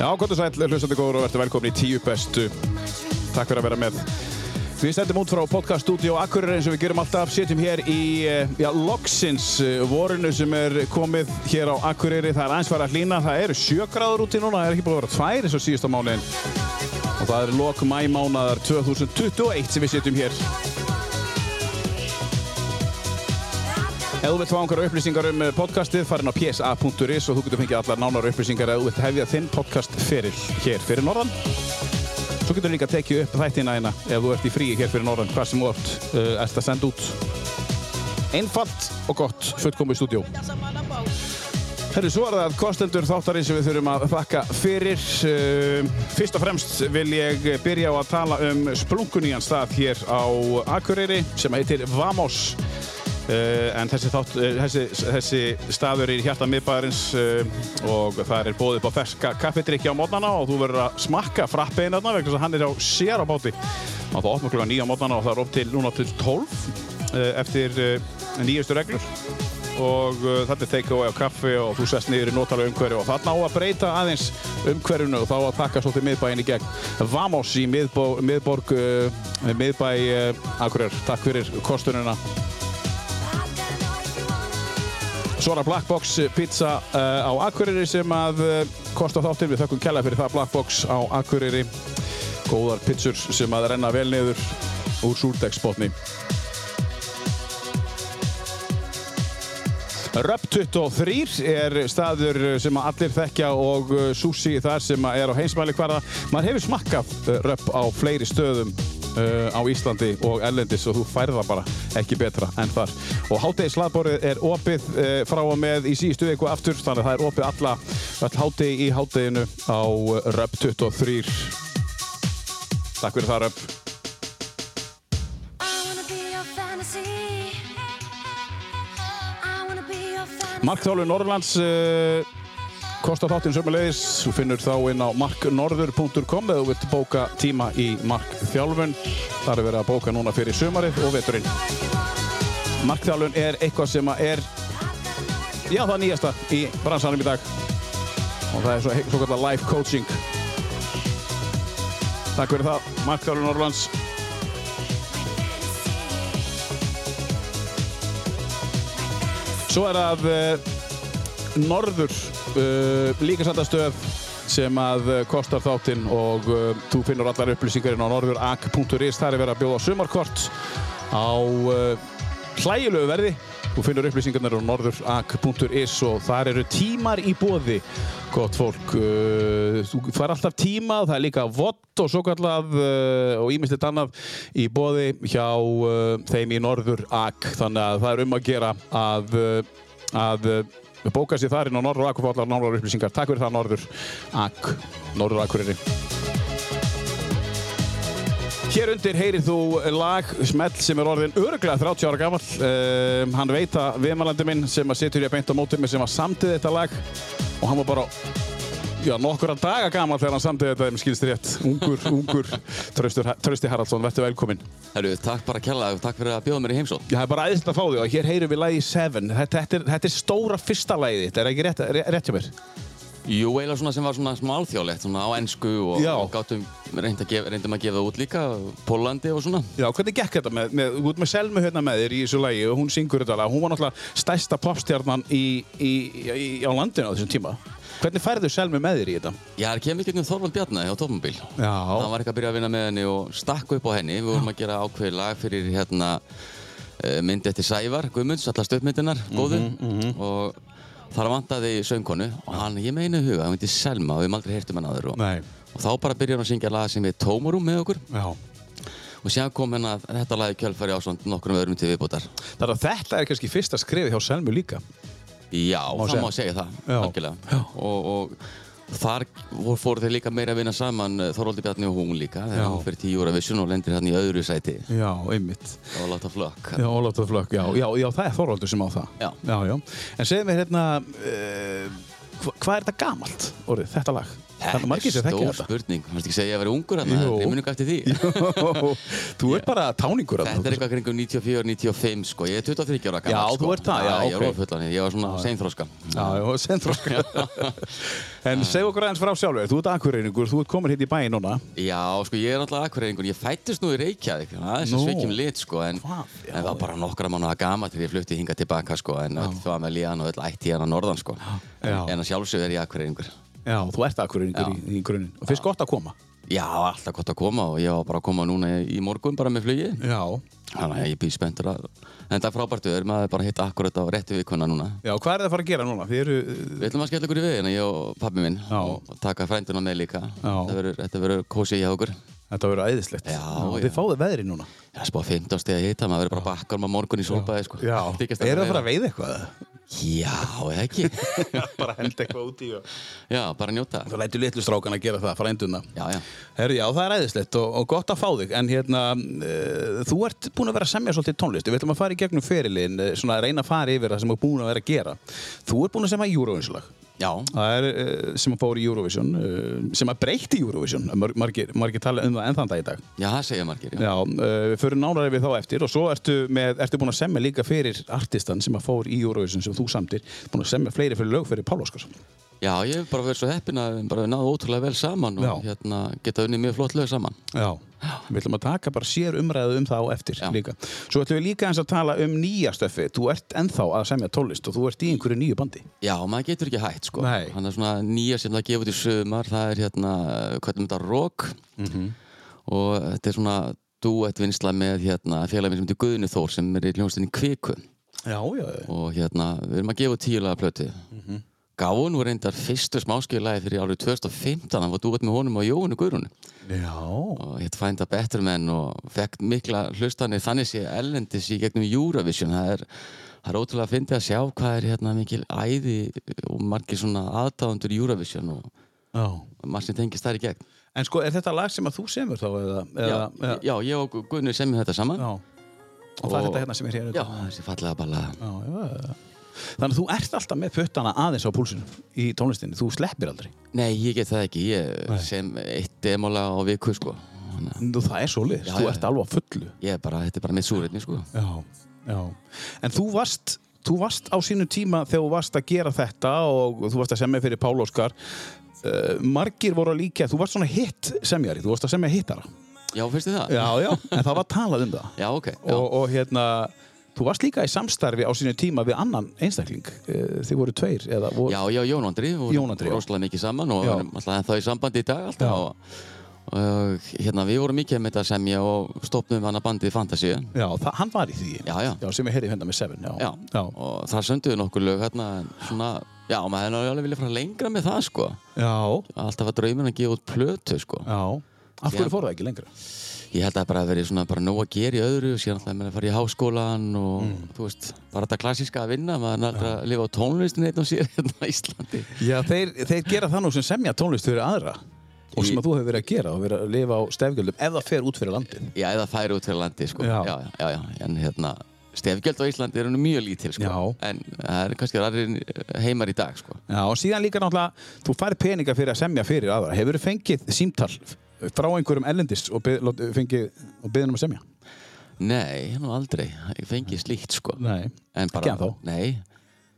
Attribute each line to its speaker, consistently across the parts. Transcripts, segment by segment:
Speaker 1: Já, kontur sæl, hlustandi góður og verður velkomin í tíu bestu. Takk fyrir að vera með. Við sendum út frá podcaststudió Akkurir eins og við gerum alltaf. Sitjum hér í eh, já, loksins eh, vorinu sem er komið hér á Akureyri. Það er aðeins farið að hlýna. Það eru sjögráður úti núna. Það er ekki búin að vera tvær eins og síðust á mánuðin. Og það er lok mæmánaðar 2021 sem við sitjum hér. Ef þú vilt fá einhverja upplýsingar um eh, podcastið, farin á psa.is og þú getur fengið allar nánar upplýsingar ef þú vilt hefja þinn podcast fyrir hér fyrir norðan. Svo getur líka tekið upp þættina þína ef þú ert í fríi hér fyrir norðan, hvað sem þú ert, uh, ert að senda út. Einfalt og gott, fullkomið stúdjó. Herru, svo er það kostendur þáttarins sem við þurfum að þakka fyrir. Uh, fyrst og fremst vil ég byrja á að tala um splunkuníjan stað hér á Akureyri sem heitir Vamos. Uh, en þessi, þátt, uh, þessi, þessi staður er í hjarta miðbæðarins uh, og það er bóðið upp á ferska kaffedrykki á mótnana og þú verður að smakka frappein þarna vegna þess að hann er á sér á báti. Og það opnar klukkan 9 á mótnana og það er upp til núna til 12 uh, eftir uh, nýjustu reglur og uh, þetta er take-away á kaffi og þú sest niður í notalega umhverju og þarna á að breyta aðeins umhverjunu og þá að taka svolítið miðbæin í gegn. Vamos í miðbó, miðborg, uh, miðbæ uh, Akureyr. Takk fyrir kostununa. Svona Black Box pizza uh, á Akureyri sem að uh, kosta þáttinn. Við þökkum kella fyrir það Black Box á Akureyri. Góðar pizzur sem að renna vel niður úr súrdegsbotni. Röp 23 er staður sem að allir þekkja og uh, sushi þar sem að er á heimsmæli hverða. Maður hefur smakkað uh, röp á fleiri stöðum uh, á Íslandi og ellendis og þú færð það bara ekki betra en þar. Og hátegi slaðborðið er opið uh, frá og með í síðustu viku aftur þannig að það er opið alla, all hátegi í háteginu á uh, röp 23. Takk fyrir það röp. Markþjálfur Norðurlands uh, kostar þáttinn sömulegis þú finnur þá inn á marknorður.com eða þú vilt bóka tíma í markþjálfun þar er verið að bóka núna fyrir sömarið og veturinn Markþjálfun er eitthvað sem að er já það er nýjasta í bransanum í dag og það er svo, svo kallar life coaching Takk fyrir það, Markþjálfur Norðurlands Svo er að uh, Norður uh, líkasandastöð sem að uh, kostar þáttinn og uh, þú finnur allar upplýsingarinn á norðurak.is þar er verið að bjóða sumarkort á uh, hlægilegu verði þú finnur upplýsingarnar á norðurak.is og þar eru tímar í boði gott fólk uh, þú fær alltaf tíma, það er líka vott og svo kallað uh, og ímyndstitt annað í boði hjá uh, þeim í norðurak þannig að það er um að gera að uh, að uh, bóka sér þar inn á Norður Akur og allar nálar upplýsingar. Takk fyrir það Norður Ak, Norður Akureyri. Hér undir heyrir þú lag Smell sem er orðin örglega 30 ára gammal. Um, hann veit að viðmælandi minn sem að situr hér beint á mótið mér sem að samtið þetta lag og hann var bara já, nokkura daga gammal þegar hann samtið þetta, ef mér skilst rétt. Ungur, ungur, Traustur, Trausti Haraldsson, verður velkominn.
Speaker 2: Herru, takk bara kjalla og takk fyrir að bjóða mér í heimsókn.
Speaker 1: Já, það er bara aðeins að fá því og hér heyrum við lagi 7 þetta, þetta, er, þetta er stóra fyrsta lagið þitt, er það ekki rétt, rétt, rétt hjá mér?
Speaker 2: Jú, eiginlega svona sem var svona smá alþjóðlegt, svona á ensku og,
Speaker 1: Já.
Speaker 2: og gátum, reynd að gef, reyndum að gefa það út líka, Pólandi og svona.
Speaker 1: Já, hvernig gekk þetta með, með, út með Selmu hérna með þér í þessu lagi og hún syngur þetta lag, hún var náttúrulega stærsta popstjarnan í, í, í, á landinu á þessum tíma. Hvernig færðu Selmu með þér í þetta?
Speaker 2: Já, það kemur ekki um Þorvald Bjarni hjá Tófumbil.
Speaker 1: Já.
Speaker 2: Hann var ekki að byrja að vinna með henni og stakk upp á henni. Við vorum að gera ákveðið lag fyrir hérna eh, mynd eftir Sævar Guðmunds, alla stöðmyndinar,
Speaker 1: Mhm,
Speaker 2: góðu. Og þar vantaði söngkonu og hann, ég meina í huga, hann veitir Selma og við höfum aldrei heyrt um hann aður. Og,
Speaker 1: Nei,
Speaker 2: og þá bara byrjar hann að syngja lag sem við Tómarum með okkur.
Speaker 1: já.
Speaker 2: og séðan kom hérna þetta lagi kjölfæri ásvönd nokkrum öðrum til viðbótar.
Speaker 1: Þannig að þetta er kannski fyrsta skrifið hjá Selmu líka.
Speaker 2: Já, það
Speaker 1: segja.
Speaker 2: má segja það,
Speaker 1: Já. Já.
Speaker 2: algjörlega. Og, og þar vor- fóru þeir líka meira að vinna saman, eh, Þorvaldur Bjarni og hún líka,
Speaker 1: Já.
Speaker 2: þegar hún fyrir tíu úra vissun og lendir hérna í öðru sæti
Speaker 1: Já, einmitt.
Speaker 2: og láta flökk.
Speaker 1: Já, Ólafur Flökk, já, já, já, það er Þorvaldur sem á það.
Speaker 2: Já.
Speaker 1: eh, Já, já. En segðu mér hérna, uh, hva, hvað er þetta gamalt orðið, þetta lag? Það er margir sem þekkja
Speaker 2: stór
Speaker 1: þetta.
Speaker 2: spurning. Þú veist ekki segja að ég væri ungur hann,
Speaker 1: Jú.
Speaker 2: ég muni ekki eftir því.
Speaker 1: Jó, þú ert bara táningur þarna.
Speaker 2: Þetta er eitthvað um kringum 94-95 sko, ég er 23 ára
Speaker 1: Já,
Speaker 2: gammal sko.
Speaker 1: þú ert það, já,
Speaker 2: Ég
Speaker 1: ok.
Speaker 2: er ofullan, ég var svona seinþróska.
Speaker 1: Já, já, sendróska. en segð okkur aðeins frá sjálfur, þú ert akureyringur, þú ert komin hér í bæinn núna.
Speaker 2: Já, sko, ég er náttúrulega akkureyringur, ég fættist nú í Reykjavík, aðeins að
Speaker 1: Nú.
Speaker 2: sveikjum lit sko, en
Speaker 1: Hvað? Já,
Speaker 2: það var bara nokkra manna gama til ég flutti hingað tilbaka sko, en öll það með líðan og öll ætti hérna norðan sko.
Speaker 1: Já.
Speaker 2: En að sjálfsögðu er ég akkureyringur.
Speaker 1: Já, þú ert akureyringur í, í grunin. Og finnst gott að koma.
Speaker 2: Já, alltaf gott að koma og ég var bara að koma núna í í morgun bara með flugi.
Speaker 1: Já.
Speaker 2: Þannig að ég býð spenntur að, en það er frábært við maður er bara að hitta akkurat á réttu vikuna núna.
Speaker 1: Já, hvað er það að fara að gera núna? Þið eru... uh,
Speaker 2: Við ætlum að skella okkur í veðina, ég og pabbi minn og taka frænduna með líka Þetta verður- Þetta verður kósið hjá okkur
Speaker 1: Þetta verður æðislegt.
Speaker 2: Já, já.
Speaker 1: Þið fáðu veðri núna.
Speaker 2: Það er spáð 15 steg að hita, maður verður bara bakkar maður morgun í solbæði sko.
Speaker 1: Eru það að fara að veiða eitthvað?
Speaker 2: Já, eða ekki
Speaker 1: bara held eitthvað úti í og...
Speaker 2: Já, bara njóta
Speaker 1: Það lætur litlu strákan að gera það, frænduna.
Speaker 2: Já, já
Speaker 1: Herru, já, það er æðislegt og, og gott að fá þig, en hérna, uh, þú ert búin að vera að semja svolítið tónlist, við ætlum að fara í gegnum ferilinn, eh, svona að reyna að fara yfir það sem þú er búin að vera að gera. Þú ert búin að semja Eurovision-lag,
Speaker 2: Já,
Speaker 1: það er uh, sem að fór í Eurovision, uh, sem að breytti Eurovision, Mar margir, margir tala um það enn þann dag í dag.
Speaker 2: já, það segja margir já.
Speaker 1: Já, uh, við förum nánar yfir þá eftir og svo ertu, með, ertu búin að semja líka fyrir artistan sem að fór í Eurovision sem þú samtir, búin að semja fleiri fyrir lög fyrir Pála Óskarsson.
Speaker 2: já, ég hef bara verið svo heppin að við bara náðu ótrúlega vel saman og
Speaker 1: Já.
Speaker 2: hérna, geta unnið mjög flott lög saman
Speaker 1: Já, við ætlum að taka bara sér umræðu um það á eftir
Speaker 2: Já.
Speaker 1: líka. Svo ætlum við líka eins að tala um nýja stöfi. Þú ert ennþá að semja tólist og þú ert í einhverju nýju bandi.
Speaker 2: Já, maður getur ekki hægt sko
Speaker 1: Nei.
Speaker 2: Þannig að svona nýja sem það gefur til sömar það er hérna, hvað er þetta, rock
Speaker 1: Mhm.
Speaker 2: og þetta er svona duett vinsla með hérna, félagin sem heitir Guðni Þór sem er í hljónstinni Kviku
Speaker 1: Já, já, já.
Speaker 2: og hérna, við erum að gefa út tíulega plötu mm -hmm.
Speaker 1: Mhm.
Speaker 2: Gáun voru reyndar fyrstu smáskilagi fyrir árið 2015 hann var duett með honum og Jóunu Guðrunu
Speaker 1: Já,
Speaker 2: og hérna Find a Better Man og fekk mikla hlustanir þannig sé ellendis í gegnum Eurovision það er, það er ótrúlega að fyndi að sjá hvað er hérna mikil æði og margir svona aðdáðundur Eurovision og
Speaker 1: já.
Speaker 2: margir sem tengist þær í gegn
Speaker 1: En sko, er þetta lag sem að þú semur þá eða? eða
Speaker 2: já, já, ég og Guðnur semjum þetta saman
Speaker 1: já. Og það er
Speaker 2: Og-
Speaker 1: þetta hérna sem er hér.
Speaker 2: já, þessi fallega balla
Speaker 1: já, já, já. Þannig að þú ert alltaf með puttana aðeins á púlsinu í tónlistinni. Þú sleppir aldrei.
Speaker 2: nei, ég get það ekki, ég sem eitt demóla á viku sko Þannig að
Speaker 1: Nú, það er svo liðs.
Speaker 2: Já,
Speaker 1: Þú
Speaker 2: já.
Speaker 1: ert alveg á fullu.
Speaker 2: ég er bara, þetta er bara mitt súrefni sko
Speaker 1: Já, já. En þú varst, þú varst á sínu tíma þegar þú varst að gera þetta og þú varst að semja fyrir Pál Óskar. Uh, margir voru að líka, þú varst svona hitt semjari, þú varst að semja hittara.
Speaker 2: já, finnst þið það?
Speaker 1: Já, já. En það var talað um það.
Speaker 2: já, ok, já,
Speaker 1: Og, og hérna, þú varst líka í samstarfi á sínu tíma við annan einstakling. Uh, þið voru tveir, eða voru...
Speaker 2: já, já Jón Andri og
Speaker 1: Jón Andri, já.
Speaker 2: rosalega mikið saman og
Speaker 1: Já.
Speaker 2: erum alltaf ennþá í sambandi í dag alltaf
Speaker 1: Já.
Speaker 2: og, og hérna, við vorum mikið með þetta sem ég og stopnum hana bandið Fantasíu
Speaker 1: Já, það, hann var í því.
Speaker 2: já, já,
Speaker 1: Já, sem ég heyrði hérna með Seven, já.
Speaker 2: já, og það sönduðu nokkur lög hérna, en svona, já, maður hefði alveg vilja fara lengra með það, sko
Speaker 1: Já,
Speaker 2: alltaf var drauminn að gefa út plötu, sko
Speaker 1: já. Af hverju fór það ekki lengra?
Speaker 2: ég held að það bara að vera svona bara nóg að gera í öðru og síðan alltaf að fara í háskólan og
Speaker 1: Mm.
Speaker 2: þú veist, bara þetta klassíska að vinna maður er alltaf að lifa á tónlistin einn og sér hérna á Íslandi
Speaker 1: Já, þeir, þeir gera það nú sem semja tónlist fyrir aðra og sem að þú hefur verið að gera og verið að lifa á stefgjöldum ef það fer út fyrir landin
Speaker 2: Já, eða færi út fyrir landi, sko.
Speaker 1: Já.
Speaker 2: Já, já, já. já. En hérna, stefgjöld á Íslandi eru nú mjög lítil, sko.
Speaker 1: Já.
Speaker 2: En það eru kannski aðrir heimar í dag, sko.
Speaker 1: Já, og síðan líka náttúrulega, þú fær peninga fyrir að semja fyrir aðra Hefur þú fengið símtal frá einhverjum ellendist og, byð, lát- fengið, og byðin um að semja?
Speaker 2: Nei, nú aldrei. Ég fengi slíkt, sko.
Speaker 1: Nei,
Speaker 2: En bara,
Speaker 1: Ekki ennþá.
Speaker 2: Nei.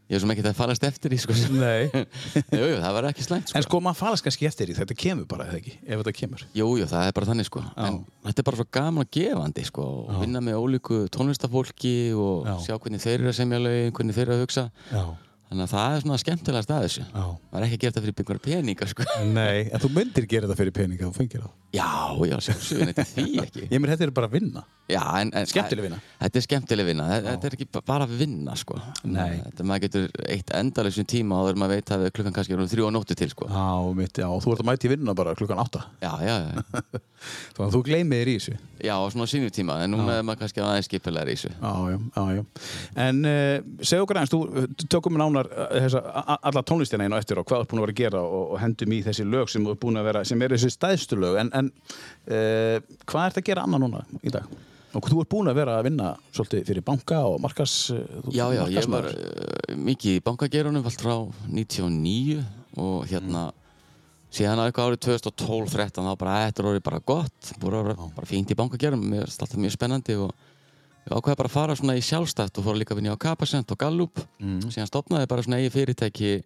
Speaker 2: Ég er sem ekki að farast eftir því, sko. jú,
Speaker 1: Nei.
Speaker 2: jú, það var ekki slæmt, sko.
Speaker 1: En sko, maður falast kannski eftir því, þetta kemur bara eða ekki, ef þetta kemur
Speaker 2: Jú, jú, það er bara þannig, sko. En þetta er bara svo gaman og gefandi, sko. Og vinna með ólíku tónlistafólki og
Speaker 1: Já.
Speaker 2: sjá hvernig þeir eru að semja lögin, hvernig þeir eru að hugsa.
Speaker 1: Já,
Speaker 2: Þannig að það er svona skemmtilegast að þessu.
Speaker 1: já
Speaker 2: Maður er ekki að gera þetta fyrir byggjum peninga, sko.
Speaker 1: Nei, en þú myndir gera þetta fyrir peninga og fengir það
Speaker 2: Já, já, sjálfsögðin, þetta er því ekki.
Speaker 1: Ég mér, þetta er bara að vinna
Speaker 2: Já, en, en,
Speaker 1: Skemmtileg vinna.
Speaker 2: Þetta er skemmtileg vinna, Þe- þetta er ekki ba- bara vinna sko
Speaker 1: Nei.
Speaker 2: Þetta maður getur eitt endalösum tíma og það er maður veit að við klukkan kannski erum þrjú á nóttu til sko Já,
Speaker 1: Já, mitt, já, og þú ert að mæti í vinnuna bara klukkan átta
Speaker 2: já, já,
Speaker 1: Þannig að þú gleymið þér í þessu
Speaker 2: já, og svona á sínum tíma en núna er maður kannski aðeins skipilegar í þessu
Speaker 1: Já, já, já, já. En uh, segðu okkur aðeins, þú tökum nánar eh, þessa, a- alla tónlistina einu eftir og hvað þú ert búin að vera að gera og, og hendum í þessi lög sem þú ert búin að vera, sem eru þessi stæðstu lög, en, en uh, hvað ert að gera annað núna í dag? Og þú ert búin að vera að vinna svolítið fyrir banka og markas... eh, þú-
Speaker 2: Já, já, ég var eh,
Speaker 1: markaðsmaður.
Speaker 2: uh, mikið í bankageirunum allt frá 99 og hérna síðan á eitthvað árið 2012-13 þá bara, "Æ, þetta er orðið bara gott, búið að vera bara fínt í bankagerum, mér er alltaf mjög spennandi og ég ákveði bara að fara svona í sjálfstætt og fór líka að vinna á Kapasent og Gallup síðan stopnaði ég bara svona eigi fyrirtæki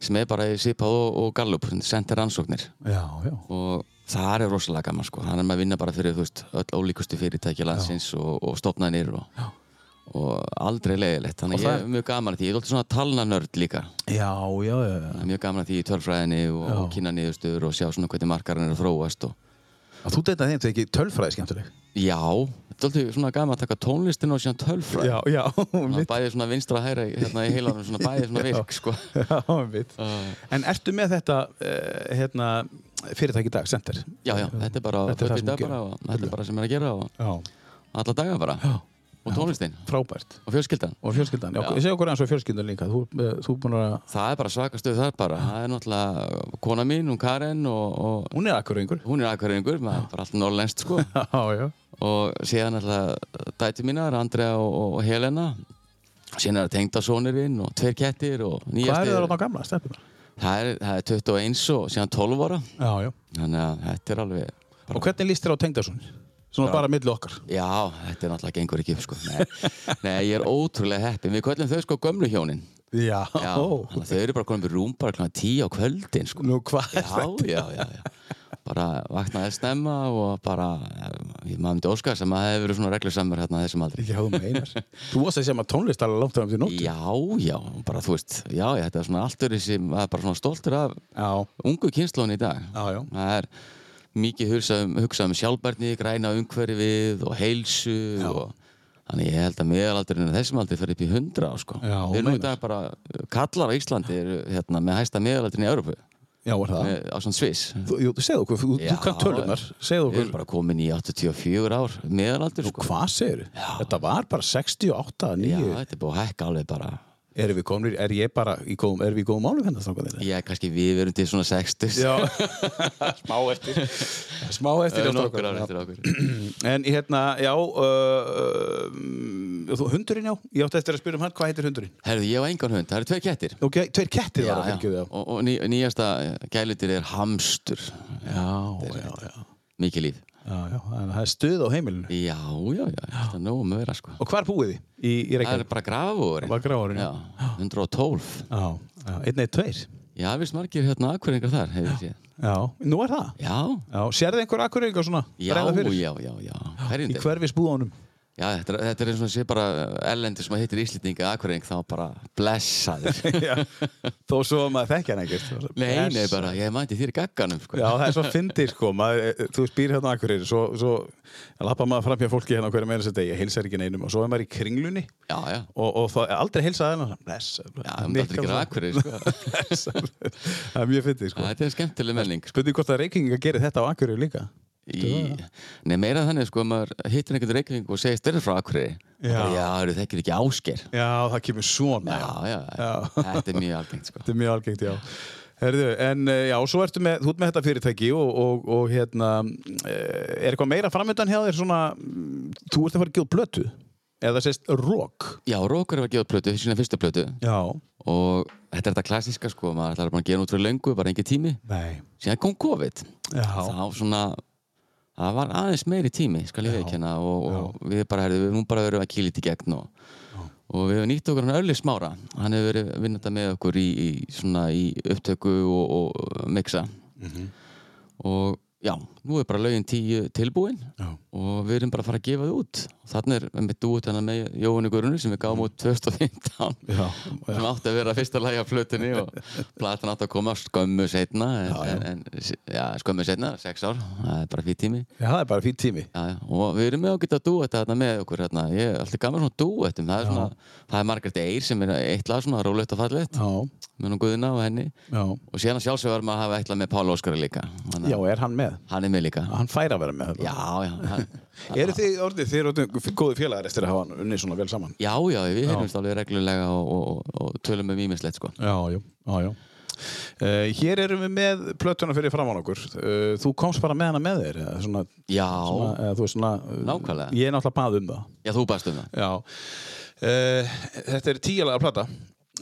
Speaker 2: sem er bara í Sipað og, og Gallup sendir rannsóknir
Speaker 1: Já, já.
Speaker 2: og það er rosalega gaman sko þannig er maður að vinna bara fyrir þú veist öll ólíkustu fyrirtæki landsins og, og stopnaðinir og, og aldrei leiðilegt
Speaker 1: Og
Speaker 2: þannig að ég
Speaker 1: það-
Speaker 2: er mjög gaman að því, ég er alltaf svona talnanörd líka
Speaker 1: Já, já, já, já.
Speaker 2: það er mjög gaman að því í tölfræðinni og, og kynna niðurstöður og sjá svona hvernig markarinn er að þróast og
Speaker 1: Að Þú deyta þeim þegar ekki tölfræði skemmtileg.
Speaker 2: já, þetta er alltaf svona gaman að taka tónlistin og síðan tölfræði
Speaker 1: já,
Speaker 2: Svona bæði svona vinstra og hæra í- hérna í heilanum svona bæði svona virk sko
Speaker 1: já, mitt. En ertu með þetta uh, hérna, fyrirtæki í dag, Center?
Speaker 2: já já, þetta er bara
Speaker 1: Þetta er það
Speaker 2: upp í
Speaker 1: sem þú
Speaker 2: dag
Speaker 1: gerir.
Speaker 2: bara og þetta er bara sem er að gera og
Speaker 1: Já.
Speaker 2: alla daga bara og tónlistin
Speaker 1: Frábært.
Speaker 2: og fjölskyldan
Speaker 1: Og fjölskyldan, já,
Speaker 2: Já.
Speaker 1: ég segja okkur eins og fjölskyldan líka. Þú, uh, þú er búin að,
Speaker 2: það er bara svaka stöð þar bara það er náttúrulega kona mín, hún Karen og, og
Speaker 1: hún er akkur yngur.
Speaker 2: hún er akkuræðingur, maður er bara allt norrlænst sko
Speaker 1: Já, já.
Speaker 2: og síðan náttúrulega dæti mínar, Andrea og, og, og Helena síðan er það tengdasónirinn og tveir kettir og
Speaker 1: Hvað er
Speaker 2: nýjastir
Speaker 1: það á gamla stefnum?
Speaker 2: það er, það er 21 og síðan 12 ára
Speaker 1: Já, já.
Speaker 2: þannig að þetta er alveg
Speaker 1: Og hvernig líst þér á tengdasun? Svona bara milli okkar.
Speaker 2: Já, þetta er náttúrulega gengur ekki upp sko. Nei, nei ég er ótrúlega heppin. Við kvöllum þau sko gömlu hjónin.
Speaker 1: Já.
Speaker 2: Já, þannig að þau eru bara komin við rúm bara klána tíu á kvöldin sko.
Speaker 1: Nú, hvað
Speaker 2: Já, já, já, já. Bara vaknaði snemma og bara, eh, ég maður myndi óska sem að það hefur verið svona reglusamur hérna á þessum aldri.
Speaker 1: Já, þú meinar. Þú varst að segja maður tónlist alveg langt um því nótt.
Speaker 2: Já, já, bara þú veist, já, já, þetta er svona allt öðru sem maður er bara svona stoltur af
Speaker 1: Já,
Speaker 2: ungu kynslónu í dag.
Speaker 1: já, já.
Speaker 2: Það er mikið hugsað um, hugsað um sjálfbærni, græna umhverfið og heilsu og þannig ég held að meðalaldurinn á þessum aldrei fyrir upp í hundra á sko.
Speaker 1: Já,
Speaker 2: Við erum nú í
Speaker 1: meinar.
Speaker 2: dag bara uh, kallar á Íslandi eru hérna, með hæsta meðalaldurinn í Európu
Speaker 1: Já, var það.
Speaker 2: með- á svona Sviss.
Speaker 1: Þú, jú, segðu okkur, þú, þú
Speaker 2: Já.
Speaker 1: kann tölunar, segðu
Speaker 2: Við erum
Speaker 1: okkur,
Speaker 2: bara komin í 84 ár meðalaldur sko.
Speaker 1: hvað segir þau? Þetta var bara 68,
Speaker 2: Já,
Speaker 1: 9,
Speaker 2: þetta er búið að hækka alveg bara.
Speaker 1: erum við komnir, er ég bara, í góðum, erum við í góðum málum hérna þannig?
Speaker 2: Já, kannski við erum til svona 60.
Speaker 1: Já, smá eftir, smá
Speaker 2: Við
Speaker 1: eftir hjá
Speaker 2: erum nokkur
Speaker 1: strákunum,
Speaker 2: ár
Speaker 1: já.
Speaker 2: eftir okkur.
Speaker 1: En hérna, já, uh, um, þú, hundurinn já, ég átti eftir að spyrja um hann, hvað heitir hundurinn?
Speaker 2: Herðu, ég og engan hund, það eru tvei kettir.
Speaker 1: Ok, tveir kettir
Speaker 2: Já,
Speaker 1: þar að
Speaker 2: já.
Speaker 1: fylgjuðu
Speaker 2: Og, og ný, nýjasta gælutir er hamstur.
Speaker 1: Já, já, já,
Speaker 2: Mikið líf.
Speaker 1: já, já, en það er stuð á heimilinu.
Speaker 2: Já, já, já, þetta er nóg um að vera sko.
Speaker 1: Og hvar búið þið í, í
Speaker 2: Það
Speaker 1: Reykjavík?
Speaker 2: er bara grafavóðurinn.
Speaker 1: Bara Grafarvogurinn,
Speaker 2: Já, 112.
Speaker 1: Já, já, einn eitt tveir.
Speaker 2: Já, það er vist margir hérna akkuringar þar, hefur ég séð.
Speaker 1: Já, nú er það.
Speaker 2: Já,
Speaker 1: Já, sérðu einhver akkurringa svona?
Speaker 2: já,
Speaker 1: bregða fyrir?
Speaker 2: já, já, já.
Speaker 1: Í
Speaker 2: Hverjandi?
Speaker 1: hverfisbúðunum
Speaker 2: Já, þetta er, þetta er eins og sé bara ellendi sem að hittir Íslendinga akkuring, þá bara blessaður.
Speaker 1: Þó svo að maður þekkja hann ekkert
Speaker 2: nei, nei, bara, ég mæti þér í gagganum, sko.
Speaker 1: Já, það er svo fyndir sko maður, Þú spýr hérna á Akureyri Svo, svo lappa maður fram hjá fólki hérna á hverju meira sér degi Hilsar ekki neinum og svo er maður í kringlunni
Speaker 2: Já, já.
Speaker 1: Og, og þá er aldrei hilsað hennar Bless
Speaker 2: Já, það myndi aldrei gera akkuring, sko.
Speaker 1: Það er mjög fyndir sko
Speaker 2: Þetta er skemmtileg menning, sko.
Speaker 1: Spurning hvort að reykinga gerir þetta á Akureyri líka
Speaker 2: Í, nei, meira þannig, sko, ef maður hittir einhvern reikning og segist þeirra frá akkuringi.
Speaker 1: Já.
Speaker 2: Já. Já, eru þekkir ekki ásker.
Speaker 1: Já, það kemur svona
Speaker 2: Já, já,
Speaker 1: Já.
Speaker 2: þetta er mjög algengt, sko.
Speaker 1: Þetta er mjög algengt, já. Herðu, en eh, já, svo ertu með, þú ert með þetta fyrirtæki og, og, og hérna, eh, er eitthvað meira framöndan hjá þér svona, mm, þú ert að fara að gefa plötu, eða sérst rock.
Speaker 2: Já, Rokur er að gefa út plötu, sína fyrstu plötu
Speaker 1: Já.
Speaker 2: og þetta er þetta klassíska sko, maður ætlar bara að gera út fyrir löngu, bara engin tími
Speaker 1: Nei.
Speaker 2: síðan kom COVID,
Speaker 1: Já.
Speaker 2: þá svona það var aðeins meiri tími, skal ég veikjanna og, og við bara, herðu, við nú bara verðum að kýla þetta í gegn og, og við hefum nýtt okkur hann Örli Smára, hann hefur verið að vinna þetta með okkur í, í, svona, í upptöku og, og mixa
Speaker 1: Mhm.
Speaker 2: og já, nú er bara lögin tíu tilbúin
Speaker 1: Já.
Speaker 2: og við erum bara að fara að gefa það út þannig er með dúið hennar með Jóhannu Gurunni sem við gáum út 2015
Speaker 1: Já.
Speaker 2: sem átti að vera fyrsta lagi á flutinni og platan átti að koma skömmu setna en, en, en, já, skömmu setna, sex ár, það er bara fyrir tími
Speaker 1: Já, það er bara fýtt tími.
Speaker 2: já, já. og við erum með að geta dúið þetta með okkur hérna. ég er alltaf gaman svona dúettum það er, svona, það er Margrét Eir sem er eitt lag svona rólegt og fallegt
Speaker 1: Já.
Speaker 2: með hún Guðina og henni
Speaker 1: Já.
Speaker 2: og síðan sjálfsögur maður að hafa eitthvað með Pála Óskari líka hann,
Speaker 1: Já, er hann með?
Speaker 2: hann er með líka
Speaker 1: Hann fær að vera með þetta.
Speaker 2: já, já, hann,
Speaker 1: Eru þið orðið, þið eru orðið góði félagar eftir að hafa hann unnið svona vel saman?
Speaker 2: já, já, við hefumst alveg reglulega og, og, og, og tölum um ímislegt sko
Speaker 1: Já, já, já, já. Uh, hér erum við með plötuna fyrir framann okkur. Uh, þú komst bara með hana með þér, eða svona
Speaker 2: já,
Speaker 1: svona, eða, þú veist svona uh,
Speaker 2: Nákvæmlega.
Speaker 1: ég er náttúrulega bað um það
Speaker 2: já, þú baðst um það
Speaker 1: Eh, já uh, þetta er tíalaga plata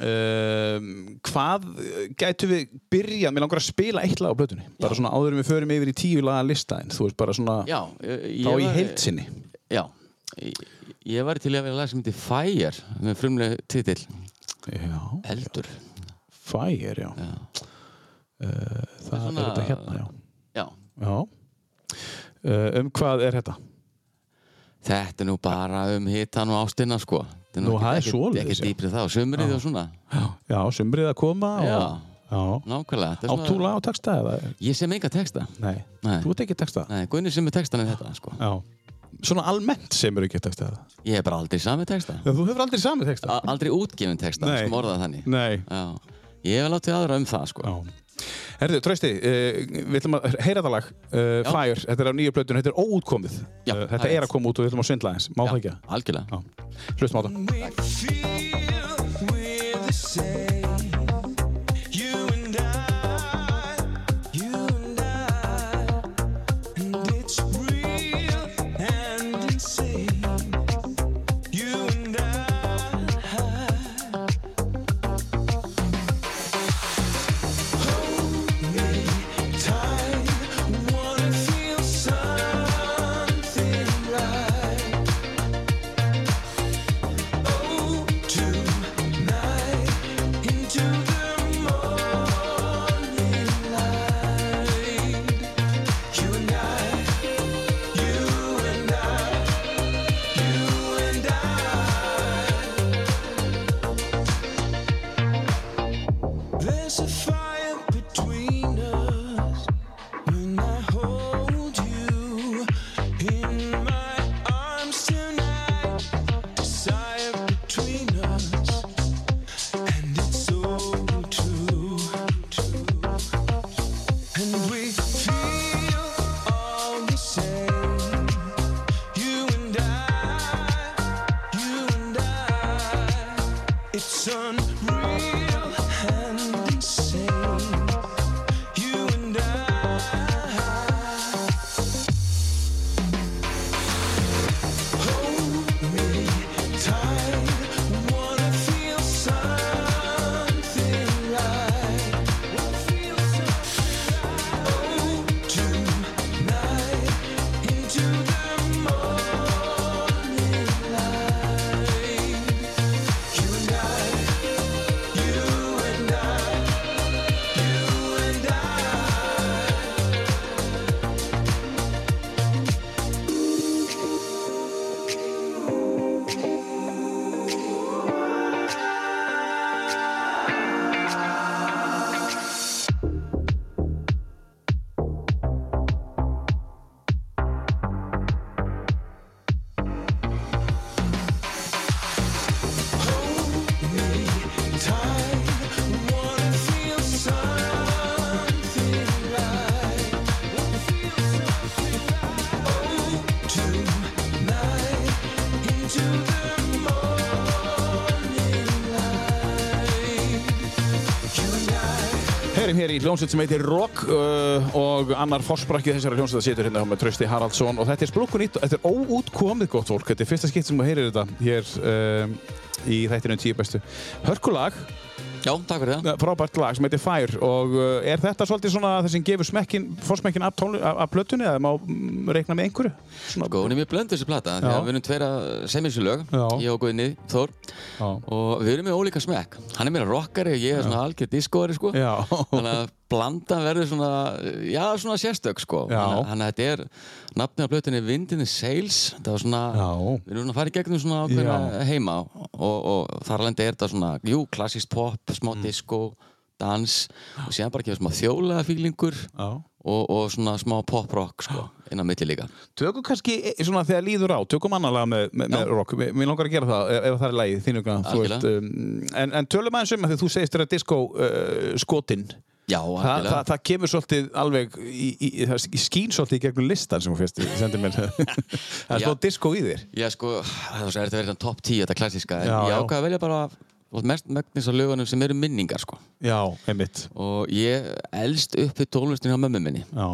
Speaker 1: um, hvað gætu við byrjað, mér langar að spila eitt lag á blötunni, bara svona áður en við förum yfir í tíu laga lista en þú veist bara svona
Speaker 2: Já, eh, ég
Speaker 1: þá í
Speaker 2: var-
Speaker 1: heild sinni
Speaker 2: Já, ég, ég var til í að vera lag sem heitir Fire með frumlega titill
Speaker 1: Já,
Speaker 2: Eldur
Speaker 1: Fire, já,
Speaker 2: Já,
Speaker 1: Uh, það
Speaker 2: Svona-
Speaker 1: er þetta hérna, já,
Speaker 2: já.
Speaker 1: já. Uh, um hvað er þetta?
Speaker 2: Þetta er nú bara um hitan og ástina sko Þetta
Speaker 1: Nú, það er
Speaker 2: ekki,
Speaker 1: svoleiðis, já.
Speaker 2: ekki, ekki dýprið það, sömrið og svona
Speaker 1: Já, sumrið að koma og,
Speaker 2: Já,
Speaker 1: já.
Speaker 2: nákvæmlega þetta er
Speaker 1: Á
Speaker 2: svona-
Speaker 1: túla á texta eða?
Speaker 2: Ég sem enga texta
Speaker 1: Nei,
Speaker 2: Nei,
Speaker 1: þú ert ekki texta
Speaker 2: Nei Gunni sem er textan en þetta sko
Speaker 1: Já Svona almennt sem eru ekki texta eða?
Speaker 2: Ég hef bara aldrei samið texta
Speaker 1: Þú hefur aldrei samið texta
Speaker 2: A Aldrei útgefin texta,
Speaker 1: Nei.
Speaker 2: sem orðað þannig
Speaker 1: Nei
Speaker 2: Já, ég hef látið aðra um það sko
Speaker 1: Já Herðu, trösti, uh, við ætlum að heyra þetta lag uh,
Speaker 2: Já.
Speaker 1: Fire, þetta er á nýju plötun, þetta er óútkomið
Speaker 2: Já,
Speaker 1: Eh,
Speaker 2: það
Speaker 1: Þetta
Speaker 2: er
Speaker 1: er að
Speaker 2: rétt.
Speaker 1: koma út og við ætlum að svindla eins Má það ekki?
Speaker 2: algjörlega
Speaker 1: Já, hlustum á þetta
Speaker 3: We feel we're the same. You and I, you and I, and it's real and insane. You and I. Hold me tight. Wanna feel something right. Tonight into the morning light. You and I, you and I, you and I. There's a fire between us when I hold you in my arms tonight desire between us, and it's so true. And we feel all the same. You and I, you and I. It's unreal and insane. You and I.
Speaker 1: Heyrim hér í hljómsveit sem heitir Rock uh, og annar fórsprakkið þessari hljómsveit situr hérna hjá með Trösti Haraldsson og þetta er splunkunýtt, þetta er óútkomið gott fólk, þetta er fyrsta skipt sem þú heyrir þetta hér um, í þættinu tíu bestu. Hörkulag,
Speaker 2: Já, takk fyrir það
Speaker 1: eh, frábært lag sem heitir Fire og uh, er þetta svolítið svona það sem gefur smekkin, fórsmekkin af, tónlu- af, af plötunni eða má mm, reikna með einhverju? Svona,
Speaker 2: Sko, hún er mjög blöndu þessi plata
Speaker 1: Já.
Speaker 2: Þegar við erum tveira semisjulög
Speaker 1: Já.
Speaker 2: Ég og Guðni, Þór
Speaker 1: Já.
Speaker 2: Og við erum með ólíka smekk Hann er meira rockari og ég er svona algjör diskóari sko
Speaker 1: Já.
Speaker 2: Þannig að blandan verður svona Já, svona sérstök sko
Speaker 1: Já.
Speaker 2: Þannig að- Þannig að þetta er Nafnið á plötunni er Wind in the Sails Það var svona
Speaker 1: Já.
Speaker 2: Við erum svona að fara í gegnum svona ákveðna
Speaker 1: Já.
Speaker 2: heima og, og þarlendi er þetta svona, jú, klassíst pop, smá
Speaker 1: Mm.
Speaker 2: disco, dans og síðan bara kemur smá þjólega fílingur
Speaker 1: Já.
Speaker 2: og, og svona smá pop-rock sko, inn á milli líka
Speaker 1: Tökum kannski, e- svona þegar líður á, tökum annan lag með, með, með rock. Mér mér langar að gera það ef, ef það er lagið, þínu grann. þú
Speaker 2: Algjörlega.
Speaker 1: veist, Um, en, en tölum aðeins um að því þú segist þér að disco uh, skotin,
Speaker 2: Já,
Speaker 1: Þa,
Speaker 2: algjörlega.
Speaker 1: það, það kemur svolítið alveg, í, í, í, það skín svolítið í gegnum listan sem hún fyrst sendið mér. það er
Speaker 2: Já.
Speaker 1: stóð disco í þér.
Speaker 2: Já, sko, það er þetta verið svona top 10, þetta klassíska en
Speaker 1: Já,
Speaker 2: ég
Speaker 1: já.
Speaker 2: ákvað að velja bara og mest megnis á lögunum sem eru minningar sko
Speaker 1: Já, einmitt.
Speaker 2: og ég elst upp við tónlistinu hjá mömmu minni
Speaker 1: Já,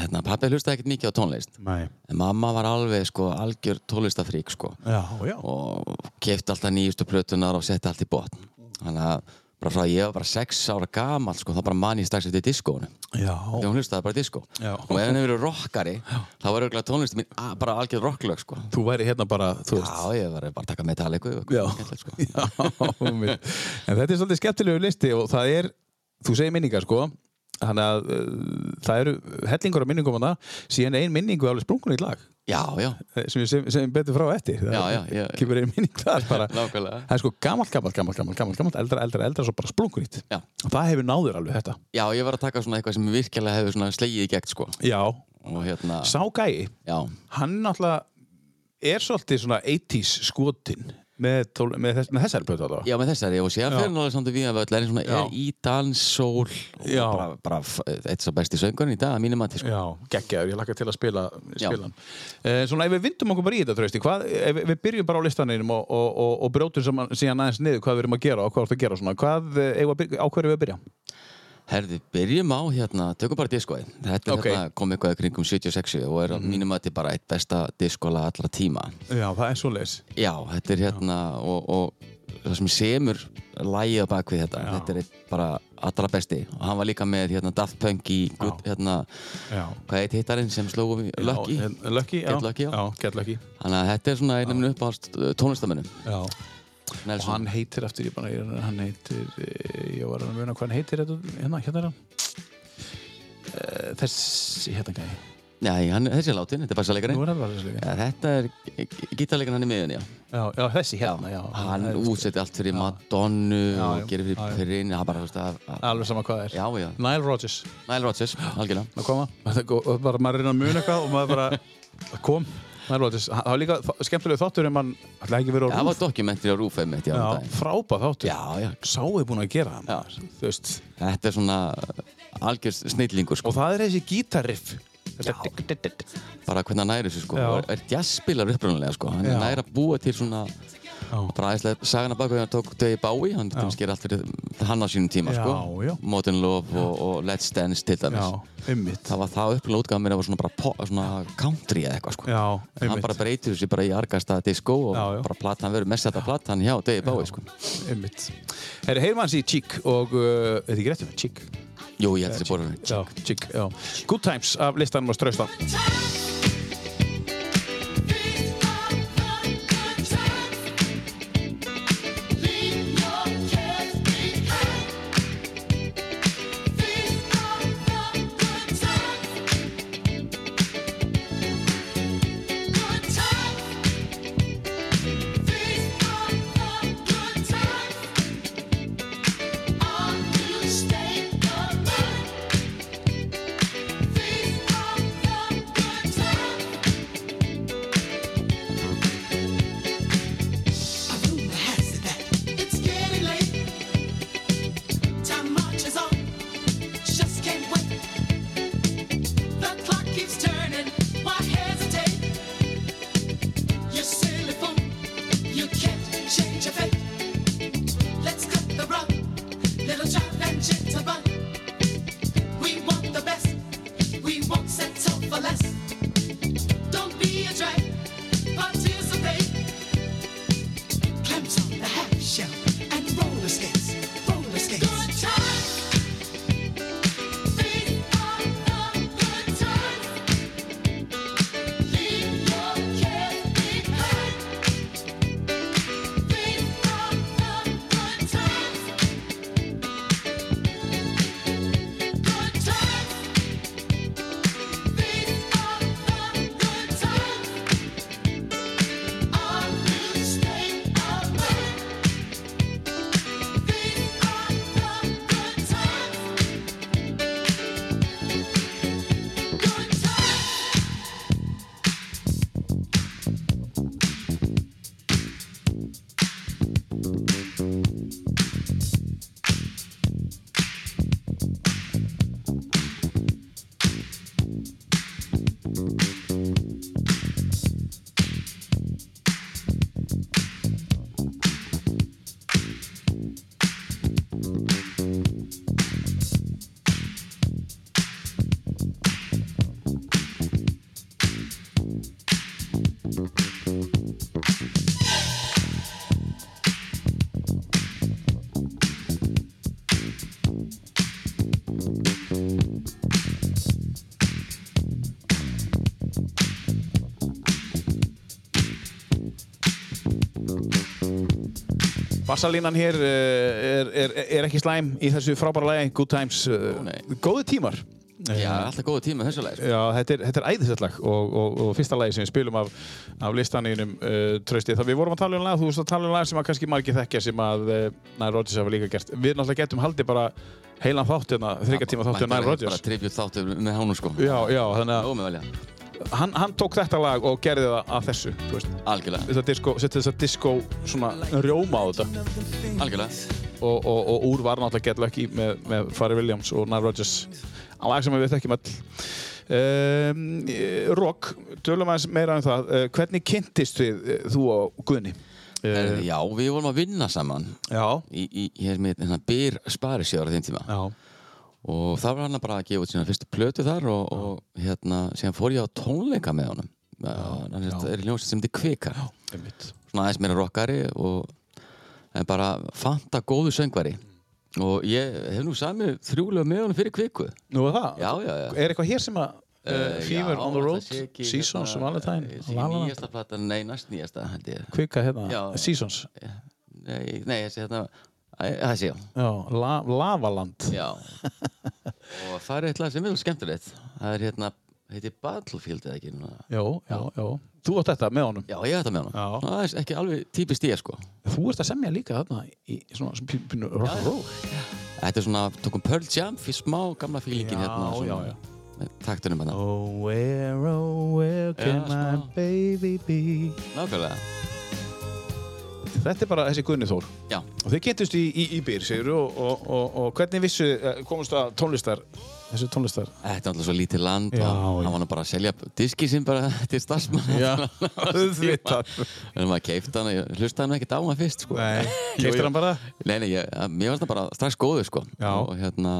Speaker 2: hérna, pappi hlustaði ekkert mikið á tónlist
Speaker 1: nei.
Speaker 2: en mamma var alveg sko algjör tónlistafrík sko
Speaker 1: Já, já.
Speaker 2: og kefti alltaf nýjustu plötunar og setti allt í botn Þannig að bara frá því að ég var bara sex ára gamall sko, þá bara man ég strax eftir diskónu.
Speaker 1: Já.
Speaker 2: Þegar hún hlustaði bara diskó.
Speaker 1: Já.
Speaker 2: Og ef henni verið rockari, þá var auðvitað tónlist mín a- bara algjörð rocklög sko.
Speaker 1: Þú væri hérna bara, þú veist.
Speaker 2: Já, ég var bara að taka Metallica og
Speaker 1: Já,
Speaker 2: eitthvað skemmtilegt, sko.
Speaker 1: já einmitt. en þetta er svolítið skemmtilegu listi og það er, þú segir minningar sko þannig að uh, það eru hellingur af minningum hana, síðan ein minningu alveg sprungun í lag
Speaker 2: Já, já,
Speaker 1: eh, sem við sem, sem betur frá eftir
Speaker 2: Já, já, já.
Speaker 1: kemur ein minning þar bara
Speaker 2: Nákvæmlega.
Speaker 1: það er sko gamalt, gamalt, gamalt, gamalt, gamalt, gamalt eldra, eldra, eldra, svo bara sprungun í
Speaker 2: Já.
Speaker 1: það hefur náður alveg þetta
Speaker 2: já, ég var að taka svona eitthvað sem virkilega hefur svona slegið í gegn sko.
Speaker 1: já,
Speaker 2: Og hérna,
Speaker 1: sá gæi
Speaker 2: já,
Speaker 1: hann náttúrulega er svolítið svona 80s skotin með, tól, með, þess, með þessari plötu allavega
Speaker 2: Já, með þessari, og síðan
Speaker 1: Já.
Speaker 2: fyrir náttúrulega samt að við að völl er svona
Speaker 1: Já.
Speaker 2: er í dans, sól og
Speaker 1: Já.
Speaker 2: bara, bara f- eitt svo besti söngurinn í dag, að mínum að til sko.
Speaker 1: Já, geggjaður, ég lakka til að spila,
Speaker 2: Já.
Speaker 1: spila hann. Eh, svona, ef við vindum okkur bara í þetta, Trausti, hvað, ef við- við byrjum bara á listaninum og, og, og, og brjótum saman, síðan aðeins niður hvað við erum að gera og hvað við erum að gera og svona, hvað, eh, eigum við að byrja, á hverju eigum við að byrja?
Speaker 2: Herði, byrjum á hérna, tökum bara diskoið
Speaker 1: Ok.
Speaker 2: Þetta
Speaker 1: Mhm.
Speaker 2: okay. hérna, kom eitthvað í kringum 76 og er að mínum að til bara eitt besta diskola allra tíma
Speaker 1: Já, það er svo leis.
Speaker 2: Já, þetta er hérna og, og það sem semur lægið á bakvið þetta,
Speaker 1: Já.
Speaker 2: þetta er eitt bara allra besti og hann var líka með hérna, Daft Punk í good, hérna,
Speaker 1: Já.
Speaker 2: hvað heit hittarinn sem sló við Lucky
Speaker 1: Já, eh, Lucky, já.
Speaker 2: Get Lucky, já.
Speaker 1: Get Lucky.
Speaker 2: Þannig að þetta er svona einum uppáhast tónlistamönnum
Speaker 1: Já. Og
Speaker 2: eh, Nelson.
Speaker 1: hann heitir eftir, ég bara, ég- hann heitir, eh, ég var að muna hvað hann heitir, þetta, hérna, hérna er hann. Eh, Þessi, hérna gæði.
Speaker 2: Nei, hann, þessi er látin, þetta er bassalegarinn.
Speaker 1: Nú er hann bara þessi líka.
Speaker 2: Ja, þetta er gítarleikarinn hann í miðunni, já.
Speaker 1: Já, já, þessi hérna, já.
Speaker 2: Hann
Speaker 1: Það er-
Speaker 2: útsetti allt fyrir Madonnu
Speaker 1: Já, já,
Speaker 2: og gerir
Speaker 1: já,
Speaker 2: fyrir
Speaker 1: já.
Speaker 2: Perrin, hann bara, þú veist, að... að-
Speaker 1: Alveg sama hvað það er.
Speaker 2: Já, já.
Speaker 1: Nile Rodgers.
Speaker 2: Nile Rodgers, algjörlega.
Speaker 1: að koma Þetta er gó- og bara maður reyna að muna eitthvað og maður bara kom það var líka þa- skemmtilegur þáttur en mann ætlaði ekki verið á
Speaker 2: Það
Speaker 1: rúf
Speaker 2: var dokumentri á Rúf einmitt, já. um daginn.
Speaker 1: frábæð þáttur
Speaker 2: Já, já.
Speaker 1: sáuði búin að gera hann
Speaker 2: Já.
Speaker 1: þú veist
Speaker 2: Þetta er svona eh, algjör snillingur, sko.
Speaker 1: og það er þessi gítarriff þetta
Speaker 2: Já.
Speaker 1: tikk, tikk, tikk.
Speaker 2: Bara hvernig hann næri þessu, sko.
Speaker 1: Já.
Speaker 2: Og Er jazzspilar upprunalega, sko. Hann
Speaker 1: Já.
Speaker 2: er næri að búa til svona... Bara æslega, sagan að baka hann tók Dögi Bái, hann til dæmis gerir allt fyrir hann á sínum tíma,
Speaker 1: Já,
Speaker 2: sko.
Speaker 1: já.
Speaker 2: Modern Love og, og Let's Dance til dæmis.
Speaker 1: já ummitt
Speaker 2: Það var það upplega útgáðan mér að var svona bara pop, svona country eða eitthvað sko.
Speaker 1: já
Speaker 2: hann bara
Speaker 1: ummitt
Speaker 2: breytir þessu bara í argasta disco og
Speaker 1: Já, já.
Speaker 2: bara platan verður mest þetta platan hjá Degi Bái sko.
Speaker 1: ummitt herri heyrum hans í Cheek og uh, er þið grættum með Cheek
Speaker 2: Jú, ég held þessi borðin.
Speaker 1: já Cheek já Good Times af listanum á Strösta
Speaker 4: Stay the night. Feast on the good times.
Speaker 1: Bassalínan hér eh, er, er, er ekki slæm í þessu frábæra lagi, Good Times. eh,
Speaker 2: Ó, nei.
Speaker 1: Góðu tímar. Eh,
Speaker 2: Já, alltaf góða tíma þessu sko. leið.
Speaker 1: Já, þetta er, þetta er æðislegt lag og, og, og fyrsta lagi sem við spilum af, af listaninum uh, trösti. Það við vorum að tala um lag, þú veist að tala um lag sem að kannski margir þekkja sem að uh, Nile Rodgers hafa líka gert. Við náttúrulega getum haldið bara heilan þátt hérna, þryggja tíma þátt hérna Nile
Speaker 2: Bara
Speaker 1: Rodgers.
Speaker 2: tribut þáttu með hánum sko.
Speaker 1: Já, já, þannig
Speaker 2: Nómið velja.
Speaker 1: að hann, hann tók þetta lag og gerði það að þessu, þú veist.
Speaker 2: Algjörlega.
Speaker 1: Þetta disco, setja þessa disco svona rjóma á þetta
Speaker 2: Algjörlega.
Speaker 1: og, og, og úr var náttúrulega Get Lucky með, með Farrell Williams og Nile Rodgers að lag sem við þekkjum öll um, Rock, tölum aðeins meira um það uh, hvernig kynntist við, uh, þú og Guðni? Eh.
Speaker 2: Herðu, Já, við vorum að vinna saman
Speaker 1: já
Speaker 2: í, í hér með hérna Byr Sparisjóður á þeim tíma.
Speaker 1: Já,
Speaker 2: Og það var hann bara að gefa út sína fyrstu plötu þar og, og hérna, síðan fór ég á tónleika með honum. Já, hann já.
Speaker 1: já.
Speaker 2: er ljósið sem þið kvikar.
Speaker 1: einmitt
Speaker 2: Svona aðeins meira rockari og en bara fanta góðu söngvari.
Speaker 1: Mm.
Speaker 2: Og ég hef nú samið þrjúlega með honum fyrir kviku. Eh,
Speaker 1: Nú er það?
Speaker 2: Já, Eh, já, já.
Speaker 1: Er eitthvað hér sem að uh, Fever on the Road, Seasons, Valentine La La Land,
Speaker 2: hérna eh, Nýjasta platan, nei, næst nýjasta held ég
Speaker 1: kvika hérna,
Speaker 2: Já. Eh.
Speaker 1: Seasons
Speaker 2: Nei, nei þessi hérna Æ, Þessi, já,
Speaker 1: Já, La Lavaland
Speaker 2: já. Og það er eitthvað sem er mjög skemmtilegt Það er hérna, heitir Battlefield eða ekki núna.
Speaker 1: Já, já, já Þú átt þetta með honum
Speaker 2: Já, ég hef þetta með
Speaker 1: Já.
Speaker 2: hana Það er ekki alveg típist ég sko
Speaker 1: Þú ert að semja líka þarna í svona sem pínu- pínu rock and roll
Speaker 2: Þetta er svona, tókum Pearl Jam fyrir smá gamla fílingin
Speaker 1: Já,
Speaker 2: hérna svona,
Speaker 1: já, já.
Speaker 2: Með taktunum hérna,
Speaker 1: Oh, where, oh, where
Speaker 2: can my
Speaker 1: baby be?
Speaker 2: nákvæmlega
Speaker 1: Þetta er bara þessi Guðni Þór.
Speaker 2: Já,
Speaker 1: Og þið getust í, í, í byr, segir og, og, og, og hvernig vissu eh, komust að tónlistar, þessu tónlistar?
Speaker 2: þetta er alltaf svo lítið land
Speaker 1: Já,
Speaker 2: og
Speaker 1: já.
Speaker 2: hann var nú bara að selja diski sem bara til starfsmann
Speaker 1: auðvitað.
Speaker 2: En maður keipti hann, ég hlustaði hann ekkert á hann fyrst sko.
Speaker 1: Nei, keistir hann bara?
Speaker 2: Nei, nei, ég, að- mér varst það bara strax góðu sko
Speaker 1: Já.
Speaker 2: og hérna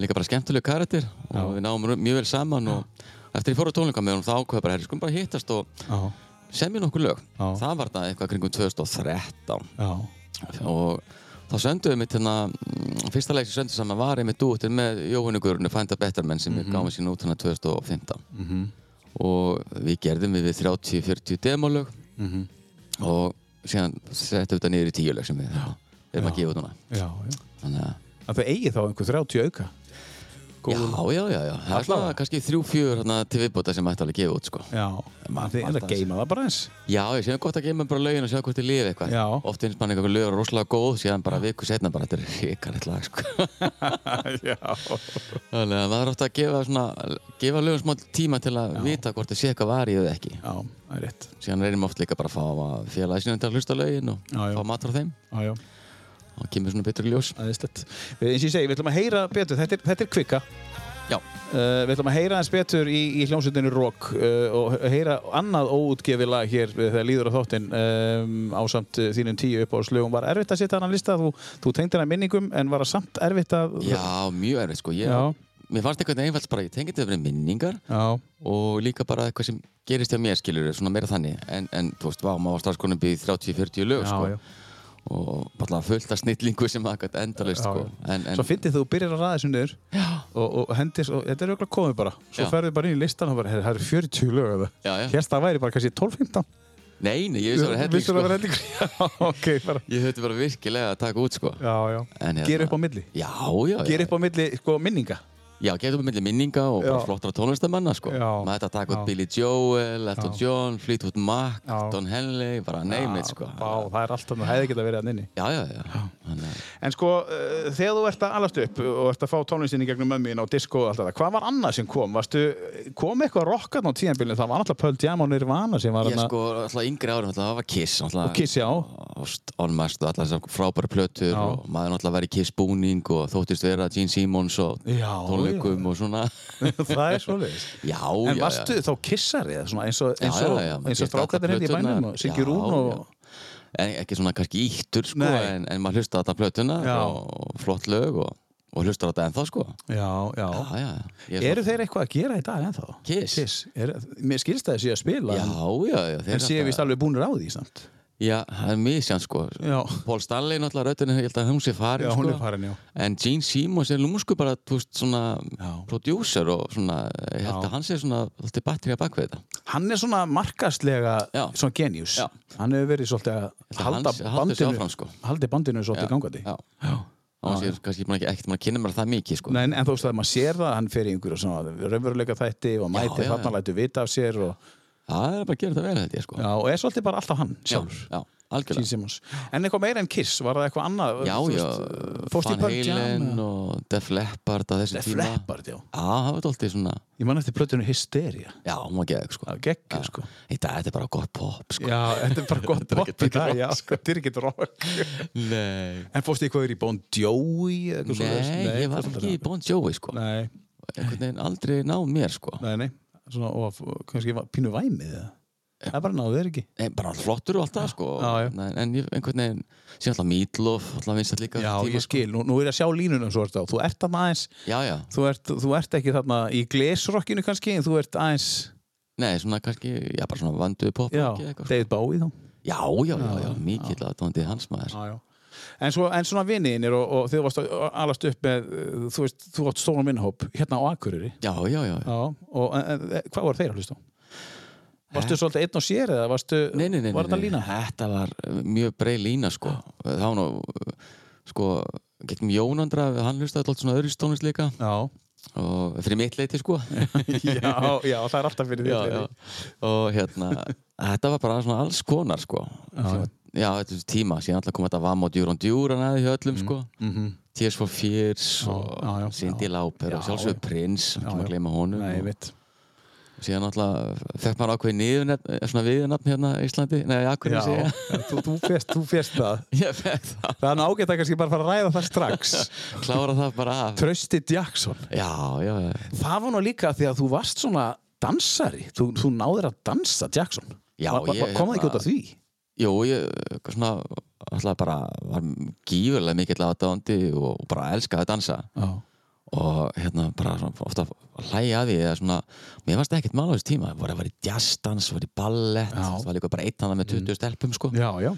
Speaker 2: líka bara skemmtilegu karakter og við náum ru- mjög vel saman og eftir ég fór á tónleika með honum þá ákveða bara, herri, skulum bara hittast og
Speaker 1: Já,
Speaker 2: semja nokkur lög
Speaker 1: Já.
Speaker 2: það var það eitthvað kringum 2013
Speaker 1: já,
Speaker 2: og þá söndum við mitt hérna mm, fyrsta leik sem söndum saman var einmitt dúttir með Jóhannu Guðrunu Find a Better Man sem
Speaker 1: Mhm.
Speaker 2: við gáum sín út hérna 2015 og við gerðum við 30-40 demolög
Speaker 1: Mhm.
Speaker 2: og síðan settum við þetta niður í tíu lög sem við erum að gefa út núna
Speaker 1: já, já.
Speaker 2: þannig að
Speaker 1: Að það eigi þá einhver 30 auka?
Speaker 2: Já, já, já, já. Það er svona kannski þrjú, fjör hérna, til viðbóta sem ætti alveg að gefa út, sko.
Speaker 1: Já, þið er að
Speaker 2: alltaf-
Speaker 1: geima það bara eins.
Speaker 2: Já, ég sé gott að geima bara lögin og sjá hvort þið lifi eitthvað.
Speaker 1: Já.
Speaker 2: Oft finnst mann eitthvað lögur rosalega góð, síðan bara viku setna bara, þetta er hrikalegt lag, sko.
Speaker 1: já.
Speaker 2: Þannig að maður átti að gefa svona, gefa lögum smá tíma til að vita hvort þið sé eitthvað var í þau ekki.
Speaker 1: Já, það er rétt.
Speaker 2: Síðan reynir maður oft líka bara að fá félagi sinni til að hlusta á lögin og
Speaker 1: Já, já.
Speaker 2: fá matur á þeim.
Speaker 1: Já, já.
Speaker 2: Og kemur svona betur í ljós.
Speaker 1: Æðislegt. Við- Eins og ég segi, við ætlum að heyra betur. Þetta er, þetta er kvika.
Speaker 2: Já.
Speaker 1: Uh, við ætlum að heyra aðeins betur í, í hljómsveitinu Rock uh, og heyra annað óútgefið lag hér uh, þegar líður á þáttinn um, ásamt uh, þínum tíu upp á slögum. Var erfitt að setja hann að lista? Þú, þú tengdi hann að minningum en var það samt erfitt að...
Speaker 2: Já, mjög erfið, sko. Ég,
Speaker 1: Já.
Speaker 2: Mér fannst einhvern veginn einfalt bara, ég tengi þetta verið minningar
Speaker 1: Já.
Speaker 2: og líka bara eitthvað sem gerist hjá mér skilur svona meira þannig en, en þú veist, vá, maður var strax konum byggði 30-40 lög
Speaker 1: Já,
Speaker 2: sko.
Speaker 1: já.
Speaker 2: og bara fullt af snillingu sem það gæti endalaust
Speaker 1: Já,
Speaker 2: sko.
Speaker 1: já.
Speaker 2: en, en,
Speaker 1: Svo fyndið þú byrjar að ræða þessu niður og, og hendir, og, þetta er auðvitað komið bara svo
Speaker 2: Já.
Speaker 1: ferðu bara inn í listan og bara, "Heyrðu, það eru 40 lög eða?
Speaker 2: Já, já.
Speaker 1: Hérst það væri bara kannski 12-15
Speaker 2: nei, nei, ég vissi að vera helling
Speaker 1: Vissirðu að vera
Speaker 2: sko.
Speaker 1: helling? Já, ok, bara
Speaker 2: ég höfði bara virkilega að taka út sko.
Speaker 1: Já, já.
Speaker 2: En hérna-
Speaker 1: Gera upp á milli.
Speaker 2: já, já, já,
Speaker 1: Gera upp á milli, sko, minninga.
Speaker 2: já geta upp með minninga og bara
Speaker 1: Já.
Speaker 2: flottra tónlistamanna sko.
Speaker 1: Já.
Speaker 2: maður þetta að taka
Speaker 1: Já.
Speaker 2: út Billy Joel, Elton John, Fleetwood Mac
Speaker 1: Já.
Speaker 2: Don Henley, bara name it sko.
Speaker 1: Vá, það er alltaf, það hefði geta verið að nynni.
Speaker 2: já, já, já, Þannig að-
Speaker 1: En sko, uh, þegar þú ert að alast upp og ert að fá tónlistinni gegnum mömmin á disco og allt þetta, hvað var annað sem kom? Varstu, kom eitthvað rockarn á tíðanbílinu? Það var alltaf Pearl Jam og Nirvana sem var
Speaker 2: ég sko, alltaf yngri árum, alltaf, það var Kiss alltaf,
Speaker 1: Kiss, já.
Speaker 2: ást, onmast og allar þessar frábæra plötur og maður náttúrulega verið kiss búning og þóttist vera Gene Simmons og
Speaker 1: Já,
Speaker 2: tónleikum og svona
Speaker 1: það er svoleiðis.
Speaker 2: Já,
Speaker 1: En
Speaker 2: já,
Speaker 1: varstu þá kissari eða svona eins og,
Speaker 2: já,
Speaker 1: eins og,
Speaker 2: já, já, maður
Speaker 1: eins og
Speaker 2: gisti allar
Speaker 1: strákarnir hérna í
Speaker 2: plöturnar.
Speaker 1: bænum og Siggi
Speaker 2: Já,
Speaker 1: Rún og...
Speaker 2: já. En ekki svona kannski íttur sko,
Speaker 1: Nei.
Speaker 2: en, en maður hlusta þetta plötuna
Speaker 1: Já.
Speaker 2: og flott lög og, og hlusta þetta ennþá sko
Speaker 1: Já, já.
Speaker 2: Já, já, já Ég er
Speaker 1: Eru þeir eitthvað að gera í dag ennþá?
Speaker 2: Kiss?
Speaker 1: Kiss. Er, mér skilst það að sé að
Speaker 2: svona-
Speaker 1: spila.
Speaker 2: Já,
Speaker 1: en-
Speaker 2: já, já þeir
Speaker 1: En séu
Speaker 2: alltaf-
Speaker 1: vist alveg búnir á því samt.
Speaker 2: Já, það er misjans sko.
Speaker 1: Já.
Speaker 2: Paul Stanley náttúrulega röddinn, ég held að hún sé farin
Speaker 1: Já,
Speaker 2: sko.
Speaker 1: hún er farin, já.
Speaker 2: En Gene Simmons er lúmsku bara, þú veist, svona
Speaker 1: Já.
Speaker 2: producer og svona, ég held
Speaker 1: Já.
Speaker 2: að hann sé svona alltaf batteri að bakvið þetta.
Speaker 1: Hann er svona markastlega
Speaker 2: Já.
Speaker 1: svona genius.
Speaker 2: Já.
Speaker 1: Hann hefur verið svolítið að
Speaker 2: að
Speaker 1: halda
Speaker 2: hans- haldi sig
Speaker 1: bandinu,
Speaker 2: áfram, sko.
Speaker 1: haldi bandinu svolítið
Speaker 2: Já,
Speaker 1: gangandi.
Speaker 2: Já. Og hann sé kannski búin ekki ekkert maður að kynna mér það mikið sko.
Speaker 1: Nei, en en þú veist að maður sér það, hann fer í einhverju svona raunveruleika þætti og mæti
Speaker 2: já, já.
Speaker 1: þarna lætur vita af sér og,
Speaker 2: Það er bara að gera þetta vel þetta, sko.
Speaker 1: já, og er svolítið bara alltaf hann sjálfur.
Speaker 2: Já, já, algjörlega.
Speaker 1: Gene Simmons. En eitthvað meira en Kiss, var það eitthvað annað?
Speaker 2: Já,
Speaker 1: Þú
Speaker 2: já,
Speaker 1: veist, Fórst í
Speaker 2: Van
Speaker 1: Pearl Jam?
Speaker 2: Halen
Speaker 1: eða?
Speaker 2: og Def Leppard á þessi
Speaker 1: Def
Speaker 2: tíma.
Speaker 1: Leppard, já.
Speaker 2: Já, það var alltaf svona,
Speaker 1: Ég man eftir plötunni Hysteria.
Speaker 2: já, hún var geðið, sko.
Speaker 1: Það geggir, sko.
Speaker 2: Í dag, þetta er bara gott pop, sko.
Speaker 1: Já, þetta er bara gott
Speaker 2: Þetta er
Speaker 1: pop
Speaker 2: ekki
Speaker 1: í dag,
Speaker 2: rock, sko.
Speaker 1: já, þetta er ekki rock.
Speaker 2: Nei.
Speaker 1: En fórst í hvað er í Bon Jovi? eða eitthvað svoleiðis?
Speaker 2: Nei, ég var
Speaker 1: fórstu
Speaker 2: ekki í
Speaker 1: þarna?
Speaker 2: Bon Jovi, sko.
Speaker 1: Nei,
Speaker 2: Einhvern veginn aldrei ná mér, sko.
Speaker 1: nei, nei. Svona, og og kannski var pínu væmið það. Það bara náðu þeir ekki.
Speaker 2: Nei, Eh, bara flottur og allt það, sko.
Speaker 1: Já, já.
Speaker 2: Nei, En ég, einhvern veginn, síðan alltaf Meatloaf, alltaf vinsett líka. á
Speaker 1: Já,
Speaker 2: þessum tíma,
Speaker 1: ég skil, nú, nú er ég að sjá línunum svo ert á. Þú ert þarna aðeins,
Speaker 2: Sko. Já, já.
Speaker 1: þú ert, þú ert ekki þarna í glesrokkinu kannski, en þú ert aðeins,
Speaker 2: Nei, svona kannski, já, bara svona vanduð pop.
Speaker 1: já,
Speaker 2: ekki eitthvað, sko.
Speaker 1: David Bowie þá.
Speaker 2: já, já, já, já, mikill aðdóndið hans maður. sko.
Speaker 1: Já, já. En, svo, en svona vinniðinir og, og þið varst að alast upp með, uh, þú veist, þú átt stóran vinnhóp hérna á Akureyri.
Speaker 2: Já, já, já.
Speaker 1: Já, og en, en, hvað voru þeir að hlusta á? Varstu svolítið einn og sér eða varstu,
Speaker 2: nei, nei, nei,
Speaker 1: var þetta
Speaker 2: nei,
Speaker 1: lína?
Speaker 2: Þetta var uh, mjög breið lína sko. Það var nú uh, sko, gegnum Jónandra hann hlustaði alltaf svona öðru stónist líka
Speaker 1: Já,
Speaker 2: og fyrir mitt leiti sko
Speaker 1: já, já, það er alltaf fyrir því.
Speaker 2: já, já. og hérna þetta var bara svona alls konar sko já, já þetta er tíma síðan alltaf kom þetta Vam og Djúr og Djúr hann aðeins hjá öllum sko -hmm. Tears for Fears
Speaker 1: Mm, mhm. já, já,
Speaker 2: og Cindy Lauper og
Speaker 1: Já,
Speaker 2: sjálfsögur Prins ekki maður gleyma honum
Speaker 1: Nei, ég
Speaker 2: og
Speaker 1: veit.
Speaker 2: síðan alltaf fekk maður ákveði niður svona viðurnafn hérna í Íslandi nei, akkur
Speaker 1: Já,
Speaker 2: ég segja
Speaker 1: þú, þú, férst, þú férst það.
Speaker 2: ég fekk það
Speaker 1: Það er nú ágætt að kannski bara fara að ræða það strax.
Speaker 2: klára það bara af
Speaker 1: Trösti Jackson.
Speaker 2: já, já, já.
Speaker 1: Það var nú líka því að þú varst svona dansari. Þú, þú náðir að dansa Jackson.
Speaker 2: Já,
Speaker 1: Va- va-
Speaker 2: ég-
Speaker 1: Kom það ekki út af því?
Speaker 2: Jú, ég eitthvað svona alltaf bara var gífurlega mikill aðdáðandi og bara elskaði að dansa
Speaker 1: Já.
Speaker 2: og hérna bara svona ofta að hlæja að því eða svona, mér varst ekkert mál á þessu tíma það var að vera í jazzdans, var í ballett
Speaker 1: Já. Mm.
Speaker 2: það var líka bara eitt hana með 20 stelpum sko.
Speaker 1: Já, já.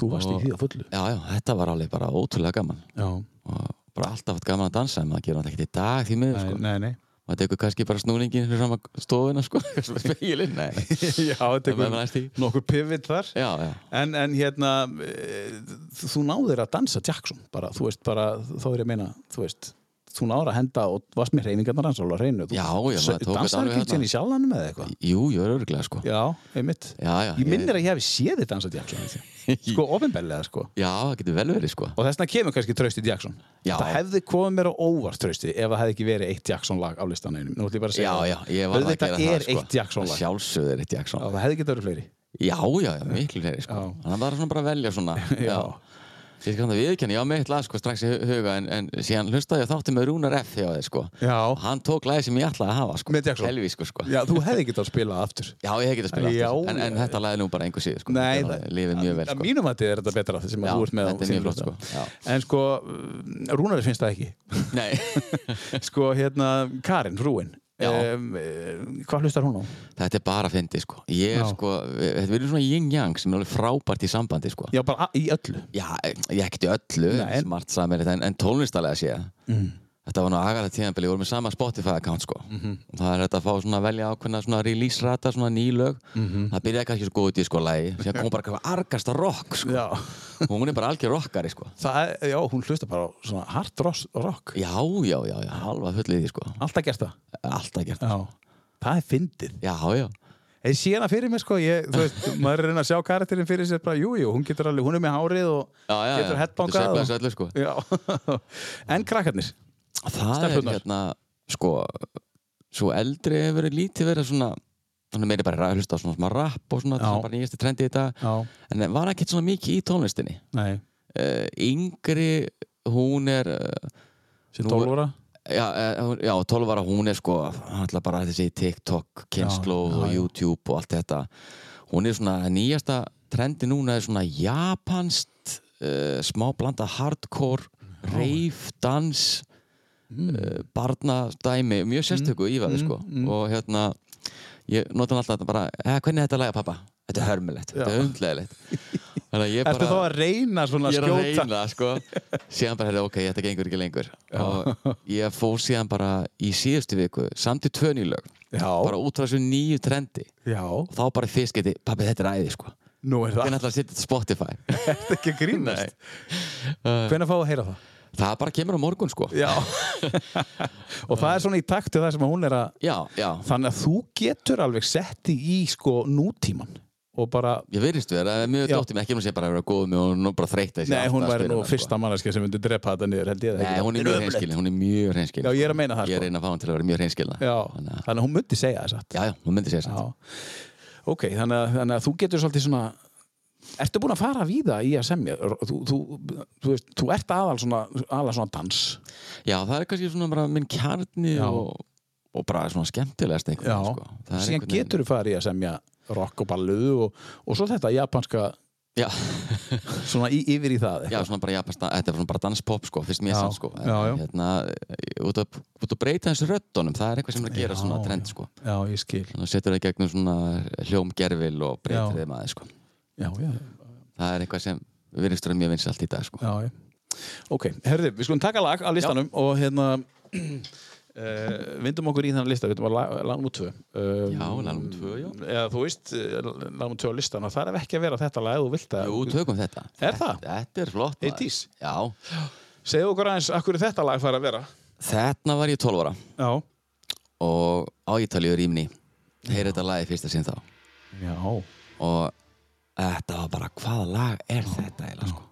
Speaker 1: Þú varst í
Speaker 2: Og-
Speaker 1: því að fullu.
Speaker 2: já, já, þetta var alveg bara ótrúlega gaman
Speaker 1: Já.
Speaker 2: og bara alltaf haft gaman að dansa en maður gerur þetta ekkert í dag því miður sko.
Speaker 1: Nei, nei.
Speaker 2: maður tekur kannski bara snúningin fyrir fram að stofina sko, speilin, nei
Speaker 1: já, þetta
Speaker 2: Það verður næst í.
Speaker 1: nokkur pivit þar.
Speaker 2: já, já,
Speaker 1: En, en hérna, e, þú náðir að dansa Jackson bara, þú veist bara, þá er ég að meina, þú veist, þú náður að henda og varst með reyningarnar hans alveg að reynu.
Speaker 2: Já, já, maður tók þetta
Speaker 1: Dansar
Speaker 2: alveg
Speaker 1: ekki
Speaker 2: þarna.
Speaker 1: hérna í sjálfanum eða eitthvað?
Speaker 2: jú, jú, öruglega sko.
Speaker 1: Já, einmitt.
Speaker 2: já, já,
Speaker 1: Ég minnir að ég hefði séð þið dansa Jackson held ég. Sko, ofinbellega sko
Speaker 2: já, það getur vel verið sko.
Speaker 1: Og þessna kemur kannski Trausti Jackson
Speaker 2: Já.
Speaker 1: Það hefði komið mér á óvart Trausti Ef það hefði ekki verið eitt Jackson lag á listan einum Nú ætlum ég bara að segja
Speaker 2: Já, já, ég var að
Speaker 1: Auðvitað
Speaker 2: gera
Speaker 1: er
Speaker 2: það sko.
Speaker 1: eitt Jackson lag Já,
Speaker 2: Sjálfsögð er eitt Jackson lag
Speaker 1: það hefði getað verið fleiri
Speaker 2: Já, já, já, miklu fleiri sko
Speaker 1: Já.
Speaker 2: Þannig að það er svona bara að velja svona Já Ég skal hann að viðkjanna, ég á mitt lag sko strax í hu- huga En, en síðan hlustaði ég á þátti með Rúnar F hjá þér sko Og
Speaker 1: Já,
Speaker 2: Hann tók lagið sem ég ætlaði að hafa sko
Speaker 1: Með Jackson?
Speaker 2: Elvis sko sko
Speaker 1: já þú hefði getað spilað aftur
Speaker 2: Já, ég hef getað spilað
Speaker 1: Já,
Speaker 2: aftur, sko. en, en
Speaker 1: já.
Speaker 2: þetta lagið nú bara engu síður sko
Speaker 1: Nei,
Speaker 2: það Lifið mjög vel
Speaker 1: Að
Speaker 2: sko
Speaker 1: mínum að þið er þetta betra þessi sem
Speaker 2: Já,
Speaker 1: að þú ert með á
Speaker 2: þetta er mjög
Speaker 1: þínum
Speaker 2: flott,
Speaker 1: lista.
Speaker 2: sko. Já.
Speaker 1: En sko, mm, Rúnari finnst það ekki
Speaker 2: Nei,
Speaker 1: Sko, hérna, Karin, frúin
Speaker 2: Já.
Speaker 1: um, Hvað hlustar hún á?
Speaker 2: þetta er bara að fyndi sko Ég
Speaker 1: Já.
Speaker 2: sko, við- þetta verður svona yin-yang sem er alveg frábært í sambandi sko
Speaker 1: Já, bara a- í öllu
Speaker 2: Já, ég ekkert í öllu,
Speaker 1: Nei, en-
Speaker 2: smart samir en, en tónlistalega séð Þetta var nú agarlega tíðanbili, við vorum með sama Spotify-account sko. og það er þetta að fá svona að velja ákveðna svona release-rata, svona nýlög það byrjaði kannski svo góð út í sko lagi sem kom bara eitthvað argasta rock sko.
Speaker 1: Já
Speaker 2: og hún er bara algjör rockari sko.
Speaker 1: Það, já, hún hlusta bara á svona hard ross- rock
Speaker 2: Já, já, já, já, halva fullið í því sko
Speaker 1: Alltaf gert það
Speaker 2: Alltaf gert
Speaker 1: já. Það er fyndið
Speaker 2: Já, já,
Speaker 1: Ég sé hana fyrir mér sko ég, þú veist, Maður er að reyna að sjá karakterinn fyrir sér bara, Jú, jú, hún getur alveg, hún er með hárið og
Speaker 2: já, já,
Speaker 1: getur
Speaker 2: já.
Speaker 1: headbangað
Speaker 2: Þetta er sveiflað
Speaker 1: og-
Speaker 2: þessu öllu,
Speaker 1: Já.
Speaker 2: sko.
Speaker 1: En krakkarnir
Speaker 2: Það
Speaker 1: Stelpurnar.
Speaker 2: er hérna, sko svo eldri hefur verið lítið verið svona svona meiri bara að hlusta á svona smá rap og svona,
Speaker 1: Já.
Speaker 2: það er bara nýjastu trendi í dag
Speaker 1: Já,
Speaker 2: en var ekki svona mikið í tónlistinni
Speaker 1: nei,
Speaker 2: uh, yngri, hún er uh,
Speaker 1: sér
Speaker 2: Nú-
Speaker 1: 12 ára
Speaker 2: já, eh, hún- já, 12 ára hún er sko alltaf bara þessi TikTok, kynnslóð
Speaker 1: Já, já,
Speaker 2: og
Speaker 1: já.
Speaker 2: YouTube og allt þetta hún er svona, það nýjasta trendi núna er svona japanst uh, smá blanda hardcore
Speaker 1: Mm.
Speaker 2: rave, dans mm. uh, barnadæmi mjög sérstöku mm. ífaði sko og hérna, ég nota hann alltaf bara, eh, hvernig er þetta laga pappa? Þetta er hörmulegt, þetta er hundlegilegt Þannig að ég
Speaker 1: Ertu þá
Speaker 2: bara,
Speaker 1: að reyna svona að
Speaker 2: ég er að
Speaker 1: skjóta?
Speaker 2: reyna, sko. Síðan bara, heyrðu, ok, þetta gengur ekki lengur. Og ég fór síðan bara í síðustu viku, samt í tvö nýlög.
Speaker 1: Já.
Speaker 2: Bara út frá þessu nýju trendi.
Speaker 1: Já,
Speaker 2: Og þá bara í fyrst geti, pappi, þetta er æði, sko.
Speaker 1: nú er
Speaker 2: Hvernig
Speaker 1: það
Speaker 2: ætlar að setja þetta á Spotify?
Speaker 1: Ertu ekki að grínast? Hvenær fá að heyra það?
Speaker 2: Það bara kemur á morgun, sko.
Speaker 1: Já Og það er svona í takti það sem að hún er að
Speaker 2: Já, já.
Speaker 1: Þannig að þú getur alveg setti í sko nútíman og bara
Speaker 2: Ég verðist vera, það er mjög
Speaker 1: Já.
Speaker 2: dóttum, ekki hún sé bara að vera góð með og hún er bara þreytt að sé
Speaker 1: Nei,
Speaker 2: alltaf
Speaker 1: hún
Speaker 2: að
Speaker 1: væri
Speaker 2: spila
Speaker 1: nú
Speaker 2: hana, sko.
Speaker 1: fyrsta manneskja sem myndi drepa þetta niður held ég það
Speaker 2: Nei,
Speaker 1: ekki.
Speaker 2: hún er
Speaker 1: Þetta ömurlegt.
Speaker 2: mjög hreinskilin, hún er mjög hreinskilin.
Speaker 1: Já, ég er að meina það,
Speaker 2: Ég
Speaker 1: sko.
Speaker 2: reyna að fá hann til að vera mjög hreinskilin.
Speaker 1: Já,
Speaker 2: Þannig að,
Speaker 1: þannig að hún myndi segja það satt
Speaker 2: já, já, hún myndi segja
Speaker 1: Já.
Speaker 2: það.
Speaker 1: Ok, þannig að, þannig að þú getur svolítið svona Ertu búin að fara víða í að semja? Þú, þú, þú, veist, þú ert aðal svona, aðal svona dans
Speaker 2: Já, það er kannski svona bara minn kjarni
Speaker 1: Já.
Speaker 2: og, og bara svona skemmtilegast einhvern veginn, sko. Það er
Speaker 1: Síðan
Speaker 2: einhvern veginn-
Speaker 1: getur þú farið í að semja rock og balluðu og, og svo þetta japanska
Speaker 2: Já,
Speaker 1: svona í, yfir í það
Speaker 2: já, svona bara japansk, þetta er svona bara danspop, sko, fyrst mér
Speaker 1: Já.
Speaker 2: samt, sko. En
Speaker 1: Já, já.
Speaker 2: Hérna, út að, út að breyta þessu röddunum, það er eitthvað sem er að gera svona
Speaker 1: Já,
Speaker 2: trend,
Speaker 1: já.
Speaker 2: sko.
Speaker 1: já, ég skil
Speaker 2: Þannig að setur það í gegnum svona hljómgerfil og breytir
Speaker 1: Já.
Speaker 2: þeim aðeins, sko.
Speaker 1: Já, já,
Speaker 2: Það er eitthvað sem virðist vera mjög vinsalt í dag, sko.
Speaker 1: Já, já. Ok, herðu, við skulum taka lag að listanum og hérna uh, vindum okkur í þannig lista, við veitum að lag, lag nr. 2 um,
Speaker 2: Já, lag númer tvö, já.
Speaker 1: Eða þú veist, eh, lag nr. 2 á listan og það er ekki að vera þetta lag, ef þú vilt að
Speaker 2: Jú, tökum þetta.
Speaker 1: Er það?
Speaker 2: Þetta, þetta er flott. maður.
Speaker 1: 80s?
Speaker 2: Já.
Speaker 1: Segðu okkur aðeins, akkur er þetta lag fara að vera?
Speaker 2: Þarna var ég 12 ára
Speaker 1: Já
Speaker 2: og á Ítalíu rýmni. Heyrði þetta lagi fyrsta sinn þá.
Speaker 1: Já,
Speaker 2: Og þetta var bara, hvaða lag er þetta eiginlega, sko?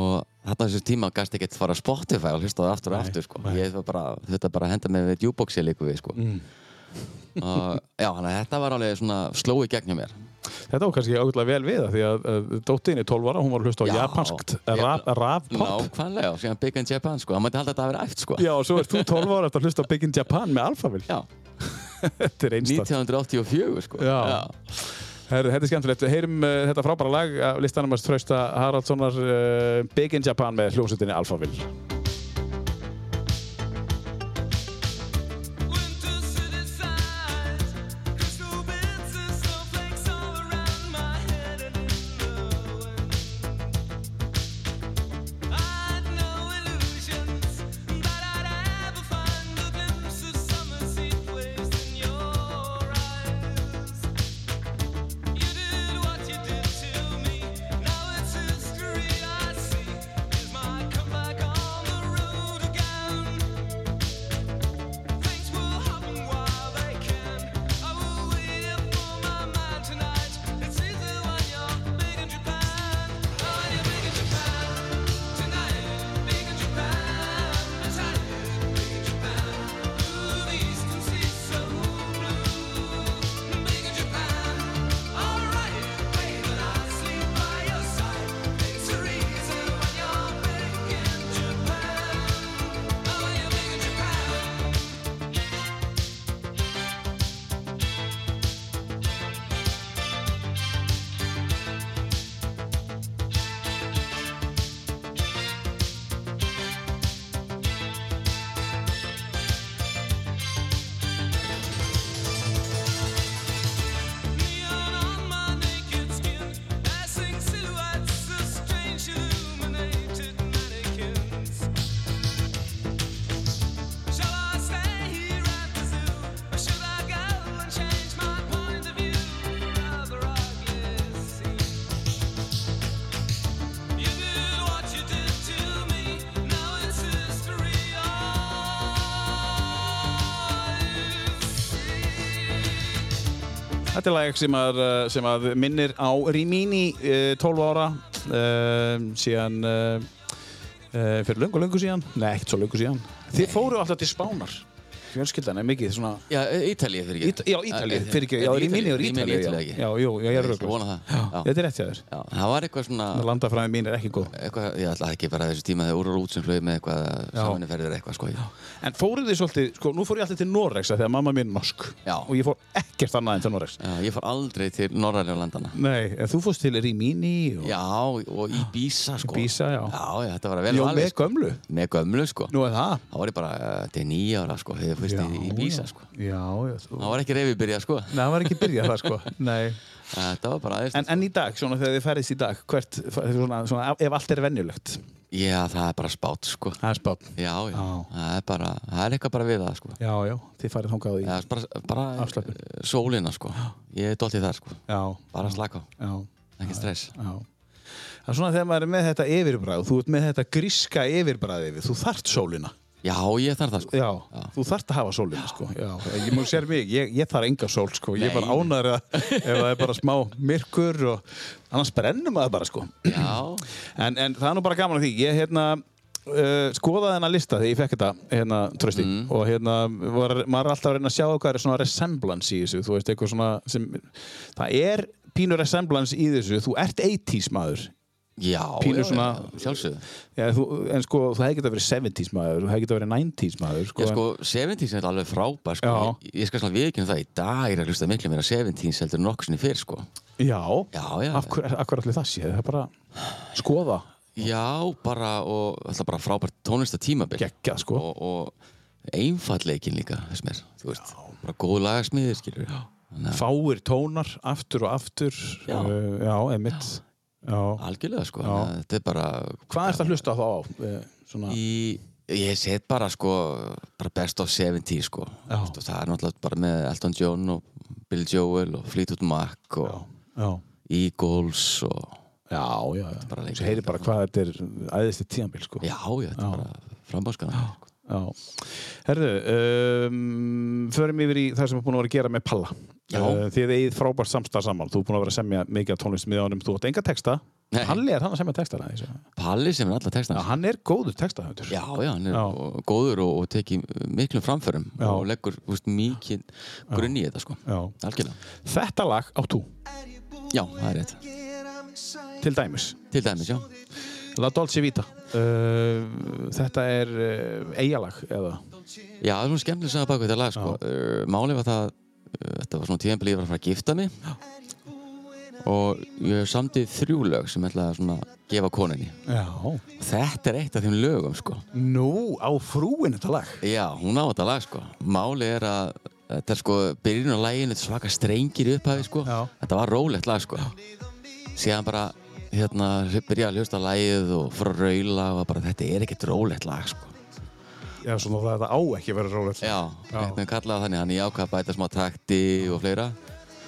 Speaker 2: Og þetta þessu tíma gæst ekkert fara á Spotify og hlusta það aftur og
Speaker 1: Nei,
Speaker 2: aftur, sko.
Speaker 1: nei. Mm.
Speaker 2: Ég var bara, þetta bara að henda mig við jukeboxi líku við, sko. og, já, þannig að þetta var alveg svona slói gegnum mér.
Speaker 1: þetta var kannski ágætlega vel við það því að uh, dóttinni 12 ára, hún var að hlusta á
Speaker 2: Já.
Speaker 1: japanskt
Speaker 2: Já.
Speaker 1: rap, rap pop
Speaker 2: Nákvæmlega, og síðan Big in Japan, sko. Það mætti halda að þetta að vera æft, sko.
Speaker 1: Já, og svo ert þú 12 ára eftir að hlusta á Big in Japan með alfavill
Speaker 2: Já,
Speaker 1: Þetta er einstakt
Speaker 2: 1984, sko.
Speaker 1: Já. Herru, þetta er skemmtilegt. Heyrum uh, þetta frábæra lag af listanum að strausta Haraldssonar uh, Big in Japan með hljómsutinni Alphaville.
Speaker 4: Come back on the road again. Things will happen while they can. I will wait for my mind tonight. It's easy when you're big in Japan. Oh, you're big in Japan tonight. Big in Japan tonight. Big in Japan. Blue east and see some blue. Big in Japan. All right, baby, and I'll sleep by your side. Things are easy when you're big in Japan. Oh, you're big in Japan.
Speaker 1: Þetta er lag sem að, uh, sem að minnir á Rimini uh, 12 ára uh, síðan uh, uh, fyrir löngu löngu síðan. Nei, ekkert svo löngu síðan. Þið fóru alltaf til Spánar. Fjölskyldan er mikið svona...
Speaker 2: Já, e, Ítalíu fyrir
Speaker 1: Ít,
Speaker 2: ekki.
Speaker 1: já, Ítalið, fyrir ekki, já, Rimini er Ítalið, já,
Speaker 2: Ítalíu,
Speaker 1: já, jú, já, ég er
Speaker 2: Ég
Speaker 1: röglega,
Speaker 2: vona það. Já.
Speaker 1: þetta er rétt hjá þér,
Speaker 2: Já, það var eitthvað svona,
Speaker 1: landafræðin mín er ekki góð.
Speaker 2: eitthvað, ég ætla ekki bara þessu tíma þegar úr og út sem flög með eitthvað
Speaker 1: Já.
Speaker 2: saminferðir eitthvað, sko. Já.
Speaker 1: En fóruð þið svolítið, sko, nú fór ég alltaf til Noregs að því að mamma mín er norsk
Speaker 2: Já.
Speaker 1: og ég fór ekkert annað en til Noregs.
Speaker 2: ég fór aldrei til norræðlega landana.
Speaker 1: Nei, en þú fórst til Rimini og
Speaker 2: Já, og í Bísa, sko.
Speaker 1: Ibiza, já.
Speaker 2: Já, já, þetta var að vel
Speaker 1: Jó,
Speaker 2: valið,
Speaker 1: með gömlu.
Speaker 2: sko. Með gömlu, sko.
Speaker 1: Nú er það.
Speaker 2: Það var ég bara eh, til nýja ára, sko, þegar fyrst í, í Bísa, sko.
Speaker 1: Já, já, þú...
Speaker 2: Það var ekki reyfibyrja, sko.
Speaker 1: Nei, það var ekki byrjað það, sko. Nei.
Speaker 2: Þetta var bara aðeins.
Speaker 1: En, en í dag, svona þegar þið ferðist í dag, hvert, svona, svona, ef allt er venjulegt?
Speaker 2: Já, það er bara spát, sko.
Speaker 1: Það er spátt.
Speaker 2: Já, já.
Speaker 1: Já.
Speaker 2: Það er bara, það er eitthvað bara við það, sko.
Speaker 1: Já, já, þið farið þangað í.
Speaker 2: Já, bara, bara
Speaker 1: Afslöppun.
Speaker 2: eh, sólina, sko. Ég er dottið þar, sko.
Speaker 1: Já,
Speaker 2: Bara slaka á.
Speaker 1: já,
Speaker 2: Ekki stress.
Speaker 1: já. Það er svona þegar maður er með þetta yfirbræð, þú ert með þetta gríska yfirbræð yfir, þú þart sólina.
Speaker 2: Já, ég þarf það, sko.
Speaker 1: Já, þú þart að hafa sólina, sko. Já, ég mjög sér mig, ég, ég þarf enga sól, sko. Ég er bara ánæður ef það er bara smá myrkur og annars brennum maður bara, sko.
Speaker 2: Já.
Speaker 1: En, en það er nú bara gaman að því. Ég hérna, uh, skoðaði hennar lista þegar ég fekk þetta, hérna, trösti. Og hérna, var, maður er alltaf að reyna að sjá hvað er svona resemblance í þessu. Þú veist, eitthvað svona sem... Það er pínur resemblance í þessu. Þú ert 80s maður.
Speaker 2: Já,
Speaker 1: Pínu
Speaker 2: já,
Speaker 1: svona-
Speaker 2: já, sjálfsögðu.
Speaker 1: Já, þú, en sko, þú hefði getað verið 70s maður, þú hefði getað verið 90s maður. Sko,
Speaker 2: Já, sko, 17s er alveg frábær, sko.
Speaker 1: Já.
Speaker 2: Ég, ég skal svona viðkynna það, í dag er að hlusta miklu meira 17s heldur en nokkuð sinni fyrr, sko.
Speaker 1: en, já,
Speaker 2: Já, já.
Speaker 1: af hverju hver allir það sé? Það er bara skoða,
Speaker 2: Já, bara, og þetta er bara frábært tónlista tímabil.
Speaker 1: geggjað, sko.
Speaker 2: Og, og einfallleikin líka, þess mér, þú veist. Bara góð lagasmiðir, skilur við. Þannig að,
Speaker 1: Fáir tónar, aftur og aftur.
Speaker 2: Já.
Speaker 1: uh, já emitt. Já.
Speaker 2: algjörlega, sko. Þannig að þetta er bara...
Speaker 1: Hvað ert að hlusta þá á? Eh, Svona...
Speaker 2: Í, ég set bara, sko, bara best of 70, sko.
Speaker 1: Já.
Speaker 2: Þú veist, og Það er náttúrulega bara með Elton John og Bill Joel og Fleetwood Mac og
Speaker 1: Já.
Speaker 2: Eagles og...
Speaker 1: Já, já, já.
Speaker 2: bara leikir.
Speaker 1: Þú heyrir bara hvað þetta er æðist í tíðanbíl, sko.
Speaker 2: Já, já, þetta er bara frambáskana. Sko.
Speaker 1: Já. Herðu, um, förum yfir í það sem er búin að vera að gera með Palla.
Speaker 2: Já.
Speaker 1: Uh, þið eigið frábært samstarf saman. Þú er búin að vera að semja mikið af tónlistum í ánum. Þú átt enga texta.
Speaker 2: Nei.
Speaker 1: Palli er hann að semja texta. Nei,
Speaker 2: Palli sem er alla textan.
Speaker 1: já, hann er góður textahöndur.
Speaker 2: Já, já, hann er
Speaker 1: Já.
Speaker 2: og- góður og, og tekið miklum framförum
Speaker 1: Já.
Speaker 2: og leggur þú veist, mikið grunn í þetta sko
Speaker 1: Já.
Speaker 2: Algjörlega,
Speaker 1: Þetta lag átt þú,
Speaker 2: já, það er rétt
Speaker 1: til dæmis.
Speaker 2: Til dæmis, já
Speaker 1: La Dolce Vita. Uh, þetta er uh, eigalag, eða?
Speaker 2: Já, það er svona skemmtileg saga baku þetta lag sko uh, Máli var það, uh, þetta var svona tíðanbili ég var að fara að gifta mig og ég samdi þrjú lög sem ég ætlaði að svona gefa koninni
Speaker 1: Já.
Speaker 2: Þetta er eitt af þeim lögum sko
Speaker 1: Nú, á frúin þetta lag.
Speaker 2: Já, hún á þetta lag sko Máli er að þetta er sko byrjun á laginu, þetta er svaka strengir í upphæði sko
Speaker 1: Já.
Speaker 2: Þetta var rólegt lag sko Síðan bara hérna byrja að hlusta á lagið og fór að raula og bara þetta er ekkert rólegt lag sko
Speaker 1: Já, svona það þetta á ekki að vera rólegt.
Speaker 2: Já, þetta er kallað þannig hann ég ákvað að bæta smá takti og fleira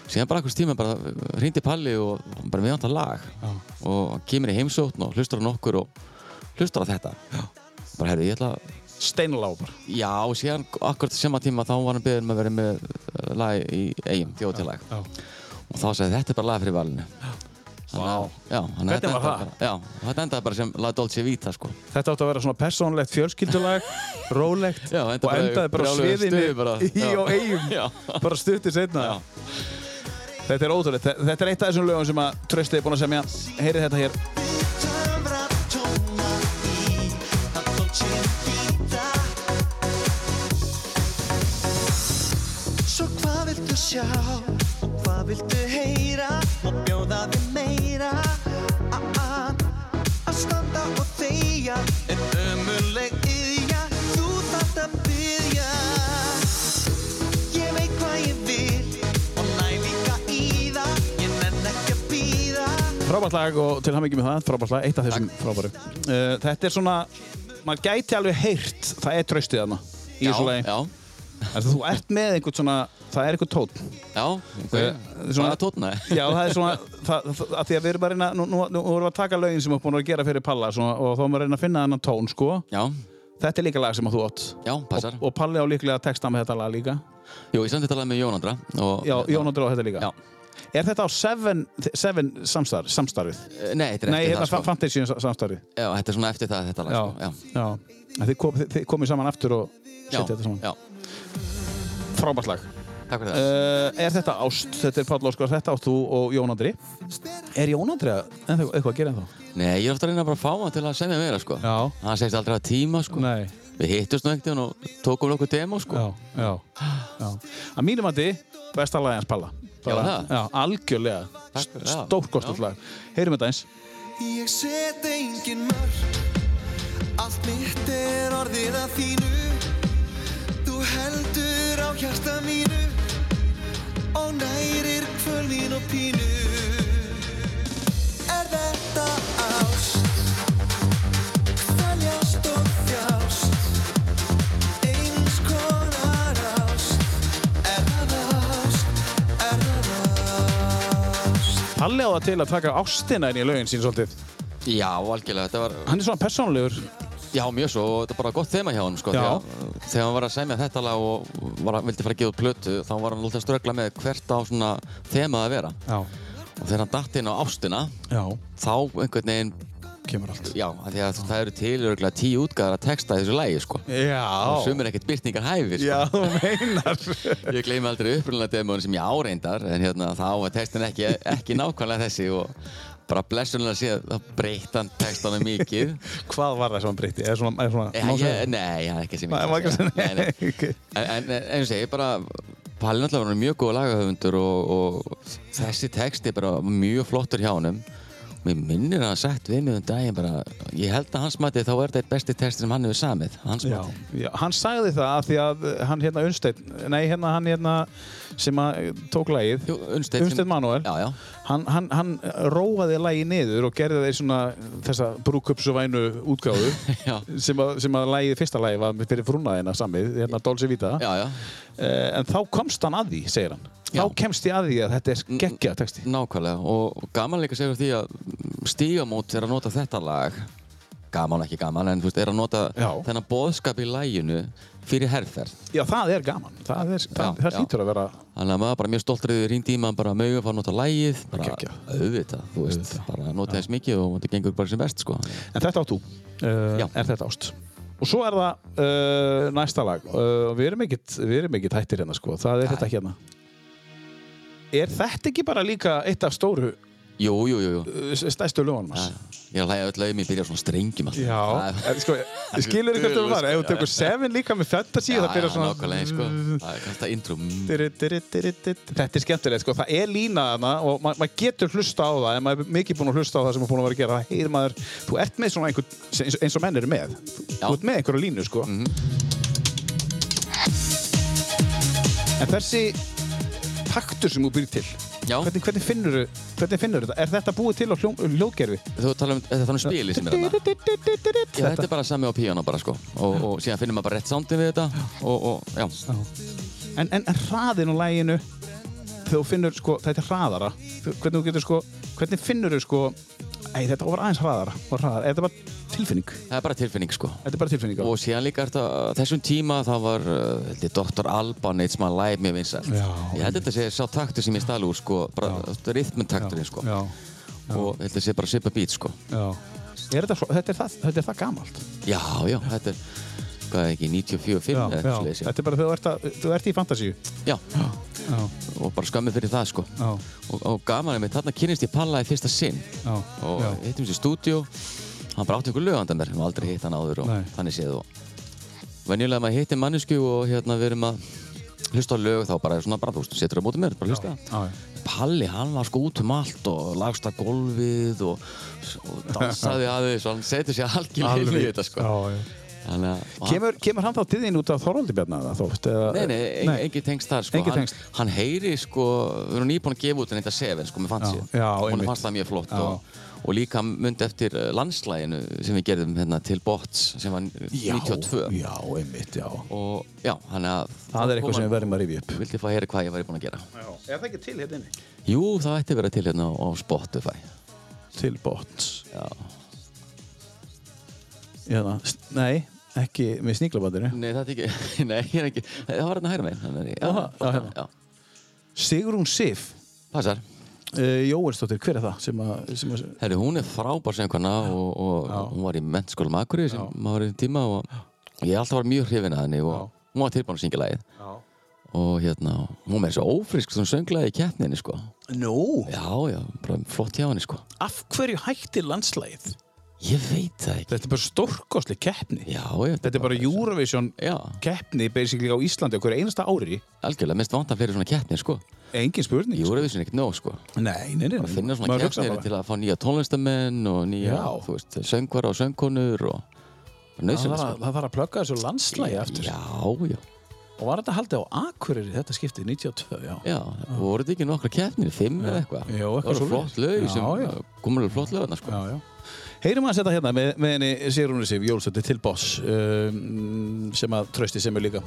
Speaker 2: Síðan bara einhvers tíma bara hringdi Palli og hann bara meðan það um lag
Speaker 1: Já.
Speaker 2: og hann kemur í heimsókn og hlustar á nokkur og hlustar á þetta Já. Bara herri, ég ætla að
Speaker 1: Steinlág bara.
Speaker 2: Já, síðan akkurat sem að tíma þá var hann beðin með að vera með eh, lag í eigum, þjóðtilag
Speaker 1: Já.
Speaker 2: og þá sagði þetta er bara lag fyrir valinu Þannig að-
Speaker 1: Vá.
Speaker 2: Já, þannig að
Speaker 1: Hvernig
Speaker 2: þetta
Speaker 1: var
Speaker 2: endaði
Speaker 1: það?
Speaker 2: bara- Já, þetta endaði bara sem La Dolce Vita sko
Speaker 1: Þetta átti að vera svona persónlegt fjölskyldulag, rólegt
Speaker 2: Já,
Speaker 1: og
Speaker 2: enda bara í
Speaker 1: endaði bara á
Speaker 2: brjálugu
Speaker 1: sviðinu
Speaker 2: stuði bara.
Speaker 1: í
Speaker 2: Já.
Speaker 1: og eigum,
Speaker 2: Já.
Speaker 1: bara stuttir setna.
Speaker 2: Já.
Speaker 1: Þetta er ótrúlegt. Þe- Þetta er eitt af þessum lögum sem að Trösti er búinn að semja. Heyrið þetta hér.
Speaker 3: Svo hvað viltu sjá og hvað viltu heyra og bjóða við meira A-a, að standa og þegja er ömuleg yðja þú þarft að byrja Ég veit hvað ég vil og næ líka í það ég nenn ekki að býða
Speaker 1: Frábært lag og til hamingi með það, frábært lag, eitt af þessum frábæru. Uh, þetta er svona, maður gæti alveg heyrt, það er Tröstið þarna í þessu
Speaker 2: já,
Speaker 1: lagi.
Speaker 2: já,
Speaker 1: Þannig að þú ert með einhvern svona, það er einhvern tótt.
Speaker 2: já,
Speaker 1: Eh,
Speaker 2: okay.
Speaker 1: svona-
Speaker 2: svona tótna
Speaker 1: Já, það er svona, það, það, að því að við erum bara að reyna, nú, nú, nú erum við að taka lögin sem við erum búin að gera fyrir Palla svona, og þá erum við að reyna að finna annan tón, sko.
Speaker 2: Já,
Speaker 1: Þetta er líka lag sem að þú átt.
Speaker 2: já, passar
Speaker 1: Og, og Palli á líklega texta með þetta lag líka.
Speaker 2: Jú, ég samt þetta lag með Jón Andra og,
Speaker 1: Já, Jónandur á þetta líka.
Speaker 2: Já.
Speaker 1: Er þetta á Seven, seven samstarf, samstarfið?
Speaker 2: Eh, Nei, þetta er
Speaker 1: Nei,
Speaker 2: eftir
Speaker 1: hérna
Speaker 2: það sko
Speaker 1: fa- Fantasy samstarfið.
Speaker 2: Já, þetta er svona eftir það, þetta lag sko Já,
Speaker 1: já. En Þið, kom, þið, þið komið saman aftur og setja þetta saman.
Speaker 2: já,
Speaker 1: Frábært lag.
Speaker 2: takk fyrir það
Speaker 1: Uh, er þetta ást, þetta er Pall Óskar, þetta átt þú og Jónandri. Er Jónandri eitthvað að gera þá?
Speaker 2: Nei, ég er ofta að reyna bara að fá hann til að semja meira sko
Speaker 1: Eh. Já.
Speaker 2: Hann segist aldrei að tíma sko
Speaker 1: Nei.
Speaker 2: Við hittumst nú ekkert og tókum nokkuð demo sko
Speaker 1: já, já, já. að mínum að þið, besta lagi hans Palla
Speaker 2: það?
Speaker 1: já, algjörlega
Speaker 2: Takk fyrir það.
Speaker 1: stórkostið
Speaker 2: Já.
Speaker 1: lag heyrum þetta eins
Speaker 3: Ég set engin mörg Allt mitt er orðið að þínu Þú heldur á hjarta mínu Og nærir kvöl mín og pínu Er þetta ást? Þaljast og þjást Eins konar ást Er það ást? Er það ást?
Speaker 1: Palli á það til að taka ástina inn í lögin sín svolítið.
Speaker 2: Já, algjörlega, þetta var,
Speaker 1: Hann er svona persónulegur.
Speaker 2: já, mjög svo, og þetta var bara gott þema hjá hann, sko,
Speaker 1: Já.
Speaker 2: þegar, þegar hann var að semja þetta lag og var, að- vildi fara að gefa út plötu, þá var hann alltaf að ströggla með hvert á svona þemað að vera.
Speaker 1: Já.
Speaker 2: Og þegar hann datt inn á ástina,
Speaker 1: Já,
Speaker 2: þá einhvern veginn,
Speaker 1: kemur allt.
Speaker 2: já, af því að það eru til örgulega tíu útgæðar að texta í þessu lagi, sko.
Speaker 1: Já.
Speaker 2: Og sumir ekkert byrtingar hæfir, sko.
Speaker 1: Já, þú meinar.
Speaker 2: Ég gleymi aldrei upprunalega demónu sem ég áreindar en hérna þá var textin ekki, ekki nákvæmlega þessi og bara blessunlega sé að það breytt hann textana mikið
Speaker 1: Hvað var það sem hann breytti? Eða svona, eða svona,
Speaker 2: Eh,
Speaker 1: má
Speaker 2: ég,
Speaker 1: segja?
Speaker 2: Nei, það er ekki sem
Speaker 1: Nei, má ekki
Speaker 2: ég
Speaker 1: segja.
Speaker 2: Nei, nei.
Speaker 1: Ok.
Speaker 2: En- En en eins og segi, bara Palli náttúrulega var hann mjög góð lagahöfundur og, og þessi texti er bara mjög flottur hjá honum Mér minnir að hann sagt við mig um daginn bara ég held að hans mati þá er þetta eitt besti texti sem hann hefur samið hans
Speaker 1: Já,
Speaker 2: mati
Speaker 1: já, hann sagði það af því að uh, hann hérna Unsteinn, nei hérna hann hérna sem að uh, tók lagið,
Speaker 2: Jú, Unnsteinn sem-
Speaker 1: Unnsteinn Manuel,
Speaker 2: Já, já.
Speaker 1: Hann, hann, hann róaði lagið niður og gerði þeir svona þessa brúkupsuvænu útgáfu
Speaker 2: Já.
Speaker 1: sem að, sem að lagið, fyrsta lagið var fyrir frúnaðina samið, hérna Dolce Vita,
Speaker 2: Já, já,
Speaker 1: Eh, en þá komst hann að því, segir hann.
Speaker 2: Já. Mm,
Speaker 1: Þá kemst ég að því að þetta er geggja texti.
Speaker 2: Nákvæmlega og og gaman líka segur því að mm, Stígamót er að nota þetta lag gaman ekki gaman en þú veist er að nota
Speaker 1: Já.
Speaker 2: þennan boðskap í læginu fyrir herrferð
Speaker 1: Já, það er gaman. Það, er, það,
Speaker 2: Já,
Speaker 1: það
Speaker 2: já.
Speaker 1: hlýtur að vera
Speaker 2: þannig að maður bara mjög stoltrið við rýndi í maður bara mögum að fara að nota lægið bara
Speaker 1: Geggjað.
Speaker 2: auðvitað þú veist bara nota þess mikið og þetta gengur bara sem best sko
Speaker 1: En þetta átt þú, uh,
Speaker 2: Já.
Speaker 1: er þetta ást. Og svo er það uh, næsta lag. Uh, við erum ekkit, við erum ekkit hættir hérna sko, það er þetta hérna. Er þetta ekki bara líka eitt af stóru,
Speaker 2: Jú, jú, jú, jú
Speaker 1: uh, stæstu lögunum hans?
Speaker 2: Ég er að hlæja öll lögum, ég byrja á svona strengjum alltaf
Speaker 1: Já,
Speaker 2: Það er-
Speaker 1: en sko, skilur þið hvert þú var, ef þú tekur 7 líka með fantasy,
Speaker 2: Já,
Speaker 1: það byrjar
Speaker 2: já,
Speaker 1: svona...
Speaker 2: nákvæmlega, sko Það er kannski að intro mm.
Speaker 1: Dirri, dirri, dirri, dirri. Þetta er skemmtilegt, sko. það er lína þarna og ma- maður getur hlusta á það en maður er mikið búinn að hlusta á það sem maður er búinn að vera að gera það heyr maður, þú ert með svona einhver eins, eins og menn eru með, þú
Speaker 2: Já. Mhm.
Speaker 1: ert með einhverja línu sko. En þessi taktur sem þú býr til
Speaker 2: Já.
Speaker 1: hvernig, hvernig finnur hvernig finnur þetta? Er þetta búið til á hljó, hljóðgerfi?
Speaker 2: Þú tala um, þetta er þannig spilið sem er þarna Já, þetta er bara sami á píano bara sko og, og síðan finnum maður bara rétt soundin við þetta og, og já,
Speaker 1: En, en hraðin á læginu þegar þú finnur, sko, þetta er hraðara Þú- hvernig þú getur, sko, hvernig finnur þú, sko ei, þetta var aðeins hraðara og hraðara, þetta er bara tilfinning
Speaker 2: það er bara tilfinning sko
Speaker 1: þetta er bara tilfinning á
Speaker 2: og síðan líka er þetta, þessum tíma þá var uh, held ég, Dr. Alban eitt smá læg mér vinsælt
Speaker 1: Já.
Speaker 2: ég held þetta sé sá taktur sem ég stali úr sko bara rithmentakturinn sko
Speaker 1: já,
Speaker 2: og held þetta sé bara svipa beat sko
Speaker 1: já er þetta, svo, þetta, er það, þetta er það gamalt
Speaker 2: já, já, þetta er hvað er ekki, 94, 5 eða eitthvað svoleiðis, já.
Speaker 1: þetta er bara þegar þú ert, að, þú ert í fantasíu
Speaker 2: já,
Speaker 1: já,
Speaker 2: og bara skömmið fyrir það sko
Speaker 1: já,
Speaker 2: og, og gaman er mitt, þarna kynist ég Palla í fyrsta sinn
Speaker 1: já,
Speaker 2: og hittum sér stúdíu hann bara átti ykkur lögandan mér, við höfum aldrei hitt hann áður og
Speaker 1: Nei.
Speaker 2: þannig séð og venjulega maður hittir mannesku og hérna við erum að hlusta á lög þá bara er svona bara, þú veist, setur það mótið mér, bara hlusta Palli, hann var sko út um allt og lagst að gólfið og, og dansaði aðeins og hann setur sér algjörlega inn í þetta sko
Speaker 1: já, já.
Speaker 2: Þannig að og hann-
Speaker 1: Kemur, kemur hann þá til þín út af Þorvaldi Bjarna eða Þórt? Eða,
Speaker 2: Nei, nei, en, engin tengst þar sko.
Speaker 1: Engin
Speaker 2: hann,
Speaker 1: tengsl.
Speaker 2: hann heyri sko, við erum nýbúin að gefa út en eitthvað sefin sko, mér fannst
Speaker 1: Já,
Speaker 2: ég
Speaker 1: já,
Speaker 2: Honum
Speaker 1: einmitt.
Speaker 2: fannst það mjög flott
Speaker 1: Já.
Speaker 2: og, og líka mynd eftir eh, landslæginu sem við gerðum hérna til Bots sem var
Speaker 1: já,
Speaker 2: 92
Speaker 1: Já, einmitt, já.
Speaker 2: og já, hann að
Speaker 1: Það er eitthvað sem við verðum að rifja upp.
Speaker 2: Vildi fá að heyra hvað ég væri búin að gera
Speaker 1: Já. Er það ekki til hérna inni?
Speaker 2: Jú, það ætti að vera til hérna á- á Spotify
Speaker 1: Til botns.
Speaker 2: Já.
Speaker 1: Hérna, s- nei, ekki með sníklabandinu.
Speaker 2: Nei, það er ekki, nei, ég er ekki Það var hérna hæra megin þannig að-
Speaker 1: Aha, já, hérna.
Speaker 2: já,
Speaker 1: Sigrún Sif,
Speaker 2: Passar
Speaker 1: uh, Jóelsdóttir, hver er það? Sem að, sem að,
Speaker 2: Herri, hún er frábær söngkona og, og
Speaker 1: Já.
Speaker 2: hún var í mennskólum Akureyri sem maður var í tíma og ég alltaf var mjög hrifin að henni og
Speaker 1: Já.
Speaker 2: hún var tilbúin að syngja lagið
Speaker 1: já.
Speaker 2: og hérna, hún var með þessu ófrisk sem sönglaði í keppninni sko
Speaker 1: Nú,
Speaker 2: Já, já, bara flott hjá henni sko
Speaker 1: af hverju hætti landslægið?
Speaker 2: Ég veit það ekki
Speaker 1: Þetta er bara stórkostli keppni.
Speaker 2: Já, já,
Speaker 1: Þetta er bara Eurovision
Speaker 2: Já,
Speaker 1: keppni basically á Íslandi okkur einasta ári.
Speaker 2: algjörlega, minnst vant að fleiri svona keppnir sko
Speaker 1: Engin spurning.
Speaker 2: Jú, er þessu ekkert nóg sko
Speaker 1: Nei, nei, nei. nei.
Speaker 2: Finna svona
Speaker 1: Mm, Maður hugsar
Speaker 2: keppnir
Speaker 1: bara.
Speaker 2: til að fá nýja tónlistamenn og nýja,
Speaker 1: Já.
Speaker 2: þú veist, söngvara og söngkonur og
Speaker 1: Það
Speaker 2: nöðsynlega
Speaker 1: þarf að- það þarf að plugga þessu landslægi aftur.
Speaker 2: Já, já
Speaker 1: Og var þetta haldið á Akureyri þetta skiptið 92, já.
Speaker 2: Já, voru þetta ekki nokkra keppnir, fimm eða eitthvað?
Speaker 1: Jó, eitthvað
Speaker 2: Það voru
Speaker 1: svoleiðis.
Speaker 2: flott lög
Speaker 1: Já,
Speaker 2: sem,
Speaker 1: já.
Speaker 2: komulega flott lög þarna, sko.
Speaker 1: Já, já. Heyrum að þetta hérna með, með henni Sigrúnu Sif Jólsdóttir til Boss um, sem að trösti sem er líka.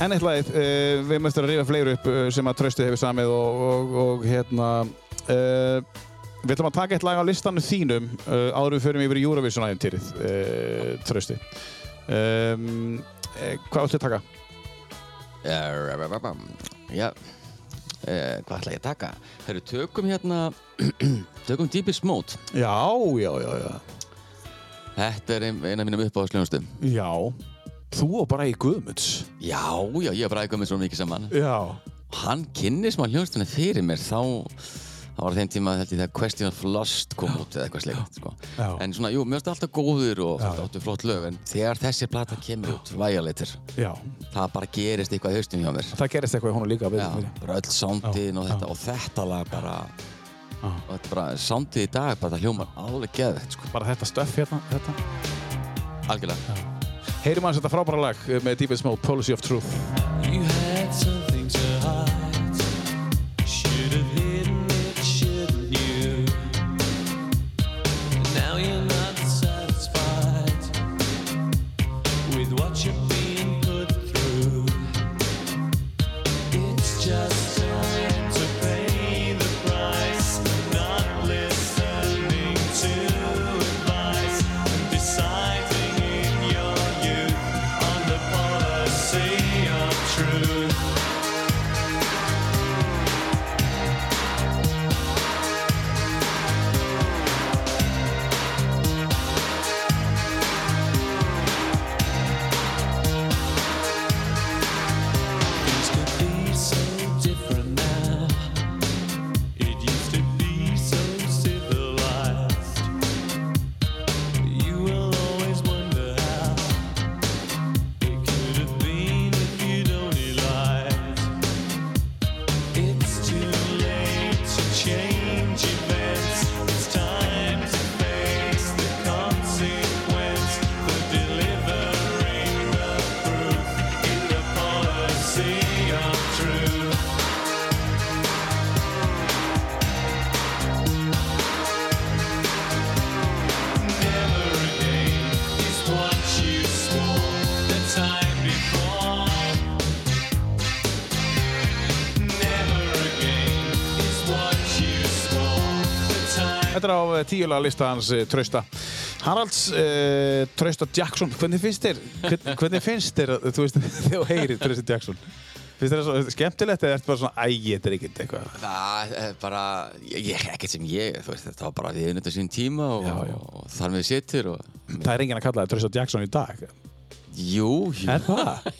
Speaker 1: En eitt lagið, uh, við möttum að rífa fleiri upp uh, sem að trösti hefur samið og, og, og hérna... Uh, Við ætlum að taka eitt lag á listanum þínum uh, áður en við förum yfir í Eurovision-æðintýrið, uh, Trausti. Um, uh, hvað ætlum við að taka?
Speaker 2: Já, rabababam. já. Eh, hvað ætla ég að taka? Herru, tökum hérna, tökum Deepest Mode.
Speaker 1: Já, já, já, já.
Speaker 2: Þetta er ein- eina af mínum uppáðsljónustum.
Speaker 1: Já, þú og bara í Guðmunds.
Speaker 2: Já, já, ég hef bræðið með svo mikið saman.
Speaker 1: Já.
Speaker 2: Hann kynni smá hljónstunni fyrir mér þá það var á þeim tíma held ég þegar Question of Lust kom út eða eitthvað sleikt sko.
Speaker 1: Já.
Speaker 2: en svona, jú, mér finnst alltaf góður og
Speaker 1: já.
Speaker 2: þetta áttu flott lög en þegar þessi plata kemur út, Violator
Speaker 1: Já.
Speaker 2: það bara gerist eitthvað í haustum hjá mér
Speaker 1: Það gerist eitthvað í honum líka við
Speaker 2: Já, bara öll soundin og þetta og þetta lag bara og þetta bara, soundið í dag bara það hljómar alveg geðvegt sko,
Speaker 1: Bara þetta stöff hérna, þetta.
Speaker 2: algjörlega
Speaker 1: Heyrum aðeins þetta frábæra lag eh, með Deepest Mode, Policy of Truth.
Speaker 3: You had something to hide. Should have hidden it, shouldn't you? Now you're not satisfied with what you're being put through. It's just time to pay the price. Not listening to advice. Deciding in your youth on the policy of truth. Things could be so different now. It used to be so civilized. You will always wonder how it could have been if you'd only lied. It's too late to change events. It's time to face the consequence for delivering the proof in the policy of truth. Never again is what you swore the time before. Never again is what you swore the time.
Speaker 1: Þetta er á tíulega lista hans uh, Trausta. Haralds uh, Trausta Jackson, hvernig finnst þér, hvern, hvernig finnst þér, að- þú veist, þegar þú heyrir Trausta Jackson? Finnst þér það svo skemmtilegt eða ertu bara svona, æ, þetta er ekkert eitthvað?
Speaker 2: Það er bara, ég, ég- ekkert sem ég, þú veist, þetta var bara við einu þetta sín tíma og,
Speaker 1: Já, já.
Speaker 2: og þar með sittir og,
Speaker 1: Það er enginn að kalla það Trausta Jackson í dag.
Speaker 2: jú, jú.
Speaker 1: Er það?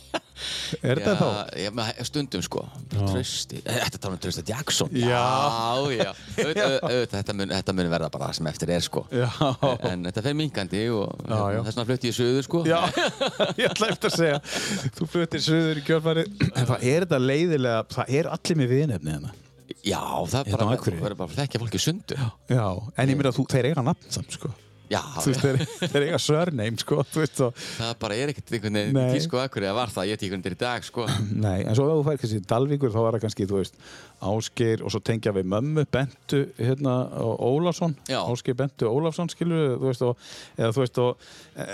Speaker 1: er þetta þá?
Speaker 2: Já, já, maður- stundum sko, trösti, þetta tala um trösta Jackson
Speaker 1: Já.
Speaker 2: já, já. Auð, auð, auð, þetta, mun, þetta mun verða bara það sem eftir er sko
Speaker 1: Já.
Speaker 2: en þetta fer minkandi og
Speaker 1: Já, já.
Speaker 2: þess vegna flutti ég söður sko
Speaker 1: Já, ég ætla eftir að segja Þú fluttir suður í kjölfarið En það er þetta leiðilega, það er allir með viðnefni hérna
Speaker 2: já það er
Speaker 1: Hérna á
Speaker 2: bara,
Speaker 1: Akureyri.
Speaker 2: verður bara að þekkja fólki sundu já,
Speaker 1: Já, en ég meina þú, þeir eiga nafn samt sko
Speaker 2: já
Speaker 1: Þú veist, þeir, þeir eiga sörneim sko Þú veist þá,
Speaker 2: það bara er ekkert einhvern veginn
Speaker 1: Nei.
Speaker 2: tísku akkur eða var það, ég tíkur undir í dag sko
Speaker 1: nei, en svo ef þú fær kannski Dalvíkur þá er það kannski, þú veist, Ásgeir og svo tengja við mömmu, Bentu hérna, og Ólafsson,
Speaker 2: Já.
Speaker 1: Ásgeir Bentu Ólafsson skilur, þú veist, og, eða þú veist og, e-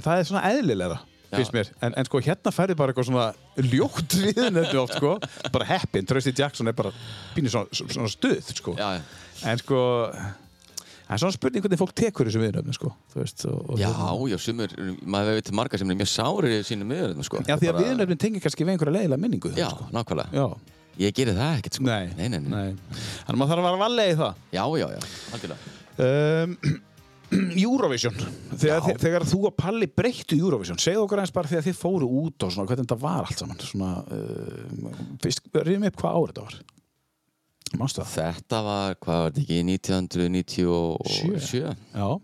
Speaker 1: en það er svona eðlilega finnst mér. En, en sko, hérna færði bara eitthvað svona ljótt viðnefni oft, sko. Bara heppin, Trausti Jackson er bara pínir svona, svona stuð, sko.
Speaker 2: Já, já.
Speaker 1: En sko, það er svona spurning hvernig fólk tekur þessu viðnefni, sko. Þú veist, og... og
Speaker 2: Já,
Speaker 1: hérna.
Speaker 2: já, sumur, maður hefur veit marga sem er mjög sárið í sínum miðurinn, sko.
Speaker 1: Já, því að
Speaker 2: Bara-
Speaker 1: viðnefni tengir kannski við einhverja leiðilega minningu.
Speaker 2: Já,
Speaker 1: Sko.
Speaker 2: nákvæmlega.
Speaker 1: Já.
Speaker 2: Ég geri það ekkert, sko.
Speaker 1: Nei.
Speaker 2: Nei, nei, nei.
Speaker 1: Þannig maður þarf að vara valega í það.
Speaker 2: Já, já, já, algjörlega.
Speaker 1: Um, Eurovision þegar,
Speaker 2: Já.
Speaker 1: þegar þú og Palli breyttu Eurovision segðu okkur eins bara þegar þið fóru út og svona hvernig þetta var allt saman svona, uh, fyrst, rýðum upp hvað árið þetta var Manstu það?
Speaker 2: Þetta var, hvað var þetta ekki, 1997?
Speaker 1: Já,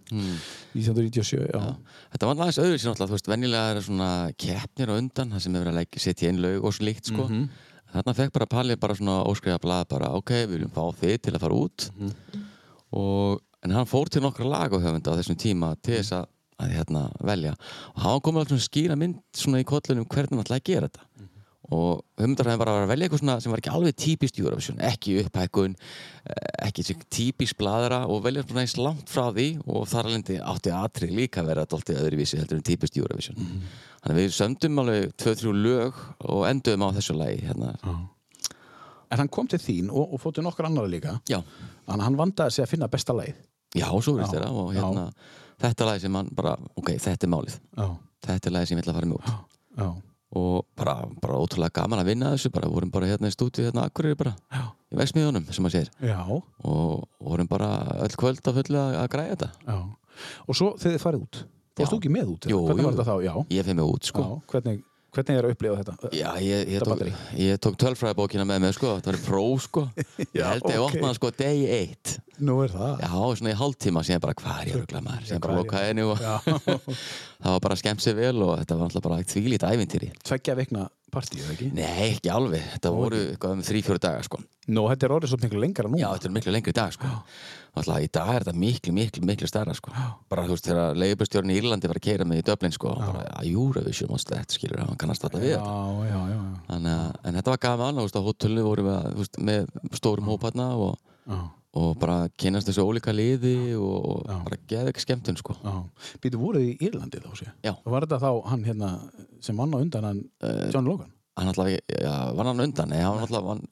Speaker 1: 1997 já.
Speaker 2: Hmm. Já. Þetta var aðeins öðru sér náttúrulega, þú veist, venjulega er svona keppnir á undan, það sem hefur verið að leggja, setja inn laug og slíkt, sko. Mm Þarna fekk bara Palli bara svona óskriða blað bara, ok, við viljum fá þið til að fara út. Og, en hann fór til nokkra lagahöfunda á þessum tíma til þess að, að hérna, velja. Og hann komið alltaf skýra mynd svona í kollunum hvernig hann ætlaði að gera þetta. Og höfundar hefði bara verið að velja eitthvað svona sem var ekki alveg típist Eurovision, ekki upphækun, eh, ekki þessi típist bladra og velja svona eins langt frá því og þar alveg átti atrið líka að vera dóltið öðruvísi heldur en típist Eurovision.
Speaker 1: Mhm.
Speaker 2: Þannig að við sömdum alveg 2-3 lög og endum á þessu lagi hérna.
Speaker 1: En hann kom til þín og, og fóttu nokkur annara líka
Speaker 2: Já.
Speaker 1: Þannig að hann vandaði sig að finna besta leið
Speaker 2: Já, svo verist
Speaker 1: Já,
Speaker 2: þeirra og
Speaker 1: já.
Speaker 2: hérna, þetta er lagi sem hann bara, ok, þetta er málið
Speaker 1: Já,
Speaker 2: þetta er lagi sem ég ætla að fara með út
Speaker 1: já,
Speaker 2: og bara, bara ótrúlega gaman að vinna að þessu bara, við vorum bara hérna í stúdíu hérna á Akureyri bara,
Speaker 1: já,
Speaker 2: í vexmiðunum, sem maður segir
Speaker 1: já,
Speaker 2: og vorum bara öll kvöld að fullu að, að græja þetta
Speaker 1: já. Og svo þegar þið farið út Fórst
Speaker 2: Já.
Speaker 1: þú ekki með út? eða?
Speaker 2: Jú,
Speaker 1: hvernig
Speaker 2: jú.
Speaker 1: var þetta þá? Já,
Speaker 2: ég fyrir mig út, sko
Speaker 1: já. Hvernig, hvernig er að upplifa þetta?
Speaker 2: Já, ég, ég,
Speaker 1: Þetta
Speaker 2: tók,
Speaker 1: batterí.
Speaker 2: ég tók tölfræðabókina með mig, sko, þetta var í próf, sko Ég
Speaker 1: Já,
Speaker 2: held að ég
Speaker 1: ok.
Speaker 2: opnaði, sko, degi eitt
Speaker 1: Nú er það
Speaker 2: Já, svona í hálftíma sem ég bara, hvað er ég rugla maður? Sem ég
Speaker 1: hvað
Speaker 2: bara
Speaker 1: er
Speaker 2: lokaði henni og það var bara skemmt sér vel og þetta var alltaf bara þvílít ævintýri
Speaker 1: Tveggja veikna partíu, eða ekki?
Speaker 2: Nei, ekki alveg. Þetta voru eitthvað um þrý-fjóru daga, sko.
Speaker 1: Nú, þetta er orðið svo miklu lengra nú
Speaker 2: Já, þetta er miklu lengri dag, sko. Þannig að í dag er þetta miklu, miklu, miklu stærra, sko. Bara, þú veist, þegar leigubustjórn í Írlandi var að keira með í Dublin, sko, bara að Eurovision og slett, skilur, hann kannast alltaf við
Speaker 1: já,
Speaker 2: þetta.
Speaker 1: já, já,
Speaker 2: Þannig að, en þetta var gaman, þú veist, á hótelnu vorum við að, þú veist, með stórum hóparna og,
Speaker 1: já,
Speaker 2: og bara kynast þessu ólíka liði og, og
Speaker 1: Já.
Speaker 2: bara geða ekki skemmtun, sko.
Speaker 1: já. Býtu voruð þið í Írlandi þá sé
Speaker 2: Já. Eh,
Speaker 1: Og Var þetta þá hann hérna sem vann á undan hann John Logan?
Speaker 2: Hann alltaf, já, var hann undan, nei, hann var alltaf, hann,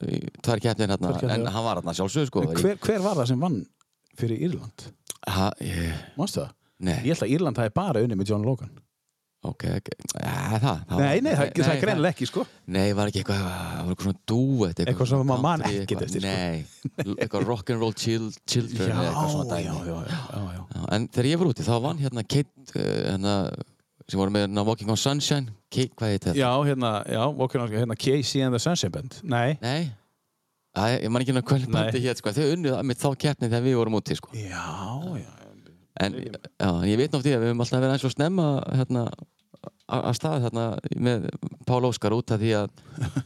Speaker 2: tvær keppnir hérna,
Speaker 1: Tvær keppnir,
Speaker 2: en
Speaker 1: já.
Speaker 2: hann var hérna sjálfsög, sko.
Speaker 1: En
Speaker 2: var í-
Speaker 1: Hver, hver var það sem vann fyrir Írland?
Speaker 2: Ha, ég,
Speaker 1: Manstu það?
Speaker 2: nei.
Speaker 1: Ég held að Írland hafi bara unni með John Logan
Speaker 2: Ok, ok, ja, það, það
Speaker 1: Nei, nei, það, það er greinilega ekki, sko
Speaker 2: Nei, var ekki eitthvað, það var eitthvað svona dúet
Speaker 1: Eitthvað sem maður man
Speaker 2: country,
Speaker 1: ekkert
Speaker 2: eitthvað-
Speaker 1: eftir, sko.
Speaker 2: Nei, eitthvað rock'n'roll chill, children
Speaker 1: Já,
Speaker 2: eða eitthvað svona
Speaker 1: já,
Speaker 2: dæmi
Speaker 1: já, já, já.
Speaker 2: Já, En þegar ég var úti, þá vann hérna Kate, uh, hérna, sem voru með hérna Walking on Sunshine Kate, hvað heit þetta?
Speaker 1: Já, hérna, já, okkur náttúrulega, hérna Casey and the Sunshine Band Nei
Speaker 2: Nei, Æ, ég man ekki hérna hvernig
Speaker 1: Nei.
Speaker 2: bandi hér, sko Þau unnuð að mitt þá keppni þegar við vorum úti, sko
Speaker 1: Já, já,
Speaker 2: En já, ég veit náttúrulega að við höfum alltaf verið eins og snemma hérna, a- að staða þarna með Pál Óskar út af því að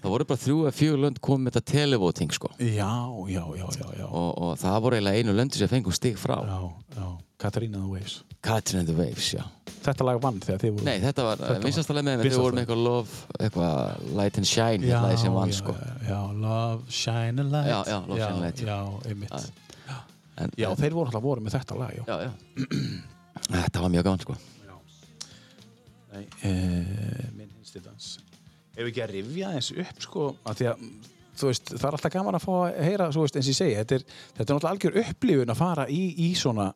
Speaker 2: það voru bara þrjú að fjögur lönd komið með þetta televoting sko.
Speaker 1: já, já, já, já, já.
Speaker 2: og, og það voru eiginlega einu löndu sem fengum stig frá
Speaker 1: já, já. Katarina the Waves
Speaker 2: Katrin and the Waves, já
Speaker 1: Þetta lag vann þegar þið voru
Speaker 2: Nei, þetta var
Speaker 1: Þetta var-
Speaker 2: vinsastalega með mér, þau
Speaker 1: vinsælasta
Speaker 2: voru með eitthvað love, eitthvað light and shine,
Speaker 1: Já,
Speaker 2: hérna sem vann
Speaker 1: já,
Speaker 2: sko
Speaker 1: já, já, Love Shine a Light
Speaker 2: Já, já, Love Shine a Light.
Speaker 1: Já, einmitt
Speaker 2: Já. en,
Speaker 1: Já, þeir voru alltaf voru með þetta lag, já
Speaker 2: já, já. Þetta var mjög gaman sko
Speaker 1: Eh, Minn hinsti dans Ef ekki að rifja eins upp, sko að Því að, þú veist, það er alltaf gaman að fá að heyra, þú veist, eins og ég segi Þetta er, þetta er náttúrulega algjör upplifun að fara í, í svona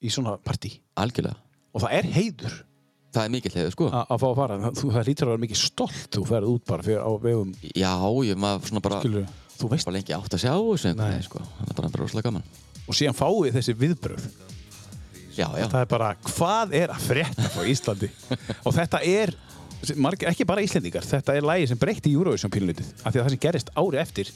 Speaker 1: í svona partí
Speaker 2: Algjörlega,
Speaker 1: og það er heiður
Speaker 2: það er mikill hefur sko
Speaker 1: a- að fá að fara Það- þú, það lítur að vera mikið stolt þú ferð út bara fyrir á vegum
Speaker 2: Já, ég maður svona bara
Speaker 1: skilur, þú veist,
Speaker 2: bara lengi átt að sjá þessu einhvern
Speaker 1: Nei.
Speaker 2: veginn sko. það er bara bara rosalega gaman
Speaker 1: og síðan fáið þessi viðbröð
Speaker 2: já, já,
Speaker 1: það er bara hvað er að frétta frá Íslandi og þetta er marg, ekki bara Íslendingar, þetta er lægi sem breytti Eurovision pínlítið, af því að það sem gerist ári eftir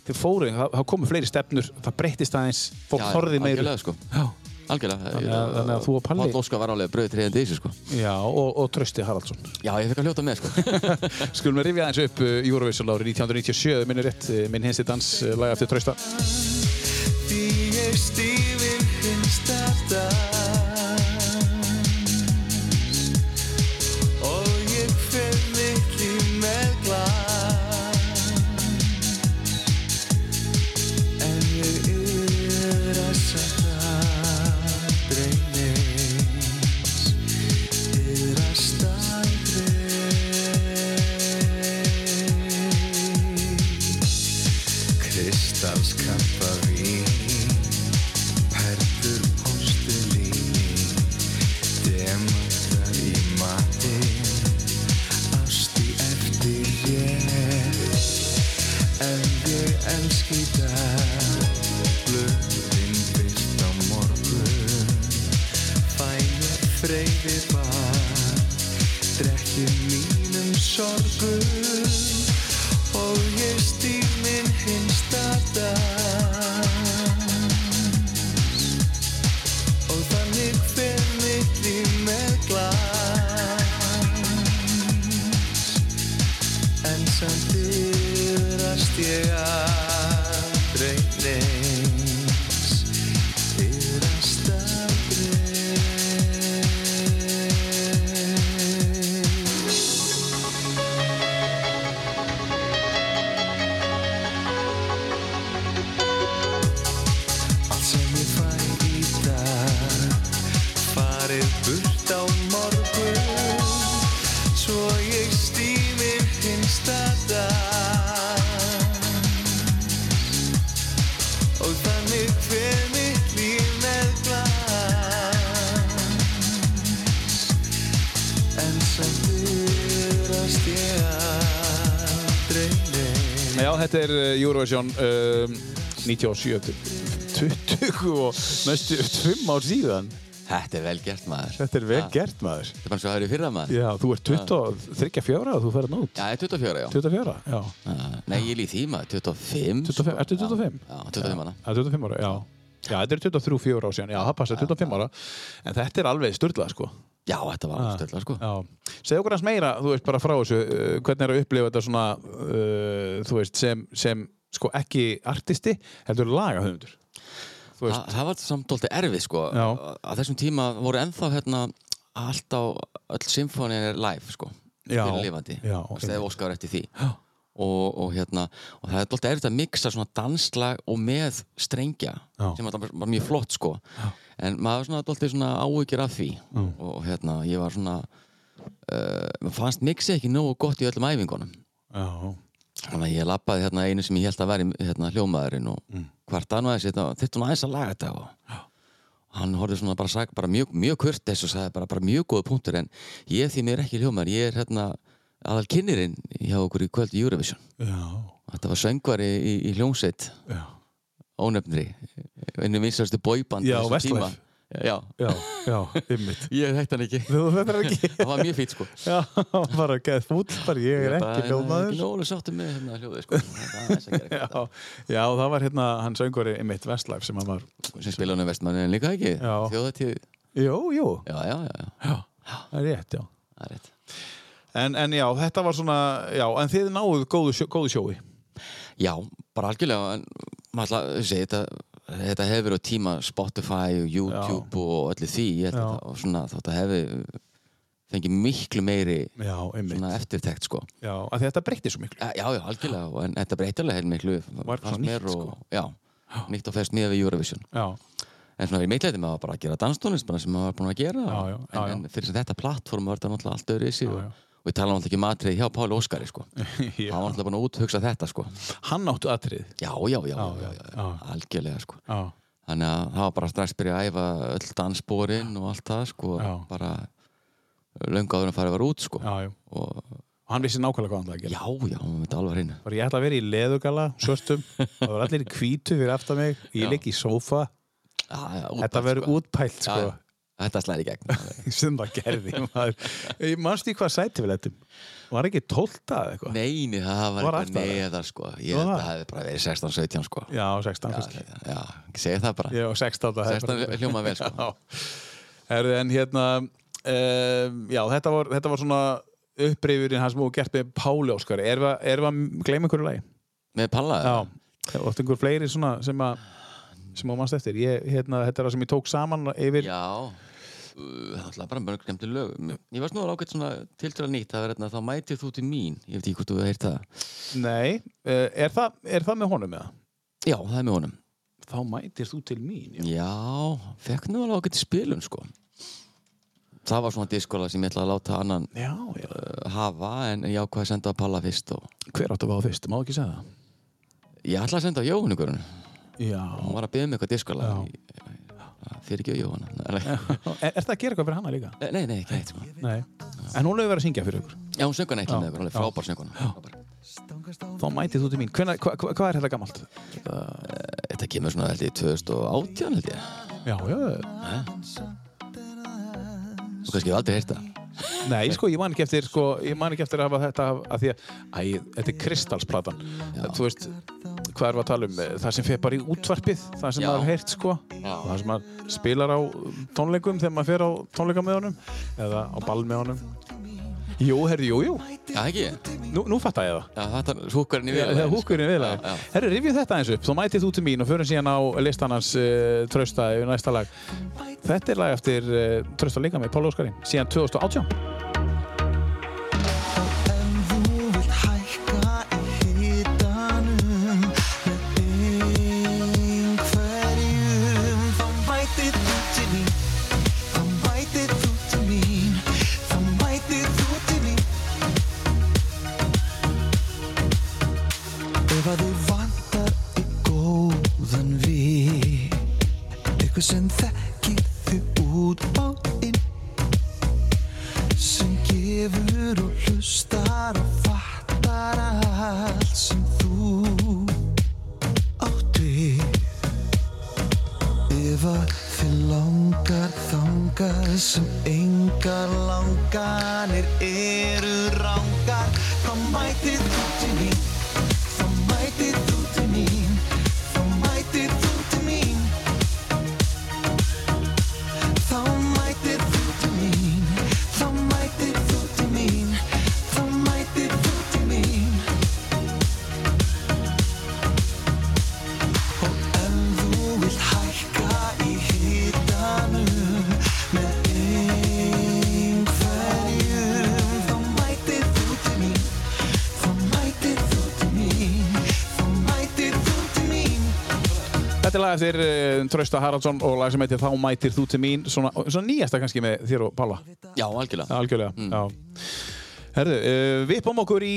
Speaker 1: þau fóru, það, það komu fleiri stefnur það breyttist aðeins, fólk
Speaker 2: Já,
Speaker 1: þorði meir
Speaker 2: algjörlega, sko.
Speaker 1: já,
Speaker 2: algjörlega
Speaker 1: Þannig að- þannig að þú og Palli-
Speaker 2: Páll Óskar var alveg bröðið treyðandi í þessu sko.
Speaker 1: já, og, og Trösti Haraldsson
Speaker 2: já, ég fekk að hljóta með sko.
Speaker 1: Skulum við rifja aðeins upp uh, Eurovision árið 1997, minn er rétt uh, minn hinsti dans, uh, laga eftir Trösta
Speaker 3: Því ég stífir hins dardans Og ég fer mitt líf með glas En ég yfir að sakna dreymis Yfir að staðreymis í mínum sorgum og ég stýr minn hinsta dans og þannig fer mitt líf með glans en samt yfirast ég aldrei neins yfirast aldrei Allt sem ég fæ í dag Farið burt á morgun Svo ég stýmir hinsta dag Og þannig hver mitt líf með glans En samt yfirast ég aldrei neitt
Speaker 1: Já, þetta er eh, Eurovision um, 97 20 og næstu 5 ár síðan
Speaker 2: Þetta er vel gert maður.
Speaker 1: Þetta er vel
Speaker 2: Ha,
Speaker 1: gert maður
Speaker 2: Þetta er bara eins og það eru í fyrra maður.
Speaker 1: Já, þú ert 23 að þú ferð nút
Speaker 2: Já, það er 24 já.
Speaker 1: 24, já
Speaker 2: Já, Eh, Nei, ég er í því maður, 25.
Speaker 1: 25, ertu 25?
Speaker 2: sko. Já, 25 ára.
Speaker 1: Já, 25 ára, já Já, þetta er 23 4 ára síðan, já, það passa 25 ára En þetta er alveg styrlað, sko
Speaker 2: Já, þetta var alveg stöðla sko.
Speaker 1: Já, segðu okkur hans meira, þú veist, bara frá þessu uh, Hvernig er að upplifa þetta svona, uh, þú veist, sem, sem sko ekki artisti, heldur lagahöfundur Þú
Speaker 2: Þa,
Speaker 1: veist,
Speaker 2: það var samt alltaf erfið sko
Speaker 1: Já.
Speaker 2: á þessum tíma voru ennþá hérna allt á öll symfónin er live sko
Speaker 1: Já.
Speaker 2: fyrir lifandi
Speaker 1: Já,
Speaker 2: þegar óskar eftir því
Speaker 1: Já.
Speaker 2: og, og hérna og það er alltaf erfitt að mixa svona danslag og með strengja
Speaker 1: Já.
Speaker 2: sem alltaf var mjög flott sko Já. en maður var svona alltaf svona áhugir af því
Speaker 1: Mm.
Speaker 2: Já. og hérna ég var svona uh, mér fannst mixið ekki nógu gott í öllum æfingunum
Speaker 1: já,
Speaker 2: Þannig að ég lappaði hérna einu sem ég held að veri hérna, hljómaðurinn og mm. hvart hann aðeins þetta, þetta hún aðeins að laga þetta og hann horfði svona bara, sag, bara mjög, mjög kurtis og sagði bara, bara mjög góða punktur en ég því mér ekki hljómaður, ég er hérna aðal kynnirinn hjá okkur í kvöld í Eurovision
Speaker 1: já,
Speaker 2: Þetta var söngvari í, í, í hljómsveit
Speaker 1: já
Speaker 2: ónefnri, einu vinsastu boyband
Speaker 1: Já,
Speaker 2: á þessum
Speaker 1: Westlife.
Speaker 2: tíma. Já,
Speaker 1: Já, já, ymmit
Speaker 2: ég þekkt hann ekki
Speaker 1: Þú þetta er ekki
Speaker 2: Það var mjög fýtt sko
Speaker 1: Já, bara geð fúll bara ég er
Speaker 2: Bara,
Speaker 1: ekki
Speaker 2: Ekki
Speaker 1: ljómaður
Speaker 2: nógulega sáttum með hérna hljóðið sko Það er aðeins að gera
Speaker 1: já,
Speaker 2: eitthvað.
Speaker 1: já, það var hérna hann söngvari ymmit Vestlife sem hann var
Speaker 2: sko, sem spila hann í vestmannin líka ekki
Speaker 1: Já.
Speaker 2: þjóðatíð
Speaker 1: Jú, jú,
Speaker 2: já, já, já, já,
Speaker 1: já, það er rétt, já
Speaker 2: það er rétt
Speaker 1: En, en já, þetta var svona, já, en þið náðuð góðu, sjó, góðu sjói
Speaker 2: já, bara algjörlega en maður ætla að segja þetta þetta hefur verið á tíma Spotify og YouTube og öllu því ég held
Speaker 1: Já.
Speaker 2: að það- og svona þótt að hefði fengið miklu meiri
Speaker 1: Já, ymmit
Speaker 2: svona eftirtekt sko
Speaker 1: Já, af því þetta breytti svo miklu
Speaker 2: já, já, já, algjörlega, og- en þetta breytti alveg heil miklu
Speaker 1: Var
Speaker 2: fannst
Speaker 1: svona
Speaker 2: mér
Speaker 1: nýtt, sko.
Speaker 2: og, já, nýtt og fest miða við Eurovision
Speaker 1: Já,
Speaker 2: en svona við meitleiti maður var bara að gera danstónlist bara sem maður var búin að gera
Speaker 1: Já, já, já,
Speaker 2: en, en fyrir sem þetta plattform var þetta náttúrulega allt öðru í sig
Speaker 1: Já, já.
Speaker 2: og, og ég tala náttúrulega ekki matrið hjá Páli Óskari sko.
Speaker 1: Já.
Speaker 2: hann var náttúrulega búin að úthugsa þetta sko.
Speaker 1: hann áttu atrið
Speaker 2: já, já, já, já, já,
Speaker 1: já,
Speaker 2: já,
Speaker 1: já.
Speaker 2: algjörlega sko.
Speaker 1: Já,
Speaker 2: þannig að það var bara strax byrja að æfa öll dansbórin og allt það sko.
Speaker 1: Já.
Speaker 2: bara löngu áður en farið var út sko.
Speaker 1: já, já
Speaker 2: og
Speaker 1: Og hann vissi nákvæmlega hvað hann ætlaði að gera
Speaker 2: já, já, hann var með þetta alveg hreinu
Speaker 1: Bara ég ætla að vera í leðugala, svörstum Það var allir í hvítu fyrir aftan mig Ég
Speaker 2: Já.
Speaker 1: ligg í sófa
Speaker 2: Já, já, útpælt,
Speaker 1: Þetta verður
Speaker 2: sko.
Speaker 1: útpælt,
Speaker 2: Já,
Speaker 1: sko
Speaker 2: já. þetta slæði í gegn
Speaker 1: sem það gerði maður. Ég manst í hvað sæti við lettum var ekki tólta eða eitthvað
Speaker 2: neini, það var,
Speaker 1: Var
Speaker 2: eitthvað
Speaker 1: aftar,
Speaker 2: neðar sko. ég
Speaker 1: Var
Speaker 2: held að
Speaker 1: það?
Speaker 2: það hefði bara verið 16-17 sko.
Speaker 1: já, 16
Speaker 2: Já,
Speaker 1: kannski
Speaker 2: já, ekki segja það bara
Speaker 1: já, 16 það er
Speaker 2: 16
Speaker 1: bara-
Speaker 2: hljóma vel sko.
Speaker 1: Já. Herðu, en hérna um, já, þetta var, þetta var svona upprifurinn hans múið gert með Páli Óskar er það, er það, gleyma einhverju lagi
Speaker 2: Með Palla?
Speaker 1: já, það var einhver fleiri svona sem að sem á mannst eftir, ég, hérna, þetta er það sem ég tók saman yfir,
Speaker 2: Já Uh, Það ætlaði bara mörg nefndi lög Ég var snúður ágætt svona tiltöla nýtt Það var hérna, þá mætið þú til mín Ég veit ekki hvort þú hefur heyrt það
Speaker 1: nei uh, er, það, er það með honum eða?
Speaker 2: Já, það er með honum
Speaker 1: Þá mætir þú til mín já.
Speaker 2: Já, fekk nú alveg ágætt spilun sko Það var svona diskola sem ég ætlaði að láta annan
Speaker 1: Já, já.
Speaker 2: uh, hafa En ég ákvaði að senda að Palla fyrst og...
Speaker 1: Hver áttu að fá fyrst, má ekki segja það?
Speaker 2: Ég ætlaði að senda á Jóhann ykkur Hún
Speaker 1: Já,
Speaker 2: var að byggja mig eitthvað diskola
Speaker 1: Já.
Speaker 2: Fyrir ekki á Jóhann
Speaker 1: er, er það að gera eitthvað fyrir hana líka?
Speaker 2: Nei, nei, ekki neitt sko
Speaker 1: Nei En hún hefur verið að syngja fyrir ykkur
Speaker 2: Já, hún söngur neitt
Speaker 1: Já.
Speaker 2: með ykkur, alveg
Speaker 1: Já.
Speaker 2: frábær söngur
Speaker 1: Þá mætið þú til mín Hvena, hva, hva, Hvað er þetta gammalt?
Speaker 2: Þetta kemur svona held ég 2018 held ég
Speaker 1: Já, já
Speaker 2: Þú kannski hefur aldrei heyrt það
Speaker 1: Nei, sko, ég man ekki eftir, sko, ég man ekki eftir að hafa þetta af- af því að, æ, þetta er kristalsplatan. Þú veist, hvað erum við að tala um? Það sem fer bara í útvarpið, það sem
Speaker 2: Já.
Speaker 1: maður heyrt, sko.
Speaker 2: Já.
Speaker 1: Það sem maður spilar á um, tónleikum þegar maður fer á tónleika með honum eða á ball með honum. Jú, herri, jú, jú.
Speaker 2: Já, ekki?
Speaker 1: Nú, nú fattar ég það.
Speaker 2: Já, þetta er húkurinn í
Speaker 1: Þegar húkurinn er viðlega.
Speaker 2: sko. Já, já.
Speaker 1: Herru, rifjum þetta eins upp. Þú mætið þú til mín og förum síðan á listan hans uh, Trausta yfir næsta lag. Þetta er lag eftir uh, Trausta líka með Pála Óskarinn síðan 2018.
Speaker 3: En þú vilt hækka í hitanum með einhverjum Þá mætir þú til mín, þá mætir þú til mín, þá mætir þú til mín Ef að þið vantar í góðan vin Ykkur sem þekkir þið út á inn sem gefur og hlustar og fattar allt sem þú átt við ef að þið langar þangar sem engar langanir eru rangar þá mætir þú til mín þá mætir þú til mín þá mætir þú til mín Þá mætir þú til mín, þá mætir þú til mín, þá mætir þú til mín Og ef þú vilt hækka í hitanum með einhverjum Þá mætir þú til mín, þá mætir þú til mín, þá mætir þú til mín
Speaker 1: Þetta er lag eftir uh, Trausta Haraldsson og lag sem heitir Þá mætir þú til mín. Svona, svona nýjasta kannski með þér og Pála.
Speaker 2: Já, algjörlega.
Speaker 1: Algjörlega, já. Herðu, uh, við bóum okkur í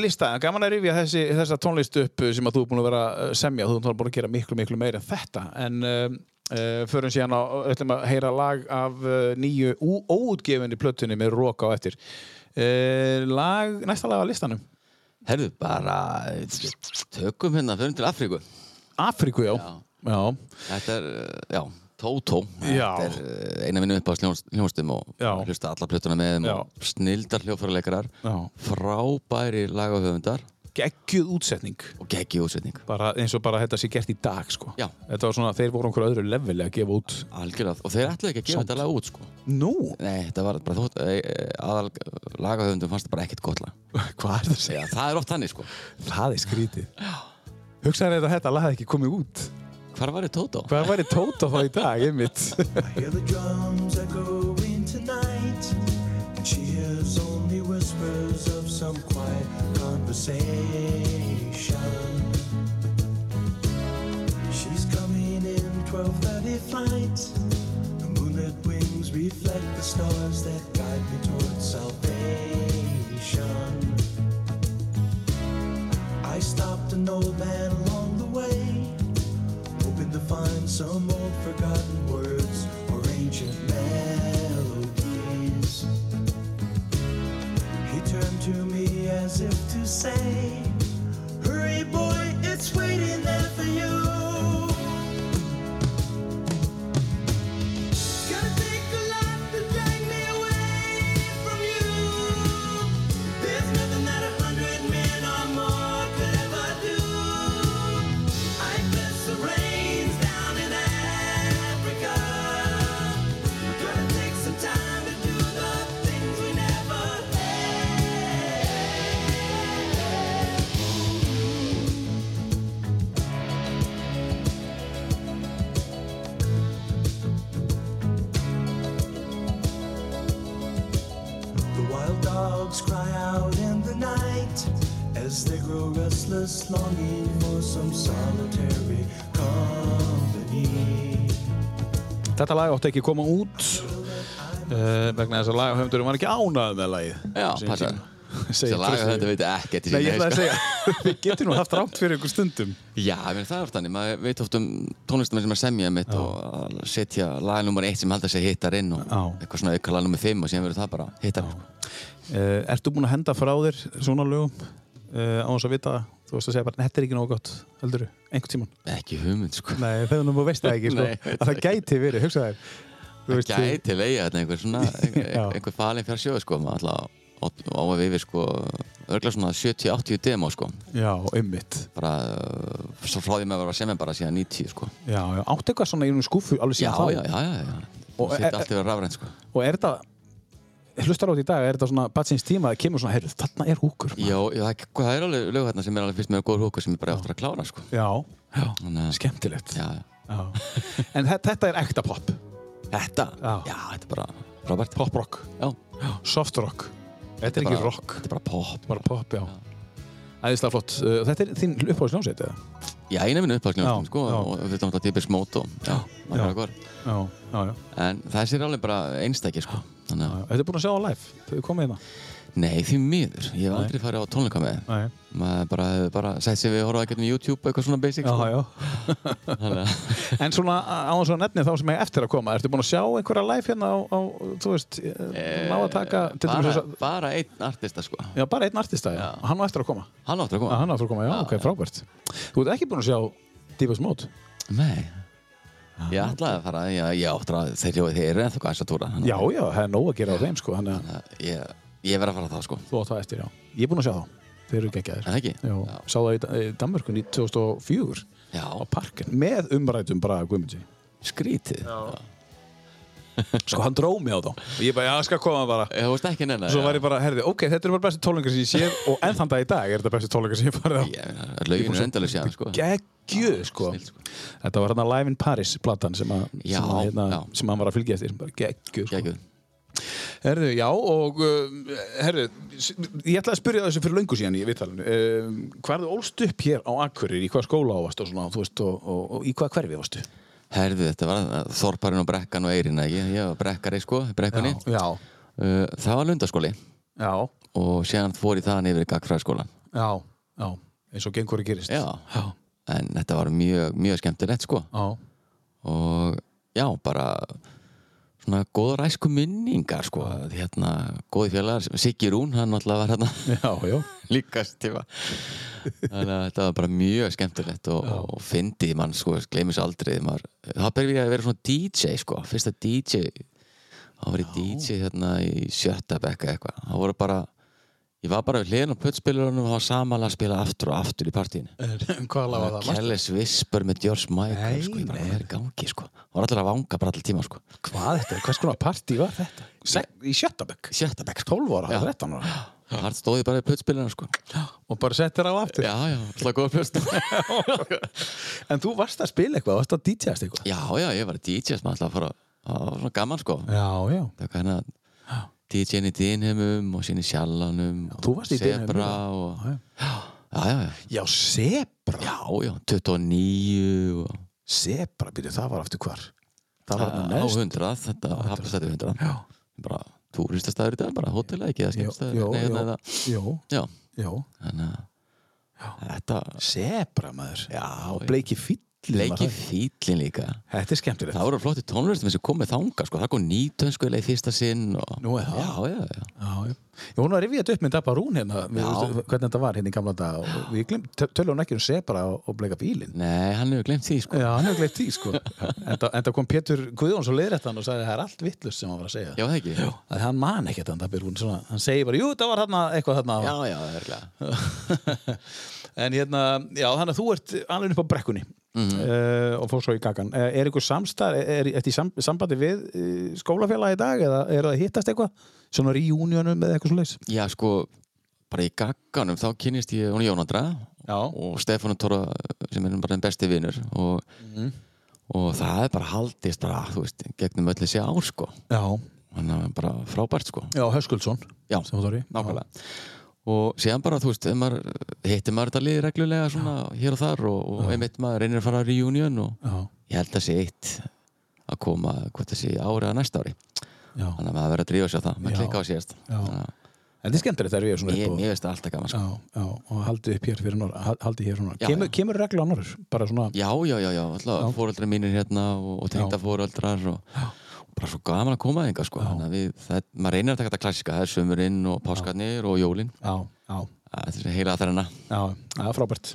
Speaker 1: lista. Gaman að rifja þessi, þessa tónlist upp eh, sem að þú er búin að vera að semja. Þú er búin að gera miklu, miklu meira en þetta. En uh, uh, förum síðan á, ætlum að heyra lag af uh, nýju ú- óútgefinni plötunni með roka á eftir. Uh, lag, næsta lag á listanum.
Speaker 2: Herðu, bara tökum hérna, förum til Afríku.
Speaker 1: Afríku, já.
Speaker 2: Já.
Speaker 1: Já,
Speaker 2: Þetta er, eh, já, Tótó.
Speaker 1: Já.
Speaker 2: Þetta er eh, eina minnum upp á hljónstum og
Speaker 1: Já.
Speaker 2: hlusta alla plötuna með þeim
Speaker 1: Já.
Speaker 2: og snildar hljófarleikarar.
Speaker 1: já.
Speaker 2: Frábæri lagahöfundar
Speaker 1: Geggjuð útsetning.
Speaker 2: og geggi útsetning.
Speaker 1: Bara, eins og bara þetta sé gert í dag, sko.
Speaker 2: Já.
Speaker 1: Þetta var svona, þeir voru einhverju öðru leveli að gefa út.
Speaker 2: Algjörlega. Og þeir ætlaðu ekki að gefa
Speaker 1: Samt.
Speaker 2: þetta lag út, sko.
Speaker 1: Nú,
Speaker 2: Nei, þetta var bara þótt, eh, eh, aðal lagahöfundum fannst þetta bara ekkert gott lag.
Speaker 1: hvað er það að segja?
Speaker 2: Já, það er oft þannig, sko.
Speaker 1: Það er skrítið. Hugsaður þetta að þetta lag hefði ekki komið út.
Speaker 2: Hvar var þetta Tótó?
Speaker 1: Hvað væri Tóta þá í dag, einmitt?
Speaker 3: Hear the drums echoing tonight. And she hears only whispers of some quiet conversation. She's coming in 12:30 flight. The moonlit wings reflect the stars that guide me towards salvation. I stopped an old man along the way hoping to find some old forgotten words or ancient melodies. He turned to me as if to say, Hurry, boy, it's waiting there for you. Gotta take a lot to drag me away from you. There's nothing that a hundred men or more could ever do. I press the reins down in Africa. Gonna take some time to do the things we never had. The wild dogs cry out in the night as they grow restless, longing for some solitary company.
Speaker 1: Þetta lag átti ekki að koma út uh, vegna þess að lagahöfundurum var ekki ánað með lagið.
Speaker 2: Já,
Speaker 1: Sem
Speaker 2: passa.
Speaker 1: tíma. Segir
Speaker 2: Þessi lagahöfundur
Speaker 1: Trausti.
Speaker 2: veit ekkert
Speaker 1: Nei,
Speaker 2: í sínu
Speaker 1: ég ætlaði
Speaker 2: haus,
Speaker 1: að
Speaker 2: sko.
Speaker 1: segja, við getum nú haft rámt fyrir ykkur stundum.
Speaker 2: Já, ég meina, það er oft þannig, maður veit oft um tónlistamenn sem er að semja mitt og að setja lag nummer eitt sem halda sig hittar inn og
Speaker 1: Já.
Speaker 2: eitthvað svona auka lag nummer fimm og síðan verður það bara hittar sko.
Speaker 1: Uh, ertu búin að henda frá þér svona lögum uh, á þess að vita það? Þú veist að segja bara, þetta er ekki nógu gott, heldur einhvern tíman.
Speaker 2: ekki hugmynd sko.
Speaker 1: Nei, þegar nú veist það ekki, sko,
Speaker 2: Nei, veit
Speaker 1: að það
Speaker 2: ekki.
Speaker 1: gæti verið, hugsa þér. þú veist,
Speaker 2: Það gæti leiða þetta einhver svona,
Speaker 1: Já.
Speaker 2: einhver, einhver falin fjár sjóðu sko, maður alltaf á að við við sko, örgla svona 70-80 demo sko,
Speaker 1: já, ummitt
Speaker 2: bara uh, svo frá því maður var að semja bara síðan 90 sko.
Speaker 1: já, já, áttu eitthvað svona í einu skúfu alveg
Speaker 2: Já,
Speaker 1: síðan
Speaker 2: já, já, já, já.
Speaker 1: Og
Speaker 2: Og
Speaker 1: e-
Speaker 2: sitt
Speaker 1: e-
Speaker 2: allt yfir rafrænt sko.
Speaker 1: og er þetta hlustar á þetta í dag, er þetta svona batsins tíma að kemur svona, heyrðu, þarna er húkur maður.
Speaker 2: Já, já, það er- það er alveg lög hérna sem er alveg fyrst með góður húkur sem ég bara áttur að klára sko.
Speaker 1: já, já,
Speaker 2: Þannig að-
Speaker 1: skemmtilegt
Speaker 2: Já, já.
Speaker 1: Já. en þe- þetta er ekta pop
Speaker 2: Þetta,
Speaker 1: Já.
Speaker 2: já, þetta er bara frábært.
Speaker 1: pop rock,
Speaker 2: Já,
Speaker 1: soft rock þetta er
Speaker 2: bara-
Speaker 1: ekki rock,
Speaker 2: þetta er bara pop.
Speaker 1: bara pop, já æðislega flott, Uh, þetta er þín uppáðsljónsveit eða?
Speaker 2: Já, einu minn uppáðslega,
Speaker 1: Já,
Speaker 2: sko,
Speaker 1: já.
Speaker 2: og við erum alltaf típist mót og, já,
Speaker 1: já.
Speaker 2: margar okkur.
Speaker 1: já, já, já
Speaker 2: En þessi er alveg bara einstækir, sko. Þannig að,
Speaker 1: Þetta er búin að sjá á live, þau eru komið hérna
Speaker 2: nei, því miður, ég hef
Speaker 1: Nei.
Speaker 2: aldrei farið á tónleika með þeim.
Speaker 1: Nei.
Speaker 2: Maður bara hefði bara sett sér við horfað ekkert um YouTube og eitthvað svona basic,
Speaker 1: Já,
Speaker 2: sko.
Speaker 1: já.
Speaker 2: Þannig að,
Speaker 1: En svona á þess að nefni þá sem ég eftir að koma Ertu búin að sjá einhverja live hérna á, á þú veist, eh, ná að taka til dæmis
Speaker 2: Eh, bara,
Speaker 1: þessa-
Speaker 2: bara einn artista, sko.
Speaker 1: Já, bara einn artista, já.
Speaker 2: Já.
Speaker 1: Hann á eftir að koma.
Speaker 2: Hann áttur að
Speaker 1: Já,
Speaker 2: koma.
Speaker 1: hann á eftir að koma, já,
Speaker 2: Já,
Speaker 1: ok,
Speaker 2: já.
Speaker 1: frábært. Þú ert ekki búin að sjá Deepest Mode?
Speaker 2: Nei. Ég ætlaði að fara, já, ég áttur að þeir eru þeir eru ennþá hvað þess að túra. þannig
Speaker 1: Já,
Speaker 2: að-
Speaker 1: já, það er nóg að gera á þeim, sko, þannig að
Speaker 2: Ég, ég verð að fara það, sko.
Speaker 1: þú átt það eftir, já. Ég er búin að sjá þá. Þeir eru geggjaðir.
Speaker 2: En það ekki?
Speaker 1: Já,
Speaker 2: Já.
Speaker 1: sá það í Da- í Danmörkun í 2004 á
Speaker 2: Já,
Speaker 1: parkin með umrætum bara Guðmundi.
Speaker 2: skrítið. Já.
Speaker 1: Sko, hann dró mig á þá. Og Ég bara, já, skal koma bara.
Speaker 2: Þú veist ekki neina.
Speaker 1: Svo var ég bara, herði, ok, þetta eru bara bestu tólengar sem ég séð og enn þann dag í dag er þetta bestu tólengar sem ég farið á.
Speaker 2: bara... Lögin er endalega síðan, sko.
Speaker 1: geggjuð sko.
Speaker 2: snill, sko.
Speaker 1: þetta var hérna Live in Paris platan sem, að, sem,
Speaker 2: Já,
Speaker 1: að, hérna,
Speaker 2: já.
Speaker 1: sem hann var að fylgja eftir bara geggjuð sko.
Speaker 2: Gekkið.
Speaker 1: herðu, já og uh, herðu, s- ég ætlaði að spyrja þessu fyrir löngu síðan í vittalinu um, hvað er þú ólst upp hér á Akureyri í hvað skóla áast og svona, þú veist, og, og, og í hvað hverfi áastu?
Speaker 2: Herðu, þetta var Þorparinn og Brekkan og Eirinn, ekki? Ég var brekkari, sko, í Brekkunni.
Speaker 1: já,
Speaker 2: Uh, Það var lundaskóli
Speaker 1: já,
Speaker 2: og síðan fór ég þaðan yfir í gagfræðaskólan.
Speaker 1: já, já eins og gengur að gerist
Speaker 2: Já.
Speaker 1: já,
Speaker 2: En þetta var mjög, mjög skemmtilegt, sko.
Speaker 1: já,
Speaker 2: Og já, bara svona góða ræsku minningar, sko. Hérna, góði félagar, Siggi Rún, hann náttúrulega var hérna.
Speaker 1: já, já.
Speaker 2: líkast tíma þannig að þetta var bara mjög skemmtilegt og, og fyndið mann sko, gleymis aldrei maður, það byrði ég að vera svona DJ sko, fyrsta DJ þá var ég DJ hérna í sjötta bekka eitthvað, þá voru bara ég var bara við hliðin á puttspilurunum og það var samanlega að spila aftur og aftur í partíinu
Speaker 1: hvað lafa það? varstu?
Speaker 2: Kellis Whisper með George Michael
Speaker 1: Nei,
Speaker 2: sko, ég bara
Speaker 1: nei.
Speaker 2: var í gangi sko var allir að vanga bara allir tíma sko
Speaker 1: Hvað þetta? er? Hvers konar partí var þetta? Sek, í Sjötabögg?
Speaker 2: sjötta bekka sko,
Speaker 1: 12 ára, 13 ára
Speaker 2: það stóði bara í puttspilurunum sko
Speaker 1: og bara settir á aftur
Speaker 2: já, já, slá góða plöst
Speaker 1: En þú varst að spila eitthvað, varst að DJ-ast eitthvað
Speaker 2: Já, já, ég var DJ sem alltaf að fara það var svona gaman sko
Speaker 1: Já, já
Speaker 2: það var hérna DJ-in í Dinheimum og síðan í Sjallanum
Speaker 1: þú varst í Dynheimum,
Speaker 2: Sebra
Speaker 1: já.
Speaker 2: og já, já, já,
Speaker 1: Já, Sebra
Speaker 2: já, já 29 og
Speaker 1: Sebra, byrju, það var aftur hvar Það var hann
Speaker 2: á
Speaker 1: neðst
Speaker 2: 100 þetta hafnastætti 100
Speaker 1: Já,
Speaker 2: bara túristastæður í dag, bara hótela ekki
Speaker 1: Jó,
Speaker 2: eða skemmstæður
Speaker 1: jó, jó,
Speaker 2: já,
Speaker 1: jó,
Speaker 2: já,
Speaker 1: jó
Speaker 2: þannig að þetta
Speaker 1: Sebra, maður Já, og
Speaker 2: já.
Speaker 1: bleiki fýll
Speaker 2: leiki fýllin líka
Speaker 1: Þetta er skemmtilegt
Speaker 2: það voru flotti tónlistum sem komið þanga sko. það kom nýtön sko í fyrsta sinn og...
Speaker 1: Nú er það?
Speaker 2: já, já, já
Speaker 1: Já, já Ég hún var að rifja þetta upp með Dabba Rún hérna við,
Speaker 2: Já.
Speaker 1: veistu, hvernig þetta var hérna í gamla dag og við glemt, tölum hún ekki um Sebra og, og bleika bílinn
Speaker 2: nei, hann hefur glemt því sko
Speaker 1: Já, hann hefur gleitt því, sko Enda, enda kom Pétur Guðjóns og leiðrættan og sagði það er allt vittlust sem hann var að segja
Speaker 2: Já, það ekki? Já,
Speaker 1: að hann man ekkert hann, Dabbi Rún, svona, hann segir bara, jú, það var þarna eitthvað þarna
Speaker 2: já, já örgulega.
Speaker 1: en hérna, já, þannig að þú ert alveg upp á brekkunni uh, og fór svo í gagan uh, er eitthvað samstar, er þetta í sam, sambandi við uh, skólafélag í dag eða er það að hittast eitthvað, svona reunionum eða eitthvað svo leis
Speaker 2: Já, sko, bara í gagganum þá kynist ég hún Jónandra
Speaker 1: Já.
Speaker 2: og Stefán Tóra sem er bara einn besti vinnur og,
Speaker 1: Mhm.
Speaker 2: og það er bara haldist bara, þú veist, gegnum öll þessi ár, sko
Speaker 1: já,
Speaker 2: þannig að bara frábært, sko
Speaker 1: já, Höskuldsson
Speaker 2: Já,
Speaker 1: sem þú þar í.
Speaker 2: nákvæmlega og síðan bara, þú veist, ef maður, hittir maður þetta lið reglulega svona hér og þar og, og einmitt maður reynir að fara að reunion og
Speaker 1: já,
Speaker 2: ég held að sé eitt að koma, hvort þessi ári eða næsta ári
Speaker 1: já,
Speaker 2: þannig að maður verður að drífa sér á það, maður
Speaker 1: Já.
Speaker 2: klikka á síðast
Speaker 1: Já.
Speaker 2: Þannig að-
Speaker 1: en þetta er skemmtilegt þegar við erum svona
Speaker 2: Ég,
Speaker 1: upp og
Speaker 2: mér finnst það alltaf gaman sko.
Speaker 1: Já, já, og haldið upp hér fyrir norra hal- haldið hér fyrir norra,
Speaker 2: Já,
Speaker 1: kemur,
Speaker 2: já.
Speaker 1: kemur regla á norður bara svona,
Speaker 2: Já, já, já, já, alltaf fóreldrar mínir hérna og, og tengda fóreldrar og, og bara svo gaman að koma þingar sko. Þannig að við, það, maður reynir að taka þetta klassika það er sömurinn og páskarnir og jólin
Speaker 1: já, já
Speaker 2: það er þessi heila að þarna
Speaker 1: Já, það er frábært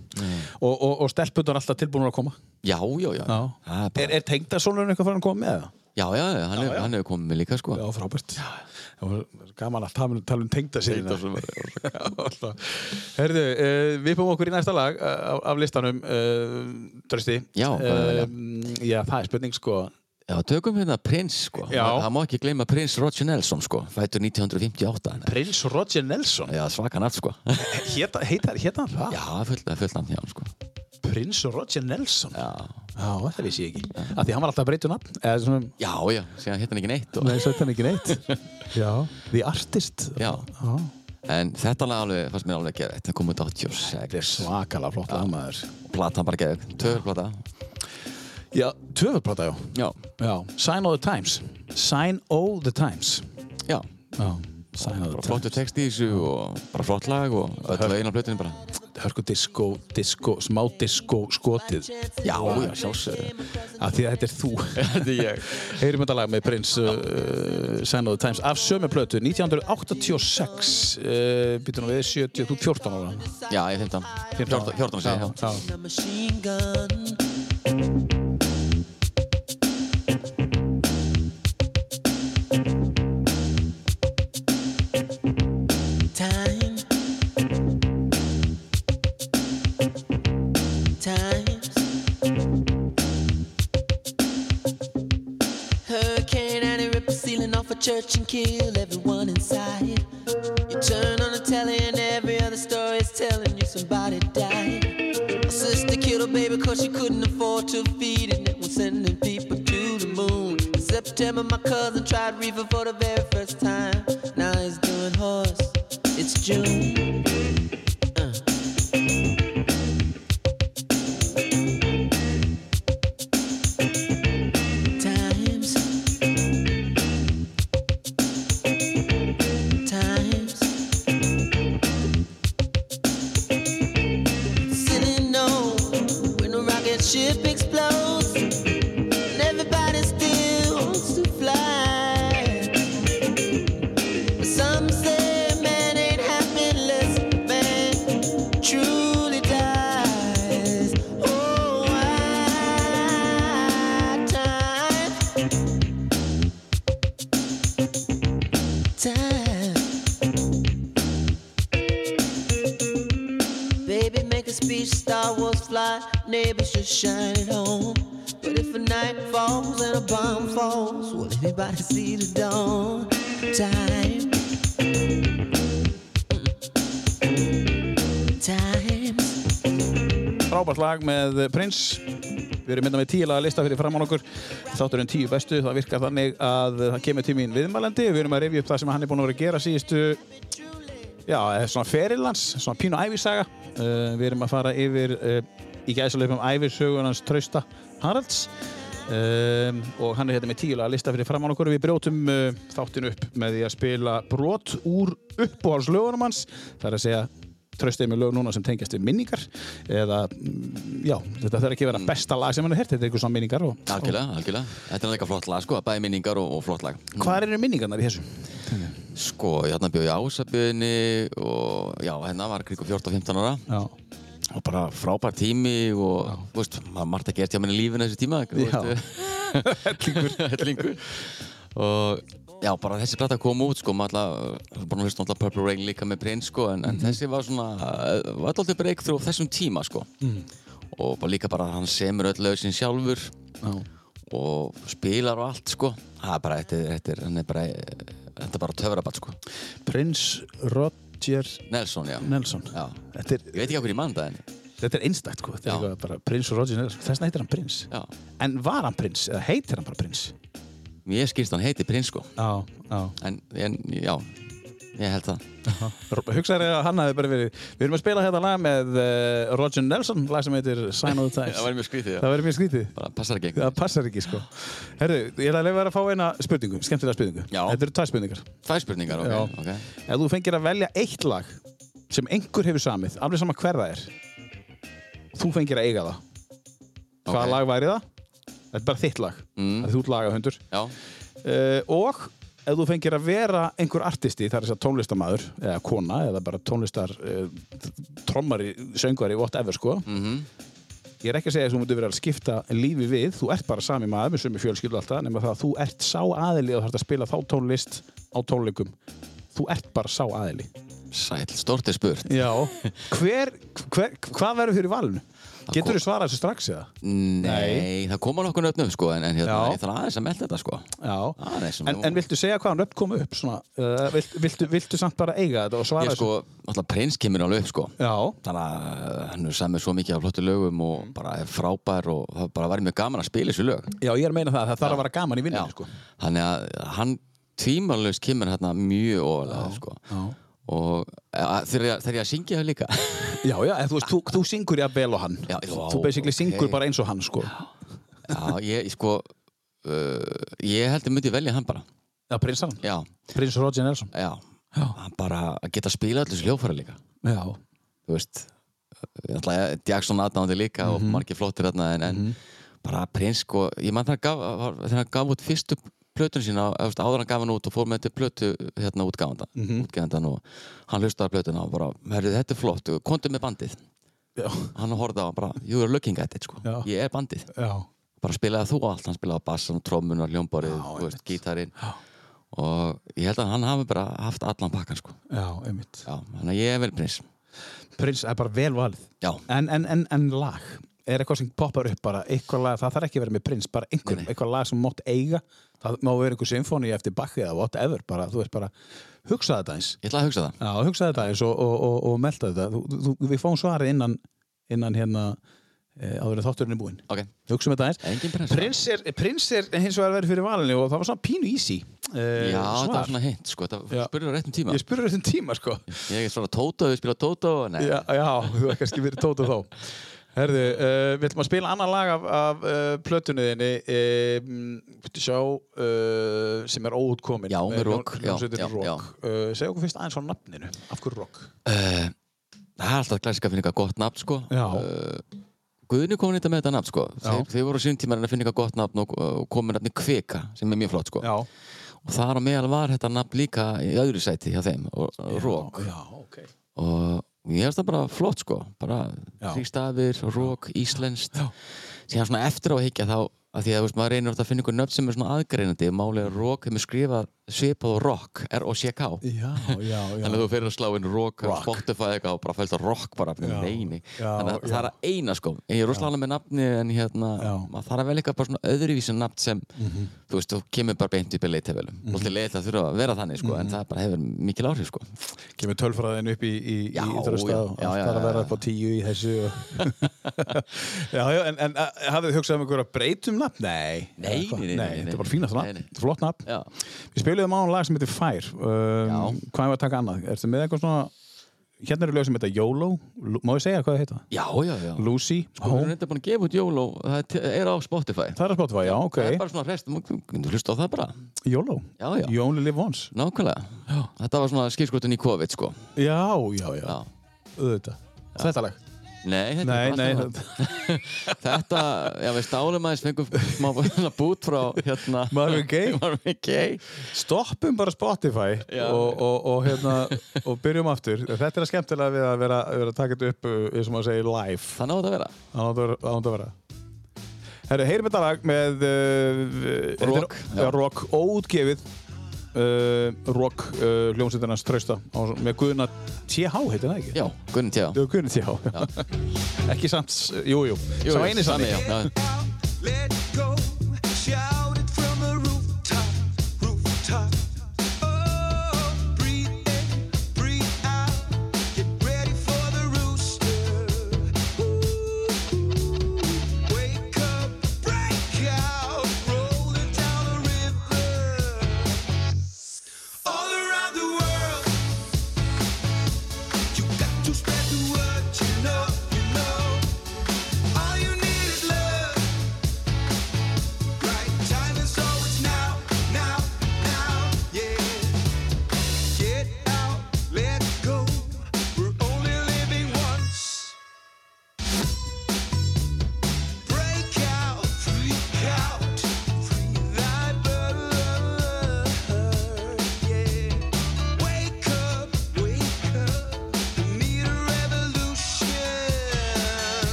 Speaker 1: og, og, og stelpunar alltaf tilbúin að koma
Speaker 2: Já, já, já,
Speaker 1: Já.
Speaker 2: Það er
Speaker 1: Er,
Speaker 2: bara,
Speaker 1: er tengdasónurinn eitthvað farin að koma með það?
Speaker 2: Já, já, já, hann hefur hef komið með líka sko
Speaker 1: Já, frábært. Það var gaman að tala, tala um tengda síðan. Herðu, uh, við fáum okkur í næsta lag eh, af, af listanum, uh, Trösti.
Speaker 2: Já, hvað er
Speaker 1: uh, já, það er spurning sko.
Speaker 2: Já, tökum hérna prins sko
Speaker 1: Já.
Speaker 2: Það má ekki gleyma prins Roger Nelson sko Fættur 1958 hann er-
Speaker 1: Prins Roger Nelson,
Speaker 2: Já, svaka nafn sko
Speaker 1: Hét- heitar heita hann það?
Speaker 2: Já, fullt, fullt nafn hjá hann sko
Speaker 1: Prins Roger Nelson?
Speaker 2: Já,
Speaker 1: Já, þetta vissi ég ekki. Af því hann var alltaf að breyta um nafn, eða svona,
Speaker 2: já, já, síðan hérna ekki neitt og...
Speaker 1: nei, svo þetta er ekki neitt. já. The Artist.
Speaker 2: Já,
Speaker 1: Já.
Speaker 2: en þetta lag alveg, fannst mér alveg geðveitt Það kom út
Speaker 1: Þetta er
Speaker 2: 86
Speaker 1: svakalega flott lagmaður.
Speaker 2: Plata bara geðveitt, töfurplata
Speaker 1: Já, tvöfaldplata, já.
Speaker 2: Já,
Speaker 1: Já, Sign of the Times. Sign of the Times.
Speaker 2: já,
Speaker 1: Já, Sign of the
Speaker 2: bara
Speaker 1: Times.
Speaker 2: flottu text í þessu og bara flott lag og öll lögin á plötunum bara
Speaker 1: hörku disco, disco, smá disco skotið
Speaker 2: Já, já, sjálfsögðu
Speaker 1: af því að þetta er þú
Speaker 2: Þetta er ég
Speaker 1: heyrim þetta lag með Prince uh, Sign of the Times af sömu plötu 1986 uh, býtum við 70, þú ert 14 ára
Speaker 2: Já, ég er 15 14, 14 segi ég, já.
Speaker 1: já,
Speaker 3: A machine gun Time Times Hurricane and it ripped the ceiling off a church and killed everyone inside. You turn on the telly and every other story is telling you somebody died. My sister killed her baby cause she couldn't afford to feed it. And it was sending people to the moon. In September, my cousin tried reefer for the very first time. Now he's doing horse. It's June. Uh. times times sitting on when a rocket ship explodes and everybody still wants to fly but some say man ain't happy unless man truly dies. Oh, why time, time, baby, make a speech. Star Wars fly, neighbors should shine at home. But if a night falls and a bomb falls, will everybody see the dawn? Time. Times.
Speaker 1: frábært lag með Prince við erum mynda með tíu laga lista fyrir framann okkur þátturinn tíu bestu, það virkar þannig að það kemur tíminn viðmælandi við erum að rifja upp það sem hann er búin að vera að gera síðustu já, eða svona ferilans svona pínu ævisaga uh, við erum að fara yfir uh, í gæðsalöfum ævisögun hans Trausta Haralds um, og hann er hérna með tíu laga lista fyrir framann okkur við brjótum uh, þáttin upp með því að spila brot úr uppáhalslögunum hans það er að segja tröstið með lög núna sem tengjast við minningar eða, mm, já, þetta þarf ekki að vera besta lag sem hann er hert, þetta er eitthvað svona minningar og,
Speaker 2: Algjörlega, algjörlega Þetta er líka flott lag sko, bæði minningar og, og flott lag
Speaker 1: og hvað eru minningarnar í þessu?
Speaker 2: Sko, hérna bjóð ég á Ásabjöðinni og já, hérna var krigur 14-15 ára
Speaker 1: Já,
Speaker 2: og bara frábær tími og, þú veist, maður margt að gert hjá mér í lífinu þessu tíma þú
Speaker 1: Já.
Speaker 2: veist. Hellingur og já, bara þessi plata kom út sko, maður alltaf, bara hlusta alltaf Purple Rain líka með Prince sko, en, en þessi var svona eh, var alltaf breakthrough á þessum tíma sko og bara líka bara hann semur öll lög sín sjálfur
Speaker 1: já,
Speaker 2: og spilar og allt sko það er bara, þetta er, þetta er, hann er bara þetta er bara töfrabatt sko
Speaker 1: Prince Roger
Speaker 2: Nelson, já,
Speaker 1: Nelson
Speaker 2: Já.
Speaker 1: Þetta
Speaker 2: ég
Speaker 1: er,
Speaker 2: veit ekki hvað ég mann það en
Speaker 1: þetta er einstakt, sko, þetta er
Speaker 2: Já.
Speaker 1: eitthvað bara Prince og Roger Nelson, þessna heitir hann Prince
Speaker 2: já,
Speaker 1: En var hann Prince, eða heitir hann bara Prince?
Speaker 2: mér skilst hann heiti Prins sko
Speaker 1: Já, já
Speaker 2: en, en já, ég held það
Speaker 1: Hugsaður að hann hafi bara verið Við erum að spila þetta lag með uh, Roger Nelson, lag sem heitir Sign of the Times
Speaker 2: mjög skrítið,
Speaker 1: Það verður mjög skrítið
Speaker 2: bara passar ekki
Speaker 1: Það
Speaker 2: einhvern
Speaker 1: passar ekki sko Herru, ég ætla að leifa þér að fá eina spurningu, skemmtilega spurningu
Speaker 2: Já.
Speaker 1: Þetta eru tvær spurningar
Speaker 2: Tvær spurningar, ok,
Speaker 1: Já.
Speaker 2: ok
Speaker 1: Ef þú fengir að velja eitt lag sem einhver hefur samið, alveg sama hver það er Þú fengir að eiga það Hvaða
Speaker 2: Ok.
Speaker 1: lag væri það? Þetta er bara þitt lag
Speaker 2: Mm.
Speaker 1: Það er þú lagahundur
Speaker 2: Já,
Speaker 1: uh, Og ef þú fengir að vera einhver artisti, það er þess að tónlistamaður eða eh, kona, eða bara tónlistar uh, trommari, söngvari, whatever sko
Speaker 2: mhm
Speaker 1: Ég er ekki að segja að þú mútu verið að skipta lífi við, þú ert bara sami maður með sömu fjölskyldu alltaf, nema það að þú ert sá aðili og þarfst að spila þá tónlist á tónleikum. Þú ert bara sá aðili.
Speaker 2: Sæll, stort er spurt.
Speaker 1: Já. Hver, hver, hvað verður fyrir valinu? Getur þú svarað þessu strax eða?
Speaker 2: Nei, það koma nokkur nöfnum sko, en, en hérna,
Speaker 1: Já.
Speaker 2: ég þarf aðeins að melda þetta sko.
Speaker 1: Já.
Speaker 2: Aðeins,
Speaker 1: En, en viltu segja hvaðan nöfn kom upp? Svona, uh, viltu, viltu, viltu samt bara eiga þetta og svara
Speaker 2: Ég sko, alltaf prins kemur alveg upp sko.
Speaker 1: þessu? Já.
Speaker 2: Þannig að uh, hann er samið svo mikið af flottu lögum og bara er frábær og það bara væri mjög gaman að spila þessu lög.
Speaker 1: Já, ég er að meina það, það þarf að vera gaman í vinnunni, sko.
Speaker 2: Þannig að hann tímalust kemur hérna mjög ofalega sko.
Speaker 1: já.
Speaker 2: Og að, þegar, ég- þegar ég að syngja það líka
Speaker 1: Já, já, en þú veist, þú, þú syngur jafn vel og hann.
Speaker 2: Já, já,
Speaker 1: þú basically
Speaker 2: ok.
Speaker 1: syngur bara eins og hann, sko.
Speaker 2: Já, ég sko uh, Ég held ég myndi velja hann bara
Speaker 1: Já, prins hann.
Speaker 2: Já,
Speaker 1: Prins Roger Nelson.
Speaker 2: já, Hann bara að geta að spila allir þessu hljófæra líka
Speaker 1: Já.
Speaker 2: Þú veist Ég ætla að Jackson aðnáði líka og margir flottir þarna en, en bara prins sko Ég mann það gaf, var- þegar hann gaf út fyrstu plötun sína, eða, þú veist, áður hann gaf hann út og fór með þetta plötu hérna útgáfanda útgæfandan og hann hlustaði plötuna og bara, herri þetta er flott, kontu með bandið
Speaker 1: Já.
Speaker 2: hann horfði á hann bara, you are looking at it sko.
Speaker 1: Já.
Speaker 2: ég er bandið
Speaker 1: Já.
Speaker 2: bara spilaði þú allt, hann spilaði á bassan, trommun og hljómborið, þú veist, gítarinn og ég held að hann hafi bara haft allan pakkan sko,
Speaker 1: Já, einmitt.
Speaker 2: já, þannig að ég er vel prins
Speaker 1: Prins er bara vel valið.
Speaker 2: já,
Speaker 1: En, en, en, en lag? Er eitthvað sem poppar upp bara, eitthvað lag, það þarf ekki að vera með prins, bara einhver,
Speaker 2: Nei, nei.
Speaker 1: eitthvað lag sem þú mátt eiga, það má vera einhver symfóni eftir bakki eða whatever, bara, þú veist bara, hugsa þetta eins.
Speaker 2: ég ætla að hugsa það
Speaker 1: Já, hugsa þetta eins og, og, og, og melda þetta. Þú, þú, við fáum svarið innan, innan hérna, e, áður en þátturinn er búinn.
Speaker 2: ok,
Speaker 1: Hugsa um þetta eins.
Speaker 2: engin prins
Speaker 1: Prins er, prins er hins vegar verið fyrir valinu og það var svona pínu easy uh,
Speaker 2: já, það var svona hint, sko, það
Speaker 1: Já.
Speaker 2: spurði á réttum tíma
Speaker 1: Ég spurði þetta um tíma sko
Speaker 2: ég er svona Tóta, við spila Tóta og nei,
Speaker 1: Já, já þú er kannski verið tóta þá Herðu, uh, við ætlum að spila annan lag af, af uh, plötunni þinni um, Viltu sjá uh, sem er óútkomin
Speaker 2: Já, með
Speaker 1: Eh,
Speaker 2: Rock,
Speaker 1: hljón-
Speaker 2: já,
Speaker 1: hljómsveitin
Speaker 2: já, já.
Speaker 1: Rock. Uh, Segðu okkur fyrst aðeins frá nafninu Af hverju Rock?
Speaker 2: það er alltaf klassika að finna eitthvað gott nafn, sko
Speaker 1: Já.
Speaker 2: uh, Guðni kom nýtt með þetta nafn, sko þeir, þeir voru á sínum tíma að reyna að finna eitthvað gott nafn og, og komin nafni Kvika, sem er mjög flott, sko
Speaker 1: Já,
Speaker 2: og þar á meðal var þetta nafn líka í öðru sæti hjá þeim, og, og Rók
Speaker 1: já, ok
Speaker 2: og ég hefst það bara flott sko bara
Speaker 1: Já.
Speaker 2: þrýstafir, rók, íslenskt síðan svona eftir á að higgja þá að því að þú veist, maður reynir alltaf að finna ykkur nöfn sem er svona aðgreinandi málega rók hefur skrifað svipað og rock, R-O-C-K
Speaker 1: Já, já, já
Speaker 2: þannig að þú fyrir að slá inn rock,
Speaker 1: Rock.
Speaker 2: rock. Spotify eitthvað og bara fælst að rock bara já. Neini.
Speaker 1: Já,
Speaker 2: þannig að
Speaker 1: já.
Speaker 2: það er að eina sko en ég er rosalega ánægð með nafni en hérna
Speaker 1: Já. Mhm.
Speaker 2: maður þarf að velja eitthvað bara svona öðruvísi nafn sem þú veist, þú kemur bara beint upp í leitavelum mm -hmm. alltaf leita þurfa að vera þannig sko
Speaker 1: Mhm.
Speaker 2: en það bara hefur mikil áhrif sko
Speaker 1: Kemur tölfræðin upp í, í, í
Speaker 2: Já,
Speaker 1: íþrósta
Speaker 2: já,
Speaker 1: og
Speaker 2: já,
Speaker 1: allt
Speaker 2: já,
Speaker 1: þarf að
Speaker 2: já,
Speaker 1: vera
Speaker 2: já.
Speaker 1: upp á tíu í þessu og... Já, já, en, en að- hafið þið hugsað um einhverja breytum nafn? Nei,
Speaker 2: Nei,
Speaker 1: Eitthvað?
Speaker 2: nei, nei, nei,
Speaker 1: þetta
Speaker 2: nei.
Speaker 1: er bara fínast
Speaker 2: Nei,
Speaker 1: nafn,
Speaker 2: nei.
Speaker 1: þetta er flott nafn
Speaker 2: já,
Speaker 1: Við spiliðum á hann lag sem heitir Fær um,
Speaker 2: Já.
Speaker 1: Hvað er að taka annað? Ertu með eitthvað svona Hérna eru lög sem heitir YOLO Lu- Má ég segja hvað það heita?
Speaker 2: já, já, já.
Speaker 1: Lucy,
Speaker 2: Við erum
Speaker 1: Home
Speaker 2: reynda búin að gefa út jól og það er til- er á Spotify
Speaker 1: Það er að spotta já, ok
Speaker 2: Það er bara svona rest, þú myndir hlusta á það bara
Speaker 1: YOLO,
Speaker 2: Já, já.
Speaker 1: You Only Live Once
Speaker 2: Nákvæmlega Þetta var svona skilskotun í COVID sko
Speaker 1: Já, já, já,
Speaker 2: Já.
Speaker 1: auðvitað Þetta lag?
Speaker 2: Nei, þetta
Speaker 1: Nei,
Speaker 2: er
Speaker 1: nei,
Speaker 2: bara allt annað. Þetta, já við stálum aðeins fengum smá svona bút frá hérna
Speaker 1: Marvin Gaye.
Speaker 2: Marvin Gaye
Speaker 1: Stoppum bara Spotify
Speaker 2: Já.
Speaker 1: og, og, og, hérna, og byrjum aftur. Þetta er að skemmtilega við að vera, vera að taka þetta upp, uh, eins og maður segir, live.
Speaker 2: Það náðu að vera
Speaker 1: Án að vera. Herru, heyrum þetta lag með uh,
Speaker 2: Rock,
Speaker 1: já. rock óútgefið. Uh, rock uh, hljómsveitarnas trausta á- með Guðna TH, heitir það ekki?
Speaker 2: Já, Gunn Tjá
Speaker 1: Jú, Guðna TH. ekki samt, jú, jú. Sá eini sami.
Speaker 2: já, já.
Speaker 3: Let go, shout it from the rooftop, rooftop. Oh, breathe in, breathe out. Get ready for the rooster. Ooh, wake up, break out, rolling down the river. All around the world, you got to spread the word. You know, you know. All you need is love.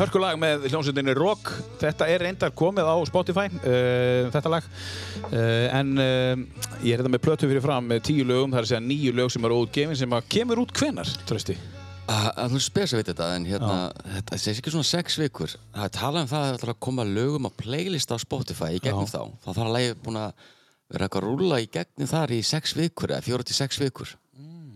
Speaker 1: Hörkulag með hljómsveitinni Rock. Þetta er reyndar komið á Spotify, uh, þetta lag. Uh, en uh, ég er þetta með plötu fyrir fram með tíu lögum, það er að segja nýju lög sem eru útgefin sem að kemur út hvenar, trösti?
Speaker 2: Það er spes Ah, að vita þetta, en hérna, þetta sé ekki svona sex vikur. Það er talað um það að það ætlar að koma lögum á playlist á Spotify í gegnum þá. Það þarf að lægi búin að vera eitthvað að rúlla í gegnum þar í sex vikur, eða fjóra til sex vikur. Mm.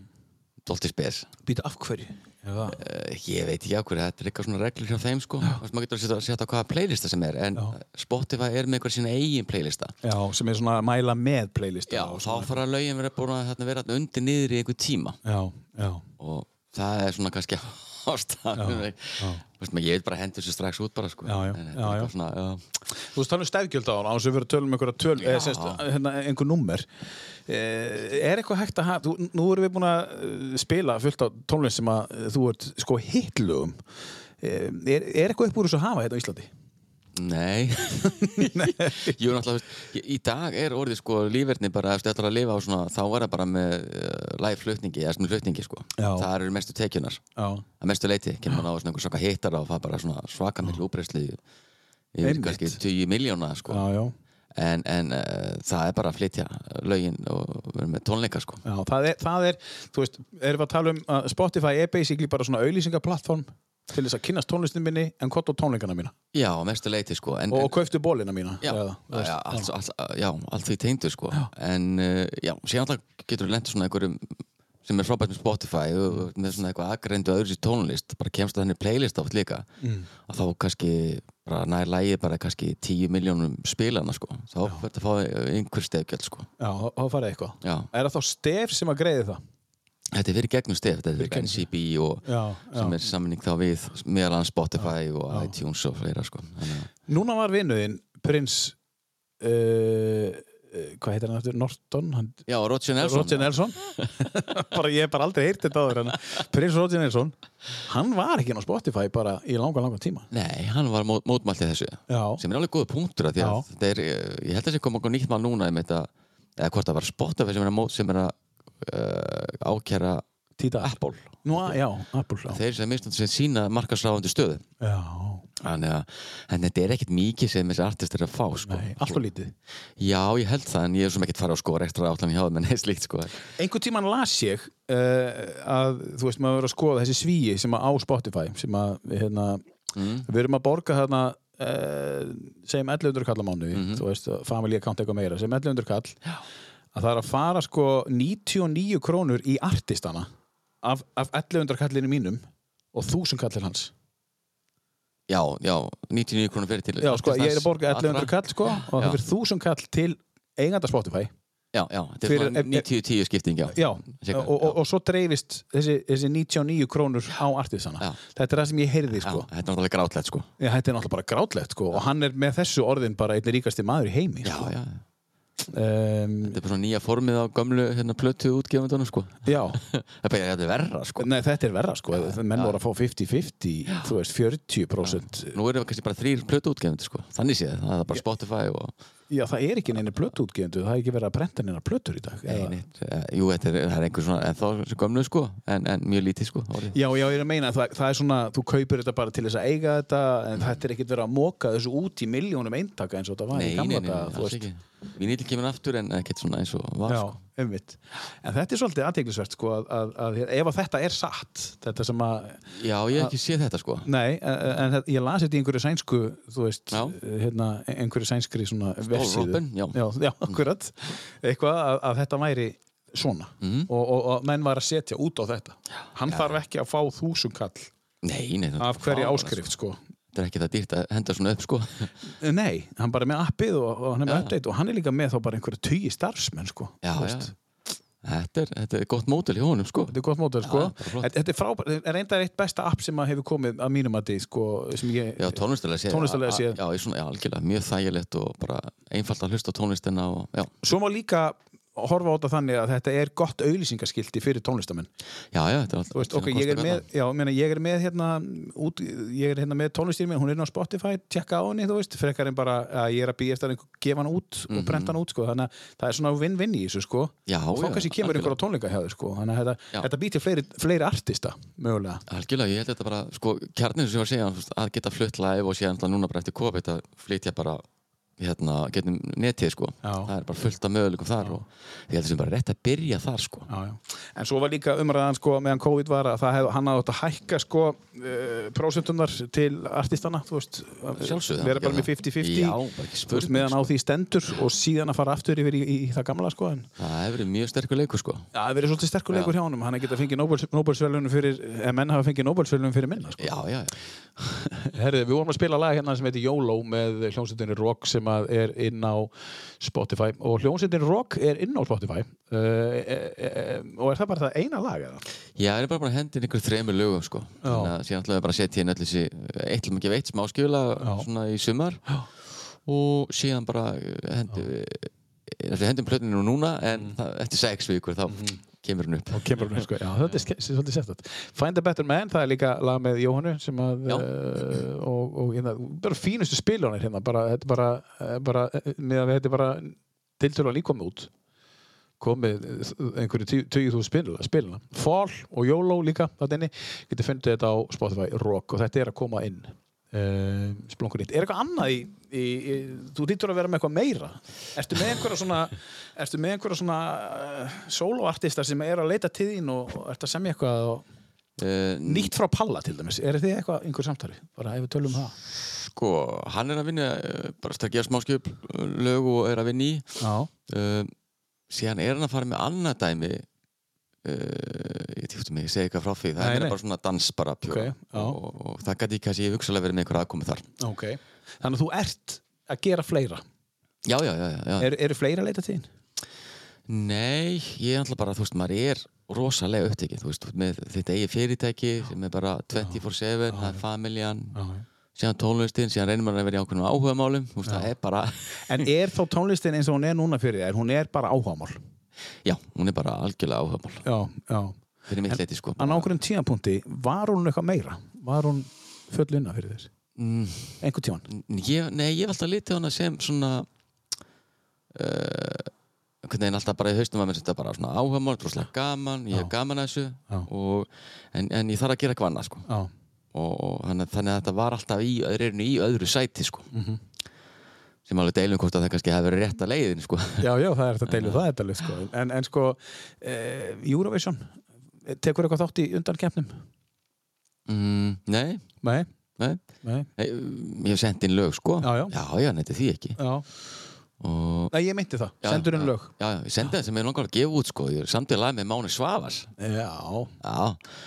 Speaker 2: Dólti spes.
Speaker 1: Býta af hverju? Já.
Speaker 2: Uh, ég veit ekki á hverju, þetta er eitthvað svona reglur hjá þeim sko. Þú veist, maður getur að setja, setja á hvaða playlista sem er, en
Speaker 1: Já.
Speaker 2: Spotify er með eitthvað sína eigin playlista.
Speaker 1: Já, sem er svona að mæla með playlista.
Speaker 2: Já,
Speaker 1: og
Speaker 2: þá
Speaker 1: svona.
Speaker 2: fara lögin vera búin að þarna vera þarna undir niður í einhver tíma
Speaker 1: Já, já.
Speaker 2: og það er svona kannski ástæðan Vist maður, ég vil bara henda þessu strax út bara sko
Speaker 1: Já, já,
Speaker 2: En þetta er
Speaker 1: já, já.
Speaker 2: eitthvað svona, já.
Speaker 1: Þú veist, tala um stefgjöld á hann, án þess að við erum að tala um einhverja töl, eða semst, hérna, einhver nummer. Eh, er eitthvað hægt að hafa, þú- nú erum við búin að eh, spila fullt á tónlist sem að eh, þú ert sko hitlugum. Eh, er, er eitthvað upp úr þessu að hafa hérna á Íslandi?
Speaker 2: Nei Jú, náttúrulega, veist, ég- í dag er orðið sko lífverðni bara, ef þú ætlar að lifa á svona þá er það bara með uh, live flutningi eða sem flutningi sko,
Speaker 1: Já.
Speaker 2: það eru mestu tekjunar
Speaker 1: Já.
Speaker 2: að mestu leiti, kemur maður á svona einhver svaka hittar og það bara svona svaka með lúbreysli yfir
Speaker 1: Einmitt.
Speaker 2: kannski 10 miljóna sko
Speaker 1: Já, já.
Speaker 2: en, en uh, það er bara að flytja lögin og vera með tónleika sko
Speaker 1: Já, það er, það er, þú veist, erum við að tala um að Spotify er basically bara svona auðlýsingaplattform til þess að kynnast tónlistin minni en kott og tónleikana mína
Speaker 2: já, að mestu leiti sko en,
Speaker 1: og, og kauftu bólina mína
Speaker 2: já,
Speaker 1: eða, þú veist.
Speaker 2: já, allt, allt, já, allt því tegndu sko en uh, já, síðan alltaf getur við lent í svona einhverjum sem er frábært með Spotify og og með svona eitthvað aðgreindu öðru sér tónlist bara kemst að henni playlist átt líka mm. og þá kannski bara nær lægi bara kannski 10 miljónum spilana sko þá verður að fá einhver stefgjöld sko
Speaker 1: já, þá- þá farið eitthvað
Speaker 2: já,
Speaker 1: Er það þá stef sem að greiði það?
Speaker 2: þetta er fyrir gegnum stef þetta er fyrir NCB og
Speaker 1: Já,
Speaker 2: sem er sammenning þá við meðal annars Spotify og iTunes og fleira sko. Þannig að-
Speaker 1: Núna var vinnuðinn prins uh, uh, hvað heitir hann eftir? Norton? Hann,
Speaker 2: Já, og Roger Nelson
Speaker 1: Roger Nelson bara, Ég hef bara aldrei heyrt þetta áður en prins Roger Nelson hann var ekki inn á Spotify bara í langa, langa tíma
Speaker 2: Nei, hann var mót, mótmæltið þessu
Speaker 1: Já.
Speaker 2: sem er alveg góða punktur að því að þetta er, eh, ég held að þessi koma okkur nýtt mál núna einmitt að, eða hvort það var Spotify sem er að, mót, sem er að uh, ákjæra
Speaker 1: Títa
Speaker 2: Apple
Speaker 1: Nú, að- já, Apple já.
Speaker 2: þeir sem mistum sem sína markarsráðandi stöðu
Speaker 1: já,
Speaker 2: Þannig að en þetta er ekkert mikið sem þessi artist er að fá sko.
Speaker 1: nei, allt og lítið
Speaker 2: Já, ég held það en ég er sem ekkert farið á skora ekstra átlan hjá þeim en eða slíkt sko.
Speaker 1: einhvern tíman las ég uh, að þú veist maður verið að skoða þessi svíi sem að á Spotify sem að hérna,
Speaker 2: Mm.
Speaker 1: við erum að borga þarna uh, segjum 1100 kall á mánuði
Speaker 2: Mhm.
Speaker 1: þú veist, family account eitthvað meira segjum 1100 kall að það er að fara sko 99 krónur í artistana af, af 1100 kallinu mínum og 1000 kallir hans
Speaker 2: Já, já, 99 krónur fyrir til
Speaker 1: já sko, ég er að borga
Speaker 2: allra.
Speaker 1: 1100 kall sko og
Speaker 2: Já.
Speaker 1: það fyrir 1000 kall til eiganda Spotify
Speaker 2: Já, já, þetta
Speaker 1: Fyrir-
Speaker 2: er svona
Speaker 1: ef-
Speaker 2: 90-10 skipting, já.
Speaker 1: Já,
Speaker 2: Cirka,
Speaker 1: og, og,
Speaker 2: já.
Speaker 1: og svo dreifist þessi, þessi 99 krónur á artisana
Speaker 2: Já.
Speaker 1: Þetta er það sem ég heyrði
Speaker 2: Já,
Speaker 1: sko.
Speaker 2: þetta er náttúrulega grátlegt, sko.
Speaker 1: Ég, Þetta er náttúrulega bara grátlegt sko. og hann er með þessu orðin bara einn ríkasti maður í heimi
Speaker 2: Já,
Speaker 1: sko.
Speaker 2: já,
Speaker 1: Um,
Speaker 2: þetta er bara svona nýja formið á gömlu hérna, plötu útgefundunum, sko.
Speaker 1: já.
Speaker 2: Það er bara þetta er verra, sko.
Speaker 1: Nei, þetta er verra sko. menn voru að fá 50-50 þú veist, 40% já.
Speaker 2: Nú eru við kannski bara þrýr plötu útgefundur, sko. Þannig séð, það er bara Spotify og...
Speaker 1: það er ekki neina plötuútgefundu það er ekki verið að brenta neina plötur í dag eða-
Speaker 2: Nei, neitt, eh, jú, þetta er, það er einhver svona, en þá þessu gömlu, sko, en, en mjög lítið, sko. Orðið.
Speaker 1: Já, já, ég er að meina, það, það er svona, þú kaupir þetta bara til þess að eiga þetta, en þetta er ekkert verið að móka þessu út í miljónum eintaka eins og þetta var í
Speaker 2: Nei, nei,
Speaker 1: gamla
Speaker 2: nei, nei,
Speaker 1: daga, þú
Speaker 2: alls
Speaker 1: veist.
Speaker 2: ekki. Vinil kemur aftur en ekkert svona eins og var,
Speaker 1: Já,
Speaker 2: sko.
Speaker 1: einmitt. En þetta er svolítið aðteglisvert sko að, að, að ef að þetta er satt, þetta sem að,
Speaker 2: sko. Já, ég hef ekki séð þetta, sko.
Speaker 1: nei, en en þetta- ég las þetta í einhverju sænsku, þú veist,
Speaker 2: Já.
Speaker 1: hérna, einhverju sænskri svona vefsíðu.
Speaker 2: Robin, Mm. já.
Speaker 1: Já, já, akkurat. Eitthvað að, að þetta væri svona
Speaker 2: Mm.
Speaker 1: og, og, og menn var að setja út á þetta. Hann þarf ekki að fá þúsund kall
Speaker 2: Nei, nei. þetta-
Speaker 1: af hverju
Speaker 2: Fáránlegt,
Speaker 1: áskrift sko.
Speaker 2: sko. Þetta er ekki það dýrt að henda svona upp, sko.
Speaker 1: Nei, hann bara er með appið og, og hann er með update og hann er líka með þá bara einhverju tugi starfsmenn sko.
Speaker 2: Já,
Speaker 1: þú
Speaker 2: já.
Speaker 1: veist.
Speaker 2: Þetta er, þetta er gott mótil hjá honum, sko.
Speaker 1: Þetta er gott mótel, sko.
Speaker 2: Já, bara flott.
Speaker 1: Þetta þetta er frábært, þetta er reyndar eitt besta app sem að hefur komið að mínum að því, sko, sem ég...
Speaker 2: Já, tónlistalega séð.
Speaker 1: Tónlistarlega
Speaker 2: a- a-
Speaker 1: séð.
Speaker 2: Já, ég svona, já, algjörlega, mjög þægilegt og bara einfalt að hlusta á tónlistina og, já,
Speaker 1: Svo má líka, horfa á þetta þannig að þetta er gott auðlýsingaskilti fyrir tónlistamenn
Speaker 2: Já, já, þetta er alltaf
Speaker 1: Þú veist, ok, ég er með, já, meina, ég er með hérna, út, ég er hérna með tónlistýri minn, hún er inn á Spotify, tjekka á henni, þú veist, frekar en bara að ég er að býja eftir að einhver gefa hann út og brenta hann út, sko, þannig að það er svona vinn-vinn í þessu, sko,
Speaker 2: Mhm. Já,
Speaker 1: og þá
Speaker 2: já,
Speaker 1: kannski kemur
Speaker 2: algjörlega.
Speaker 1: einhver á tónleika hjá þér, sko, þannig að þetta,
Speaker 2: Já.
Speaker 1: þetta býtir fleiri, fleiri artista, mögulega.
Speaker 2: Algjörlega, ég held þetta bara, sko, kjarnir sem ég var að segja, þú veist, að geta flutt live og síðan alltaf núna bara eftir COVID að flytja bara, hérna, getum netið, sko.
Speaker 1: Já.
Speaker 2: Það er bara fullt af möguleikum þar og ég held þessum bara rétt að byrja þar, sko.
Speaker 1: Já, já. En svo var líka umræðan sko meðan COVID var að það hef, hann hafði átt að hækka sko uh, prósentunar til artistana, þú veist, að
Speaker 2: Sjálfsögðu.
Speaker 1: vera bara
Speaker 2: Já.
Speaker 1: með 50-50,
Speaker 2: Já, bara ekki
Speaker 1: þú veist,
Speaker 2: spurning,
Speaker 1: meðan á því stendur og síðan að fara aftur yfir í, í, það gamla sko, en
Speaker 2: Það hefur verið mjög sterkur leikur, sko.
Speaker 1: Já, það hefur verið svolítið sterkur leikur hjá honum, hann er getað fengið Nóbels- Nóbelsverðlaunum fyrir, en menn hafa fengið Nóbelsverðlaunum fyrir minna. Sko.
Speaker 2: Já, já, já.
Speaker 1: Herðu, við vorum að spila lag hérna sem heitir YOLO með hljómsveitinni Rock sem að er inn á Spotify og hljómsveitinni Rock er inn á Spotify uh, e, e, e, og er það bara það eina lag eða?
Speaker 2: Já, það er bara bara að hendin ykkur þreymur lögum sko. Þannig að síðan ætlaði bara að setja inn öll þessi eitt um að gefa eitt smá skjöla svona í sumar Já. og síðan bara hendi, ætlaði hendum plötinu núna en
Speaker 1: Mhm.
Speaker 2: það, eftir sex vikur þá kemur hún upp.
Speaker 1: og kemur hún sko, já, þetta er ske- svolítið sérstætt Find a Better Man, það er líka lag með Jóhannu sem að,
Speaker 2: Já.
Speaker 1: uh, og, og hérna, bara fínustu spilunir hérna, bara, þetta er bara, eh, bara eh, meðan við þetta er bara tiltölu líkomið út komið eh, einhverju tíu- tugi þú spiluna, spiluna Fall og YOLO líka þetta inni, getur fundið þetta á Spotify Rock og þetta er að koma inn uh, splunkur nýtt, er eitthvað annað í, í, í þú lítur að vera með eitthvað meira ertu með einhverja svona ertu með einhverja svona uh, soloartista sem er að leita til þín og, og ert að semja eitthvað og,
Speaker 2: Uh,
Speaker 1: nýtt frá Palla til dæmis, er þið eitthvað einhver samtali, bara ef við tölum um það
Speaker 2: sko, hann er að vinna eh, bara að gera smá skjöp lög og er að vinna í
Speaker 1: já,
Speaker 2: uh, síðan er hann að fara með annað dæmi uh, ég tífti mig, ég segi eitthvað frá því það
Speaker 1: Nei,
Speaker 2: er meira
Speaker 1: nei.
Speaker 2: bara svona dans bara pjóra
Speaker 1: Ok, já.
Speaker 2: og, og, og það gæti kannski hugsalega verið með einhver aðkomi þar
Speaker 1: ok þannig að þú ert að gera fleira
Speaker 2: Já, já, já, já, já.
Speaker 1: eru er fleira að leita til þín?
Speaker 2: Nei, ég er alltaf bara, þú veist, maður er rosalega upptekið, þú veist, með þitt eigi fyrirtæki sem er bara 24-7, það er familjan, síðan tónlistin, síðan reynir maður að vera í ákveðnum áhugamálum, þú veist, það er bara,
Speaker 1: En er þá tónlistin eins og hún er núna fyrir þér, hún er bara áhagamál?
Speaker 2: já, hún er bara algjörlega áhugamál,
Speaker 1: Já, já.
Speaker 2: fyrir mitt leiti, sko.
Speaker 1: En á einhverjum tímapunkti, var hún eitthvað meira? Var hún full unna fyrir þér?
Speaker 2: Mm,
Speaker 1: Einhver tíman?
Speaker 2: ég, nei, ég hef alltaf litið á hana sem svona, uh, hvernig en alltaf bara í haustum að mér þetta bara svona áhugamál, rosalega gaman, ég hef gaman að þessu,
Speaker 1: Já.
Speaker 2: og, en, en ég þarf að gera eitthvað annað, sko.
Speaker 1: Já,
Speaker 2: og, og þannig, þannig að þetta var alltaf í, öðru, í öðru sæti sko. sem alveg deilum hvort að það kannski hefði verið rétta leiðin sko.
Speaker 1: já, já það er þetta deilu, það er deilu, sko. En, en sko, eh, Eurovision, eh, tekur eitthvað þátt í undankeppnum? Mhm.
Speaker 2: mm, nei,
Speaker 1: Nei,
Speaker 2: nei,
Speaker 1: nei,
Speaker 2: nei ég hef sendt inn lög sko.
Speaker 1: Já, já.
Speaker 2: já, já neyti því ekki
Speaker 1: já.
Speaker 2: og
Speaker 1: Nei, ég meinti það,
Speaker 2: Já,
Speaker 1: sendur hún
Speaker 2: já,
Speaker 1: lög.
Speaker 2: Já, já, ég sendi það sem ég langar að gefa út sko. Ég samtidig lag með Máni Svavars
Speaker 1: Já.
Speaker 2: Já,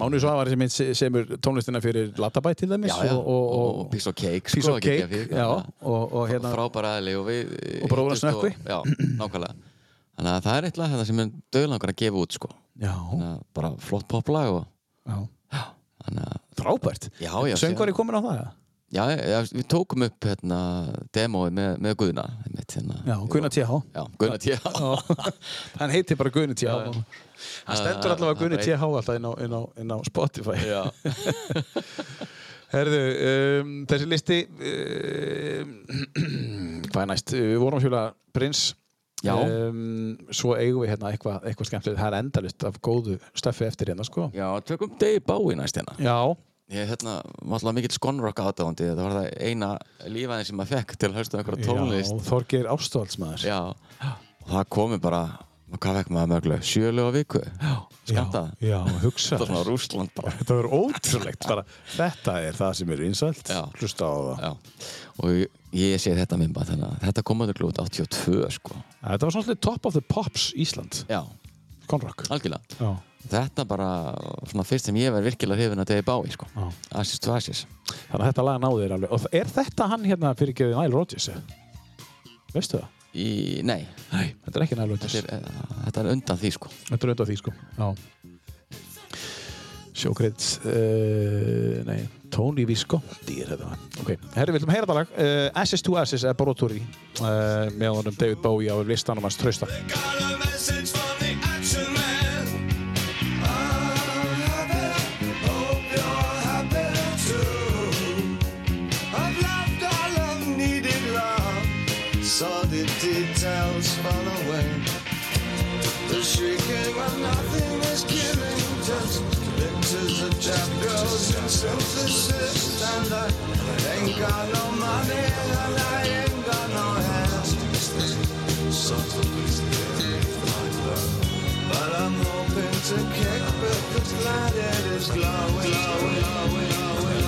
Speaker 1: Mánu Svavari sem, sem semur tónlistina fyrir Latabæ til dæmis
Speaker 2: já, já.
Speaker 1: og, og, og,
Speaker 2: og Piece of Cake
Speaker 1: Piece
Speaker 2: sko,
Speaker 1: of
Speaker 2: ekki-
Speaker 1: Cake,
Speaker 2: ekki-
Speaker 1: já, og, og hérna,
Speaker 2: frábæra aðli og við
Speaker 1: Og Bróðir hans Nökkvi.
Speaker 2: Já, nákvæmlega Þannig að það er eitt lag þetta sem ég döðlangar að gefa út sko.
Speaker 1: já,
Speaker 2: Þannig að bara flott poplag og
Speaker 1: já,
Speaker 2: þannig að
Speaker 1: frábært.
Speaker 2: Já, já,
Speaker 1: Söngvari
Speaker 2: síðan-
Speaker 1: komin á það, eða?
Speaker 2: já, já, við tókum upp hérna, demóið með, með Guðna einmitt, hérna,
Speaker 1: Já, Gunnar T.H.
Speaker 2: Já, Guðna T.H.
Speaker 1: Já, hann heitir bara Gunni T.H. Hann
Speaker 2: Ah,
Speaker 1: stendur allavega Gunni
Speaker 2: bara
Speaker 1: T.H. alltaf inn á, inn á, inn á Spotify Herðu, um, þessi listi um, hvað er næst? Við vorum að hjóla Prins
Speaker 2: Já.
Speaker 1: um, Svo eigum við hérna eitthvað eitthva skemmtilegt Það er endalist af góðu stöffi eftir hérna sko
Speaker 2: Já, tökum Dave Bowie næst hérna
Speaker 1: Já,
Speaker 2: Ég hérna, var alltaf mikill skonrock aðdáðandi það var það eina lífaðin sem maður fekk til að hlusta einhverja tónlist
Speaker 1: já Þorgeir Ástvaldsmaður
Speaker 2: Já, og það komi bara hvað fekk maður mörglu? Sjölu á viku Skamtað
Speaker 1: Já, hugsa
Speaker 2: Þetta var svona Rúsland bara
Speaker 1: Þetta verður ótrúlegt bara, Þetta er það sem er vinsælt
Speaker 2: Já.
Speaker 1: Hlusta á það
Speaker 2: Já, og ég, ég sé þetta minn bara þannig að þetta komaður glúið 82 sko
Speaker 1: Þetta var svolítið top of the pops Ísland
Speaker 2: Já,
Speaker 1: Conrock
Speaker 2: algjörlega
Speaker 1: Já.
Speaker 2: þetta bara svona fyrst sem ég verð virkilega hrifin að degi bái sko. Assis to Assis
Speaker 1: Þannig að þetta lag náði þér alveg Og þa- er þetta hann hérna fyrir gefið Nile Rodgers? eða? Veistu það?
Speaker 2: Í, nei,
Speaker 1: Nei Þetta er ekki Nile Rodgers
Speaker 2: þetta er, eh, þetta er undan því sko.
Speaker 1: Þetta er undan því sko Já Sjókreits, uh, nei, Tony Visconti er þetta. Ok, herri, við ætlum að heyra þetta lag. Uh, SS2SS er Boroturi uh, með honum David Bowie á listanum hans trausta.
Speaker 4: Got a message from the action man.
Speaker 3: I've loved all I've needed love. Saw the details fall away. The shrieking when nothing is killing, just pictures of trap girls and synthesis. And I ain't got no money and I ain't got no hands. So please give my love. But I'm hoping to kick back this light that is glowing, glowing, glowing, glowing, glowing.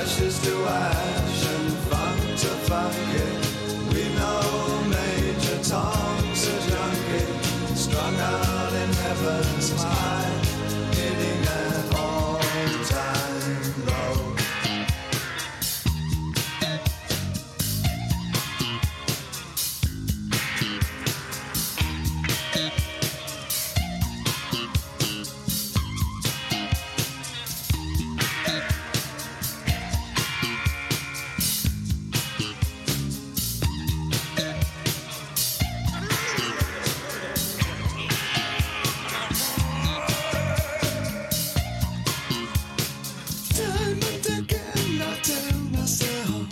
Speaker 3: Ashes to ash and funk to funky. We know Major Tom's a junkie, strung out in heaven's high, hitting an all-time low. Time and again I tell myself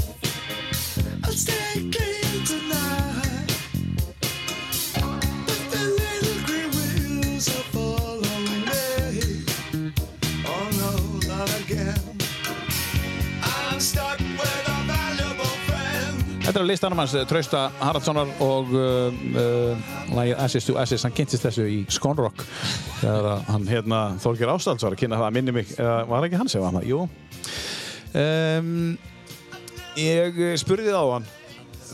Speaker 3: I'll stay clean tonight But the little green wheels are following me Oh no, not again I'm stuck with a valuable friend
Speaker 1: Þetta er á listanum hans eh, Trausta Haraldssonar og uh, uh, lagið SS2SS, hann kynntist þessu í Skonrock. Þegar að hann hérna, Þorgir Ástalds var að kynna það að minni mig, eða var ekki hann sem var hann það? Jú. Um, ég eh, spurði það á hann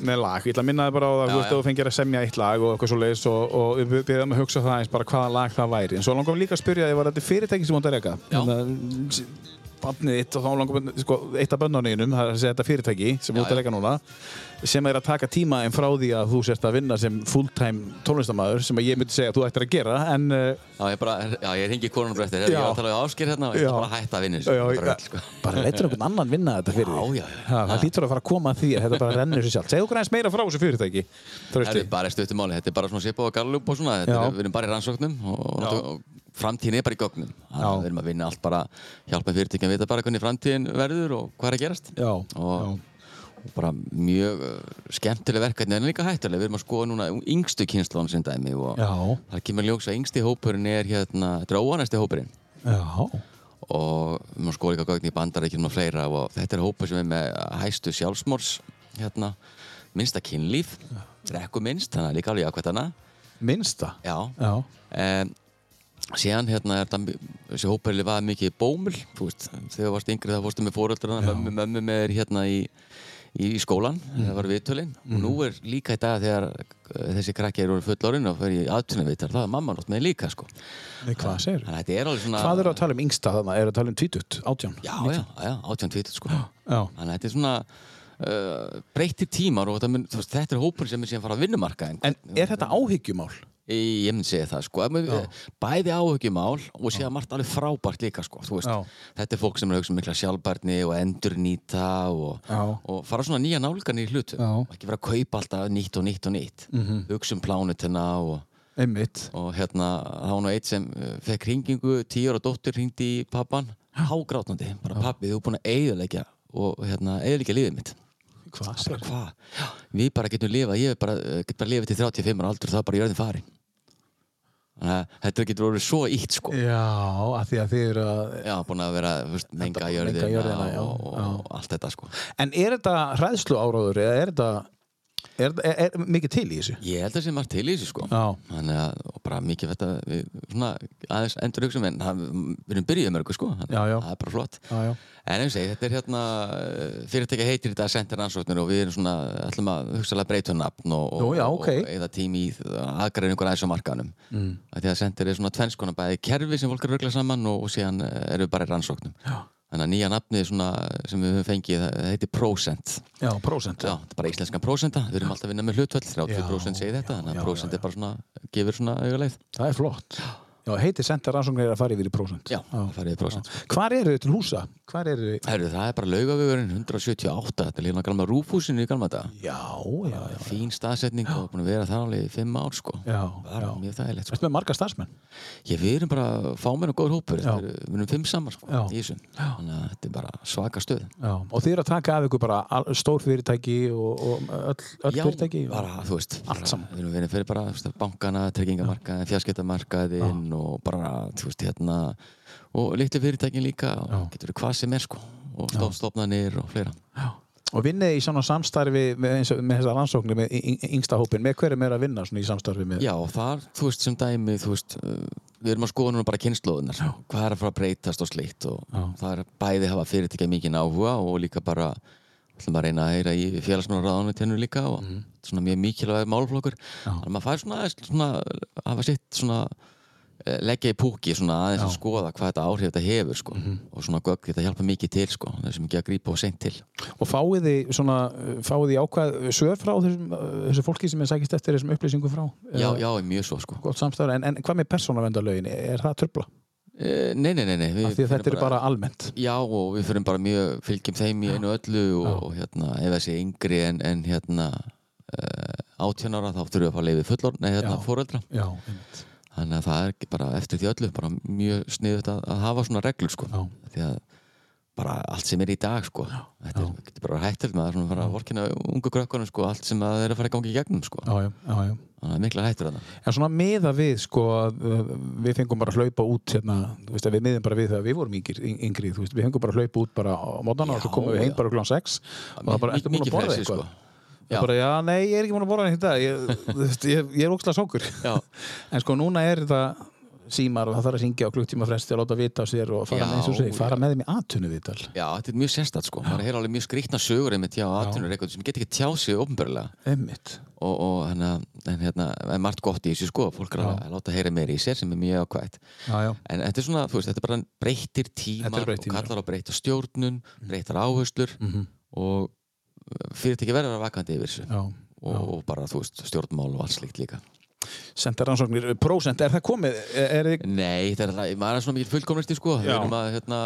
Speaker 1: með lag, ég ætla að minna þið bara á það
Speaker 2: Já,
Speaker 1: þú veist
Speaker 2: já.
Speaker 1: að þú fengir að semja eitt lag og eitthvað svo leiðis og, og við beðum að hugsa það eins bara hvaða lag það væri en svo langum líka að spyrja því var þetta fyrirtæki sem hún það reyka
Speaker 2: Já.
Speaker 1: Hérna, barnið þitt og þá langum sko, eitt af bönnarneginum, það er að segja þetta fyrirtæki sem
Speaker 2: Já,
Speaker 1: hún það
Speaker 2: já.
Speaker 1: reyka núna sem er að taka tíma en frá því að þú sérst að vinna sem fulltime tónlistamæður sem að ég myndi segja að þú ættir að gera en uh,
Speaker 2: Já, ég bara, já, ég ringi konunum eftir, herri,
Speaker 1: Já.
Speaker 2: ég var að tala við ásker hérna og ég
Speaker 1: Já.
Speaker 2: ætla bara að hætta að vinna þessu.
Speaker 1: Já,
Speaker 2: Bara
Speaker 1: já.
Speaker 2: öll, sko.
Speaker 1: bara leitur einhvern annan vinna þetta fyrir
Speaker 2: Já,
Speaker 1: þig.
Speaker 2: já, já.
Speaker 1: Ha, það lítur að fara að koma að því að þetta bara rennur sér sjálf segðu okkur aðeins meira frá þessu fyrirtæki
Speaker 2: Það
Speaker 1: Trausti.
Speaker 2: er bara stuttum máli, þetta er bara svona sipað á Gallup og svona, þetta
Speaker 1: Já.
Speaker 2: er, við erum bara í rannsóknum og, og,
Speaker 1: Já.
Speaker 2: náttúrulega- og framtíðin er bara í gögnum. Þannig
Speaker 1: Já.
Speaker 2: að við erum að vinna allt bara, hjálpa fyrirtækjum að vita bara hvernig framtíðin verður og hvað er að gerast.
Speaker 1: Já,
Speaker 2: og, og bara mjög uh, skemmtileg verkefni en líka hættuleg, við erum að skoða núna yngstu kynslón sem dæmi og
Speaker 1: Já.
Speaker 2: það kemur ljóks að yngsti hópurinn er hérna, þetta er óanæsti hópurinn
Speaker 1: já,
Speaker 2: og við erum að skoða líka gögn í bandaríkjum og fleira og þetta er hópur sem er með hæstu sjálfsmórs hérna, minnsta kynlíf, drekku minnst þannig að líka alveg jákvæmt hana
Speaker 1: minnsta
Speaker 2: já,
Speaker 1: já,
Speaker 2: um, síðan hérna er það þessi hópur lifaði mikið í bómul þú veist, þegar þú varst yngri þá fórstu með fóröldrana mömmu, mömmu með þér hérna í, í skólan,
Speaker 1: Mm.
Speaker 2: það var viðtölin og nú er líka í dag þegar eh, þessi krakki eru orðin fullárin og fer í aðtunum viðtal það er mamma nátt með líka sko
Speaker 1: Nei, hvað segir
Speaker 2: þannig að þetta er alveg svona
Speaker 1: hvað eru að tala um yngsta þarna, eru að tala um tvítut, átján
Speaker 2: já, já, já, 18-20 sko
Speaker 1: já,
Speaker 2: þannig að þetta er svona uh, breytir tímar og þetta, mun, þú veist, þetta er hópur sem er síðan fara að vinnumarka
Speaker 1: en er þetta áhyggjumál?
Speaker 2: Í- Ég myndi segja það sko Ef maður- Bæði áhugjumál og séða margt alveg frábært líka sko Þú veist,
Speaker 1: Já.
Speaker 2: Þetta er fólk sem er að hugsa um mikla sjálfbærni og endurnýta og,
Speaker 1: Já.
Speaker 2: og fara svona nýja nálgan í hlutum
Speaker 1: Já. Mhm.
Speaker 2: Og ekki vera að kaupa alltaf nýtt og nýtt og nýtt mm -hmm. hugsa um plánutina og,
Speaker 1: einmitt
Speaker 2: og hérna þá var nú eitt sem eh, fekk hringingu tíu ára dóttir hringdi í pappan hágrátnandi, bara pappi þú er búin að eigðulegja og hérna eigðulegja lífið mitt
Speaker 1: hvað
Speaker 2: bara
Speaker 1: segir
Speaker 2: hvað? Já, Við bara getum lifað, ég bara, eh, get bara lifað til 35 ára aldur og það er bara jörðin farin. Þannig að þetta getur orðið svo ítt sko.
Speaker 1: já, að því að þið eru að
Speaker 2: Já, búin að vera, þú veist, menga
Speaker 1: menga
Speaker 2: jörðina,
Speaker 1: jörðina, já,
Speaker 2: og, og,
Speaker 1: já.
Speaker 2: og allt þetta sko.
Speaker 1: en er þetta hræðslu áráður eða er þetta er, er, er mikið til í þessu?
Speaker 2: Ég held að það sé margt til í þessu sko.
Speaker 1: Já.
Speaker 2: Þannig að, og bara mikið þetta, við svona aðeins endur hugsa um, en það, við erum byrjuð mörgu sko. Þannig
Speaker 1: Já,
Speaker 2: að
Speaker 1: já.
Speaker 2: Það er bara flott.
Speaker 1: Já, já.
Speaker 2: En eins og ég, segi, þetta er hérna, eh, fyrirtækja heitir þetta Center Rannsóknir og við erum svona, ætlum að hugsalega breyta um nafn og, og,
Speaker 1: Nú, já, ókei.
Speaker 2: og eða tími í aðgreiningur aðeins á markaðanum. Mm. Því að Center er svona tvennskona bæði kerfi sem fólk er að rögla saman og, og síðan eh, erum við bara í rannsóknum. Já. Þannig að nýja nafnið svona, sem við höfum fengið, það heitir Procent.
Speaker 1: já, prósent
Speaker 2: Já, þetta er bara íslenskan prósenta, við erum alltaf að vinna með hlutvöld, 30% segir þetta,
Speaker 1: Já,
Speaker 2: þannig
Speaker 1: já,
Speaker 2: að
Speaker 1: já,
Speaker 2: prósent er bara svona, gefur svona auga leið.
Speaker 1: það er flott Já, heiti sendar rannsóknir er að fara yfir í prósent.
Speaker 2: Já, farið í prósent.
Speaker 1: Hvar eru þau til húsa? Hvar eru þau?
Speaker 2: Herru, það er bara laugavegurinn 178, þetta er líka gamla rúfhúsinu í gamla dag.
Speaker 1: Já, já, já.
Speaker 2: Fín staðsetning og búin að vera þar alveg í fimm ár, sko.
Speaker 1: Já,
Speaker 2: Það er
Speaker 1: já.
Speaker 2: mjög þægilegt, sko.
Speaker 1: Ertu með marga starfsmenn?
Speaker 2: Ég, við erum bara fámenn og góður hópur,
Speaker 1: Já.
Speaker 2: þetta eru- við erum fimm saman, sko,
Speaker 1: Já.
Speaker 2: í þessu. Þannig að þetta er bara svaka stöð.
Speaker 1: Já. Og þið eru að taka af ykkur bara al- stór fyrirtæki og, og öll, öll
Speaker 2: Já,
Speaker 1: fyrirtæki?
Speaker 2: bara, þú veist, bara,
Speaker 1: saman.
Speaker 2: við erum verið fyrir bara þú veist, bankana, tryggingamarkaðin, fjarskiptamarkaðin og bara, þú veist, hérna og litlu fyrirtækin líka og
Speaker 1: Já.
Speaker 2: getur við hvað sem er, sko og stofstofnanir og fleira
Speaker 1: Og vinnið í svona samstarfi með, eins og, með þessar rannsóknir með yng- yngsta hópin, með hverjum er að vinna svona í samstarfi með?
Speaker 2: Já, og þar, þú veist, sem dæmi, þú veist uh, við erum að skoða núna bara kynnslóðunar hvað er að fara að breytast og slikt og
Speaker 1: Já.
Speaker 2: það er bæði hafa fyrirtækja mikið áhuga og líka bara ætlum að reyna að heyra í félagsmálaráðunitinu líka og
Speaker 1: Mhm.
Speaker 2: svona mjög mikilvæg málflokkur þannig að maður fær svona, aðeins svona hafa sitt svona eh, leggja í púki svona aðeins að skoða hvað þetta áhrif þetta hefur sko
Speaker 1: Mhm.
Speaker 2: og svona gögg þetta hjálpa mikið til sko þessum ekki að grípa og seint til
Speaker 1: Og fáið þið svona, uh, fáið þið ákvað sög frá þessum, uh, þessu fólki sem er sækist eftir þessum upplýsingum frá?
Speaker 2: Já,
Speaker 1: Eða
Speaker 2: já, mjög svo sko
Speaker 1: Gott samstarfi, en, en hvað með persónavendarlögin? Er það tröfla?
Speaker 2: Eh, Nei, nei, nei, nei við
Speaker 1: Því að
Speaker 2: finnum
Speaker 1: þetta er bara almennt.
Speaker 2: Já og við fyrir bara mjög fylgjum þeim í einu öllu og, og hérna ef þessi yngri en, en hérna uh, 18 ára þá þurfum við að fá leiði fullorn nei hérna
Speaker 1: Já.
Speaker 2: fóreldra
Speaker 1: Já, einmitt.
Speaker 2: þannig að það er ekki bara eftir því öllu bara mjög sniðut að, að hafa svona reglur sko
Speaker 1: Já.
Speaker 2: því að bara allt sem er í dag sko þetta er þetta er bara hættilegt maður er svona að fara að vorkina ungu krökkunum sko allt sem að þeir eru að fara að gangi í gegnum sko
Speaker 1: Já, já, já, já.
Speaker 2: þannig að mikla hættur þarna
Speaker 1: En svona miða við, sko, að, uh, við fengum bara að hlaupa út hérna, þú veist að við miðum bara við þegar við vorum yngir, yng- yngri, þú veist, við fengum bara að hlaupa út bara á mótana og
Speaker 2: Já,
Speaker 1: svo komum við heim
Speaker 2: já.
Speaker 1: bara klán 6 og það bara,
Speaker 2: Mik-
Speaker 1: ertu múin að
Speaker 2: mikið
Speaker 1: borða
Speaker 2: frelsi,
Speaker 1: eitthvað?
Speaker 2: sko.
Speaker 1: Já.
Speaker 2: Já.
Speaker 1: Bara, já, nei, ég er ekki múin að borða neitt í dag, ég, þú veist, ég, ég er ókslega sókur.
Speaker 2: Já.
Speaker 1: en sko, núna er þetta símar og það þarf að syngja á klukktíma fresti og láta vita á sér og fara,
Speaker 2: Já,
Speaker 1: eins og segir,
Speaker 2: já.
Speaker 1: fara með þeim í atunni viðtal.
Speaker 2: Já, þetta er mjög sérstætt sko, maður heyr alveg mjög skrýtna sögur einmitt hjá atvinnur eitthvað sem get ekki tjá sig ofnbörlega
Speaker 1: Emmitt.
Speaker 2: og, og hérna, en hérna er margt gott í þessu sko, fólk er að að láta heyra meira í sér sem er mjög ákvæmt
Speaker 1: Já, já.
Speaker 2: en þetta er svona, þú veist, þetta er bara breytir
Speaker 1: Þetta
Speaker 2: tímar
Speaker 1: er breytt tímar. Mhm.
Speaker 2: og kallar á breyta stjórnun, breytar áherslur og fyrirtæki verður að vakandi yfir þessu
Speaker 1: Já.
Speaker 2: og, og bara, þú veist, stjórnmál og allt slíkt líka
Speaker 1: Sendar rannsóknir, prósent, er það komið? Er, er, þið-
Speaker 2: Nei, þetta er, það- maður er svona mikið fullkomnisti sko, við
Speaker 1: Já.
Speaker 2: erum að hérna,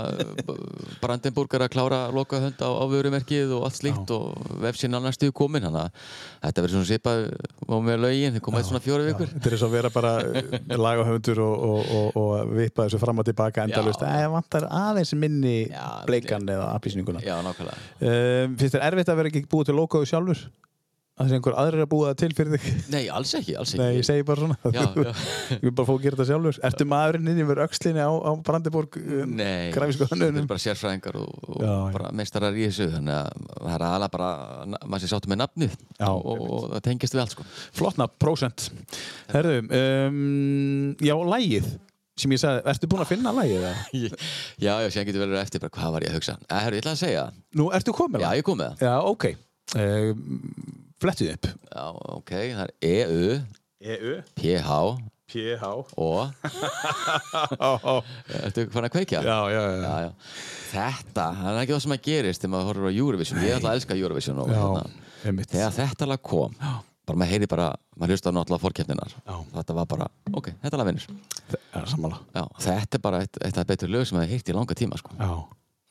Speaker 2: b- Brandenburg er að klára loka hönd á, á vörumerkið og allt slíkt og vefsinn annars stíðu komin, þannig að þetta verður svona svipað og með lögin, þið koma eitt svona fjóra vikur
Speaker 1: Þetta er eins og að vera bara eh, lagahöfundur og, og, og, og vippa þessu fram og tilbaka endalust.
Speaker 2: Já.
Speaker 1: Það vantar aðeins minni
Speaker 2: Já,
Speaker 1: bleikan eða apísninguna.
Speaker 2: Já, nákvæmlega
Speaker 1: Um, finnst þér erfitt að vera ekki búið til lokaðu sjálfur? Að þessi einhver aðrir að búa það til fyrir þig?
Speaker 2: Nei, alls ekki, alls ekki
Speaker 1: Nei, ég segi bara svona.
Speaker 2: Já, já.
Speaker 1: Ég vil bara fá að gera þetta sjálfur. Ertu maðurinn inn yfir öxlinni á, á Um, Brandiborg?
Speaker 2: Nei,
Speaker 1: Grafísku
Speaker 2: Þetta
Speaker 1: hönnunum?
Speaker 2: er bara sérfræðingar og, og
Speaker 1: Já, já.
Speaker 2: bara meistarar í þessu þannig að það er aðalega bara na- maður sé sáttum með nafnið
Speaker 1: Já,
Speaker 2: og, og, og það tengist við allt sko
Speaker 1: Flottna, prósent. Herðu, um, já, lægið sem ég sagði, ertu búin að finna lægið? eða?
Speaker 2: Já, já, síðan getur verið eftir bara hvað var ég að hugsa Eh, Herru, ég ætla að segja, það.
Speaker 1: Nú, ertu komin?
Speaker 2: já, ég kom með það
Speaker 1: Já, ok. Um, flettið upp.
Speaker 2: Já, ok, það er EU,
Speaker 1: EU,
Speaker 2: PH
Speaker 1: PH
Speaker 2: og Ertu fann að kveikja?
Speaker 1: Já, já,
Speaker 2: já,
Speaker 1: já
Speaker 2: já. Þetta, það er ekki það sem að gerist þegar maður horfir á Eurovision, ég ætla að elska Eurovision og
Speaker 1: Já,
Speaker 2: hérna
Speaker 1: einmitt
Speaker 2: þegar þetta lag kom bara maður heyri bara, maður hlusta á náttúrulega fórkeppninar þetta var bara, ok, þetta lag vinnur
Speaker 1: Það er sammála
Speaker 2: Já, þetta er bara eitt, eitt af betur lög sem ég hef heyrt í langa tíma sko.
Speaker 1: Já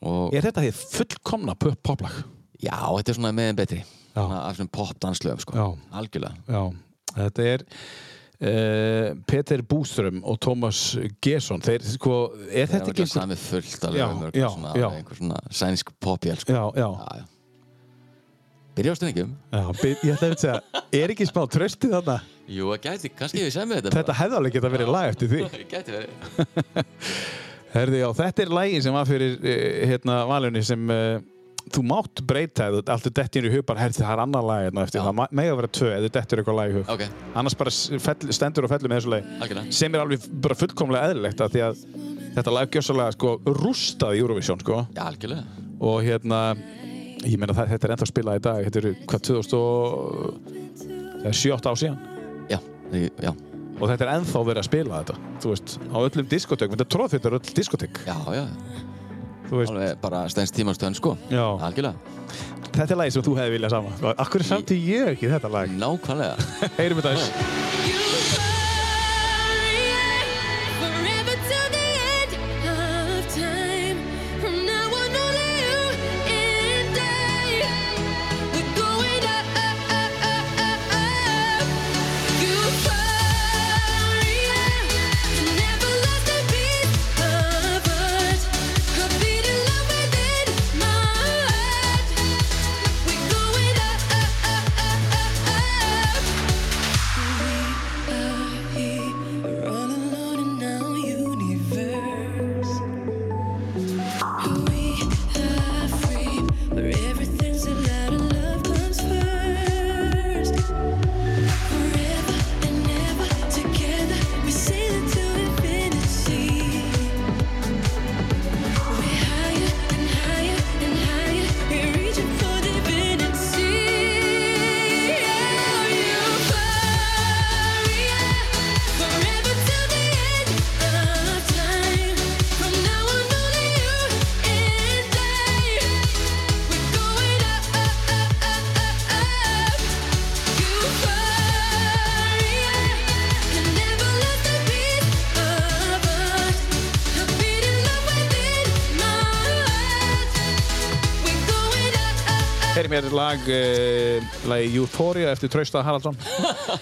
Speaker 2: og
Speaker 1: Er þetta því fullkomna pop- poplag?
Speaker 2: já, þetta er svona meðin betri svona af svona popdanslögum sko.
Speaker 1: Já.
Speaker 2: algjörlega
Speaker 1: Já Þetta er uh, Peter Búström og Thomas Gesson Þeir, sko, er þetta
Speaker 2: ekki
Speaker 1: ekki einhver
Speaker 2: sami fullt alveg
Speaker 1: Já,
Speaker 2: um mörg
Speaker 1: já,
Speaker 2: svona,
Speaker 1: já.
Speaker 2: einhver svona sænsk popjál sko.
Speaker 1: Já, já,
Speaker 2: já, já. byrja á strengjum
Speaker 1: já by- Ég ætla að segja, er ekki smá tröstið þarna?
Speaker 2: jú, það gæti, kannski við semmi þetta
Speaker 1: Þetta hefði alveg geta verið lag eftir því
Speaker 2: bara. gæti verið
Speaker 1: Herði, já, þetta er lægin sem var fyrir eh, hérna, valunni sem uh, þú mátt breyta eða allt er dettin í hug bara herði það er annar lag hérna eftir
Speaker 2: Já.
Speaker 1: það ma- mega vera tvö eða dettur eitthvað lag í hug
Speaker 2: ok,
Speaker 1: annars bara s- fell, stendur og fellur með þessu lag
Speaker 2: algjörlega
Speaker 1: sem er alveg bara fullkomlega eðlilegt af því að þetta lag gjössalega sko rústaði Eurovision sko
Speaker 2: já, algjörlega
Speaker 1: og hérna ég meina það, þetta er ennþá spilað í dag þetta eru hvað 2007 ár síðan
Speaker 2: já, því- já,
Speaker 1: og þetta er ennþá verið að spila þetta þú veist á öllum diskotek þetta tróð þetta er öll diskotek
Speaker 2: já, já
Speaker 1: þú veist
Speaker 2: alveg bara stænst tímastöðan sko
Speaker 1: Já.
Speaker 2: algjörlega,
Speaker 1: Þetta er lagið sem þú hefði viljað sama. Akkur samti ég ekki þetta lag?
Speaker 2: nákvæmlega
Speaker 1: Heyrum við þess.
Speaker 4: You worry, yeah, for
Speaker 1: Heyrim ég lag, uh, lagi Euphoria eftir Trausta Haraldsson uh,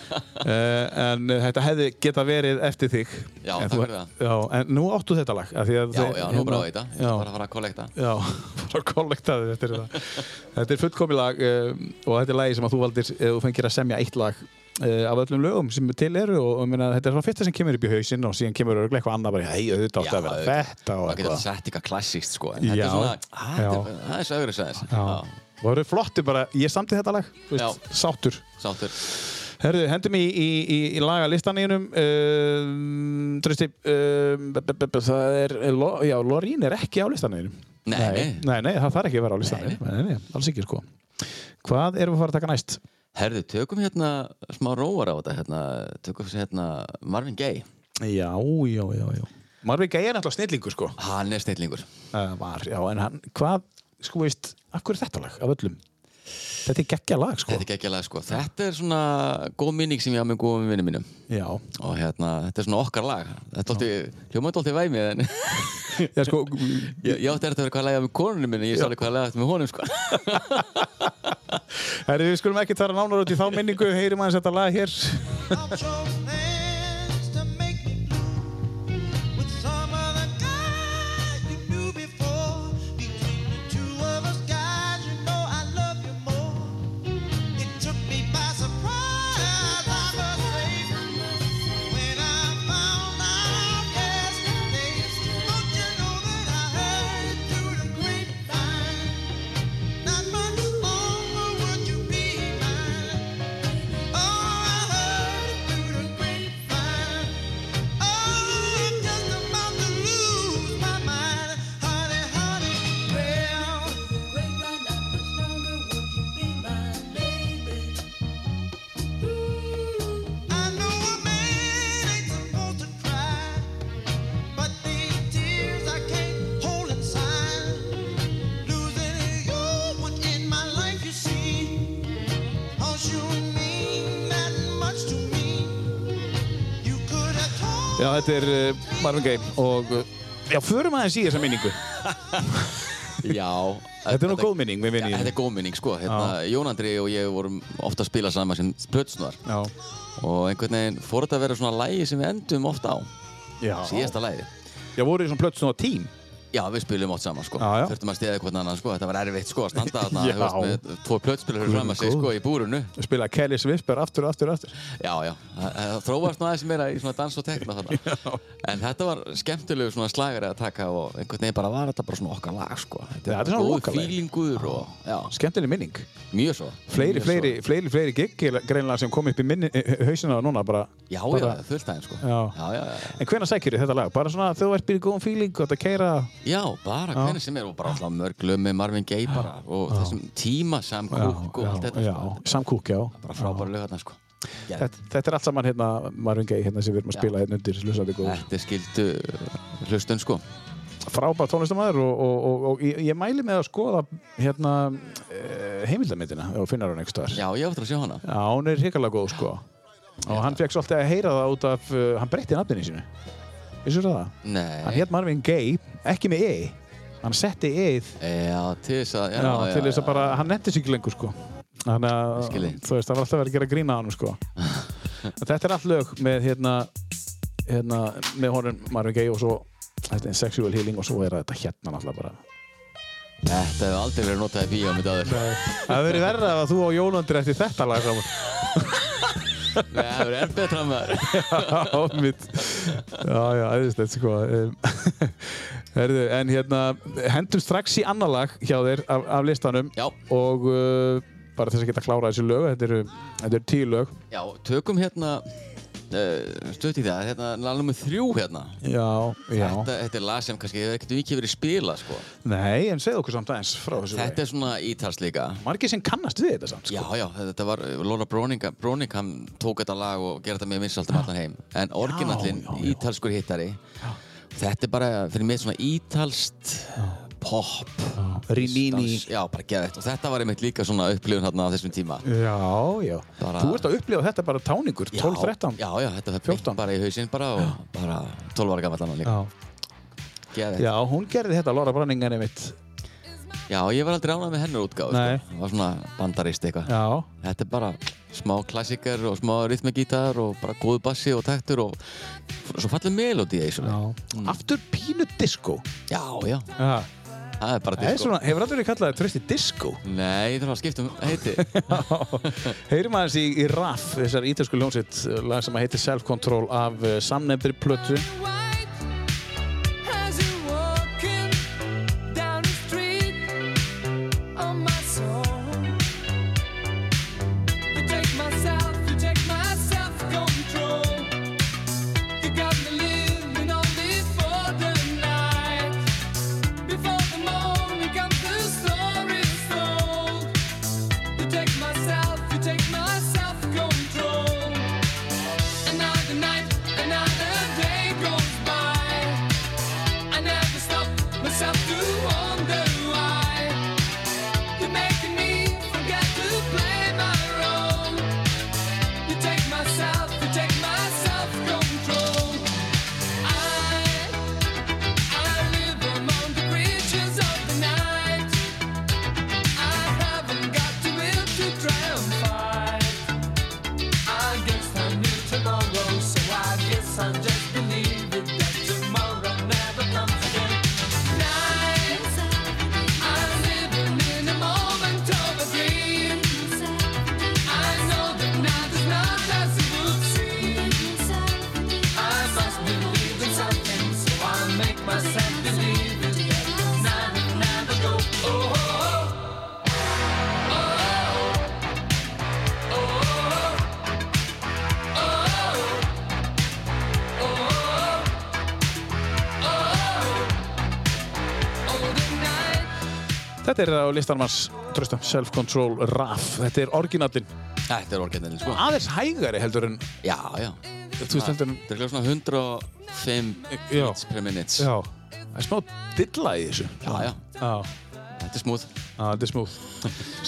Speaker 1: En eh, þetta hefði geta verið eftir þig
Speaker 2: Já,
Speaker 1: en
Speaker 2: takk
Speaker 1: þú-
Speaker 2: fyrir það.
Speaker 1: Já, en nú áttu þetta lag af því að
Speaker 2: Já,
Speaker 1: þið-
Speaker 2: já, nú
Speaker 1: hérna-
Speaker 2: bara á þetta. Ég
Speaker 1: Já,
Speaker 2: ætla bara að fara að kollekta.
Speaker 1: já, bara kollektaði eftir þetta Þetta er fullkomi lag uh, og þetta er lagi sem að þú valdir eh, þú fengir að semja eitt lag uh, af öllum lögum sem til eru og, og meina, þetta er svona fyrsta sem kemur upp í hausinn og síðan kemur örugglega eitthvað annað bara, hei, þetta átti að vera þetta og
Speaker 2: Það getur
Speaker 1: eitthvað
Speaker 2: sett eitthvað klassíst, sko. en Þetta
Speaker 1: Já,
Speaker 2: er svona, "Ah, þetta
Speaker 1: já.
Speaker 2: er- það er sögur þess aðeins.
Speaker 1: Já. Og það eru flotti bara, ég samti þetta lag, þú veist,
Speaker 2: Já.
Speaker 1: sáttur.
Speaker 2: Sáttur.
Speaker 1: Herðu, hendum í, í, í, í lagalistan í hennum. Um, Trösti, um, b- b- b- b- það er, er Lo- já, Lorín er ekki á listan í hennum.
Speaker 2: Nei, nei.
Speaker 1: nei. Nei, það þarf ekki að vera á listan í hennum. Nei, nei, alls ekki, sko. Hvað erum við að fara að taka næst?
Speaker 2: Herðu, tökum hérna smá róar á þetta, hérna, tökum þessi hérna Marvin Gaye.
Speaker 1: Já, já, já, já. Marvin Gaye er náttúrulega snillingur, sko.
Speaker 2: Hann er snillingur.
Speaker 1: Uh, var, já, en hann, hvað, sko veist, af hverju er þetta lag af öllum? Þetta er geggja lag, sko.
Speaker 2: Þetta er geggjalega, sko. Þetta er svona góð minning sem ég hafa með góðum vinnum mínum.
Speaker 1: Já.
Speaker 2: Og hérna, þetta er svona okkar lag. Þetta er alltaf, hljómaði alltaf væmið, en
Speaker 1: Já, sko,
Speaker 2: ég, ég átti eftir að vera hvað að lega með konunum minni, ég sá alveg hvað að lega eftir með honum, sko.
Speaker 1: Herri, við skulum ekki fara nánar út í þá minningu, heyrim aðeins þetta lag hér.
Speaker 3: Not much longer would you be mine. Oh, I heard it through the grapevine. Oh, I'm just about to lose my mind. Honey, honey, well, I know a man ain't supposed to cry, but these tears I can't hold inside. Losing you within my life, you see. Cause you mean that much to me. You could have told
Speaker 1: Já, þetta er uh, Marvin Gaye og uh, já, förum aðeins í þessa minningu.
Speaker 2: Já.
Speaker 1: Þetta er nú góð minning með
Speaker 2: Já, þetta
Speaker 1: vinni.
Speaker 2: er góð minning, sko. Hérna, Jón Andri og ég vorum ofta að spila saman sem plötsnúar
Speaker 1: Já,
Speaker 2: og einhvern veginn fór þetta að vera svona lægi sem við endum ofta á,
Speaker 1: já.
Speaker 2: síðasta lægi.
Speaker 1: Já, voru þið svona plötsum svona tím.
Speaker 2: Já, við spilum oft saman, sko.
Speaker 1: Já, já.
Speaker 2: Þurftum að stiða hvernig annan, sko. Þetta var erfitt, sko, að standa þarna,
Speaker 1: Já.
Speaker 2: þú veist, með tvo plötspilar fyrir fram að
Speaker 1: Guð
Speaker 2: sig,
Speaker 1: minn
Speaker 2: sko, í búrunu.
Speaker 1: Spila Kelly Swisper aftur og aftur og aftur.
Speaker 2: Já, já. Það- Það þróast nú aðeins meira í svona dans og tekna þarna. En þetta var skemmtilegu svona slagari að taka og einhvern veginn bara var þetta bara svona okkar lag, sko.
Speaker 1: Já, þetta er svona okkar lag.
Speaker 2: fílingur og, já,
Speaker 1: Skemmtileg minning.
Speaker 2: mjög svo.
Speaker 1: Fleiri,
Speaker 2: Mjög svo.
Speaker 1: fleiri, fleiri, fleiri gig greinlega sem kom upp í minni, eh, hausina núna bara.
Speaker 2: Já, já,
Speaker 1: bara,
Speaker 2: fullt aðeins, sko.
Speaker 1: Já.
Speaker 2: já, já. já.
Speaker 1: En hvenær sækir þið þetta lag? Bara svona þegar þú ert byrjið góðum feeling og þetta keira.
Speaker 2: Já, bara hvernig sem er og bara alltaf mörg lög með Marvin Gaye bara og þessum tíma samkúk og allt þetta
Speaker 1: já,
Speaker 2: sko.
Speaker 1: samkúk, já.
Speaker 2: Bara frábæra lög þarna sko.
Speaker 1: Þetta, þetta er allt saman hérna Marvin Gaye hérna sem við erum að spila hérna undir Slusaði góður.
Speaker 2: Þetta er skildu hlustun sko.
Speaker 1: frábær tónlistamæður og, og, og, og ég, ég mæli með að skoða hérna eh, heimildamindina og finnar hún einhvers staðar.
Speaker 2: Já, ég áttur að sjá hana.
Speaker 1: Já, hún er hrikalega góð sko og hann fekk svolítið að heyra það út af uh, hann breytti nafninu sínu Vissur það? Hann
Speaker 2: Nei.
Speaker 1: hétt Marvin Gaye, ekki með E hann setti E-ið
Speaker 2: Já, til þess að...
Speaker 1: já, til þess að bara, hann nefndi sig ekki lengur sko þannig að,
Speaker 2: skil þig.
Speaker 1: þú veist, það var alltaf verið að gera grína á hann sko En þetta er allt lög með hérna, hérna með honum Marvin Gaye og svo þetta er sexual healing og svo er þetta hérna náttúrulega bara
Speaker 2: Þetta hefur aldrei verið notað í bíómynd áður. Nei,
Speaker 1: Það hefur verið verra að þú og Jólandur eftir þetta lag saman.
Speaker 2: það hefur verið enn betra með þér.
Speaker 1: Já, mitt. Já, já, æðislegt sko. Um, Herðu, en hérna, hendum strax í annar lag hjá þér af, af listanum
Speaker 2: Já.
Speaker 1: og uh, bara þess að geta klárað þessi lög, þetta eru, þetta eru tíu lög.
Speaker 2: Já, tökum hérna... Uh, Stöðt í það, hérna, lag nummer þrjú hérna.
Speaker 1: Já, já.
Speaker 2: Þetta, þetta er lag sem kannski hefur ekkert mikið verið spilað sko.
Speaker 1: Nei, en segð okkur samt aðeins frá þessu
Speaker 2: Þetta
Speaker 1: lagi.
Speaker 2: er svona ítals líka.
Speaker 1: Margir sem kannast við þetta samt, sko.
Speaker 2: Já, já, þetta var Laura Broning, Broning hann tók þetta lag og gerði þetta með vinsalt um allan heim en orginallinn,
Speaker 1: já, já.
Speaker 2: ítalskur hittari þetta er bara fyrir mig svona ítalst pop
Speaker 1: sko. Rimini.
Speaker 2: já, bara geðveikt. og þetta var einmitt líka svona upplifun hérna á þessum tíma
Speaker 1: Já, já.
Speaker 2: Bara-
Speaker 1: Þú ert að upplifa þetta bara táningur,
Speaker 2: Já,
Speaker 1: 12-13.
Speaker 2: Já, já, þetta var
Speaker 1: 14.
Speaker 2: beint bara í hausinn bara og bara 12 ára gammal hann líka
Speaker 1: Já.
Speaker 2: geðveikt.
Speaker 1: Já, hún gerði þetta, Laura Branningan einmitt
Speaker 2: Já, ég var aldrei ánað með hennar útgáð
Speaker 1: Nei.
Speaker 2: sko. Það var svona bandarist eitthvað
Speaker 1: Já,
Speaker 2: Þetta er bara smá klassíkar og smá rithmagítar og bara góðu bassi og taktur og svo fallið melódi í þessu
Speaker 1: já. Mm. Aftur pínu disco.
Speaker 2: já, já,
Speaker 1: Já.
Speaker 2: það er bara
Speaker 1: Það er
Speaker 2: disco
Speaker 1: svona, hefur aldrei verið kallað trösti disco.
Speaker 2: Nei, ég þarf að skipta um heiti
Speaker 1: Heyrum aðeins í, í RAF, þessar ítalsku ljónsitt, lag sem heitir Self Control af uh, samnefndri plötu.
Speaker 4: Oh, Take my self-control Another night, another day goes by. I never stop myself to wonder why you're making me forget to play my role. You take myself, you take my self control. I, I live among the creatures of the night. I haven't got the will to try and fight. I guess I knew tomorrow, so I guess I just believe it that tomorrow never comes again. Night, I'm living in a moment of a dream. I know that night is not as it would seem. I must believe in something, so I make myself believe it that night will never go. Oh, oh, oh. Oh, oh, oh, oh.
Speaker 1: Þetta er á listanum hans trösta Self Control RAF. Þetta er orginallin.
Speaker 2: Þetta er orginalinn, sko
Speaker 1: Aðeins hægari heldur en,
Speaker 2: Já, já
Speaker 1: þú veist heldur en,
Speaker 2: Þetta er svona 105
Speaker 1: Já.
Speaker 2: beats per minutes
Speaker 1: já. Það er smá dilla í þessu.
Speaker 2: já, já.
Speaker 1: Já.
Speaker 2: Þetta er smúð
Speaker 1: Já, þetta er smúð.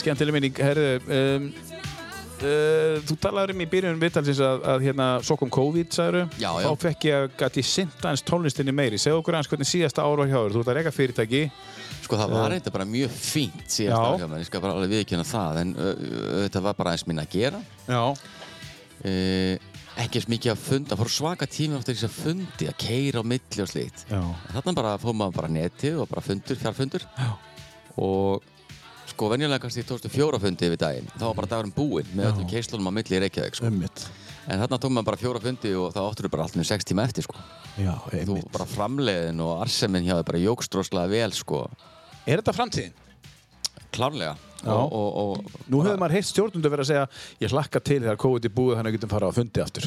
Speaker 1: Skemmtileg minning, herðu, um, uh, þú talaður um í byrjunum viðtalsins að, að hérna, svo kom COVID, sagður
Speaker 2: Já, já.
Speaker 1: Þá fekk ég að gæti sinnt aðeins tónlistinni meiri. Segð okkur aðeins hvernig síðasta ár var hjá þér. Þú ert að reyka fyrirtæki.
Speaker 2: Sko það var reynda bara mjög fínt
Speaker 1: Já.
Speaker 2: síðast ára hjá mér, ég skal bara alveg viðkynna það en ö, ö, þetta var bara aðeins mín að gera
Speaker 1: Já.
Speaker 2: e, ekki eins mikið að funda, fór svaka tími áttur þess að fundi, að keira á milli og slíkt.
Speaker 1: Já.
Speaker 2: Þannig bara fór maður bara á netið og bara fundur, fjarfundur
Speaker 1: Já.
Speaker 2: og sko venjulega kannski tókstu fjóra fundi yfir daginn, þá var bara dagurinn búinn með öllum keislunum á milli í Reykjavík sko.
Speaker 1: Ömmit.
Speaker 2: En þarna tók maður bara fjóra fundi og þá áttur þau bara alltaf sex tíma eftir sko.
Speaker 1: Já,
Speaker 2: Þú
Speaker 1: einmitt.
Speaker 2: bara framleiðin og arsemin hjá þau bara jókst rosalega vel sko,
Speaker 1: Er þetta framtíðin?
Speaker 2: klárlega.
Speaker 1: Já.
Speaker 2: Og, og, og,
Speaker 1: Nú hefur maður heilt stjórnundu verið að segja ég hlakka til þegar COVID er búið þannig að við getum fara á fundi aftur.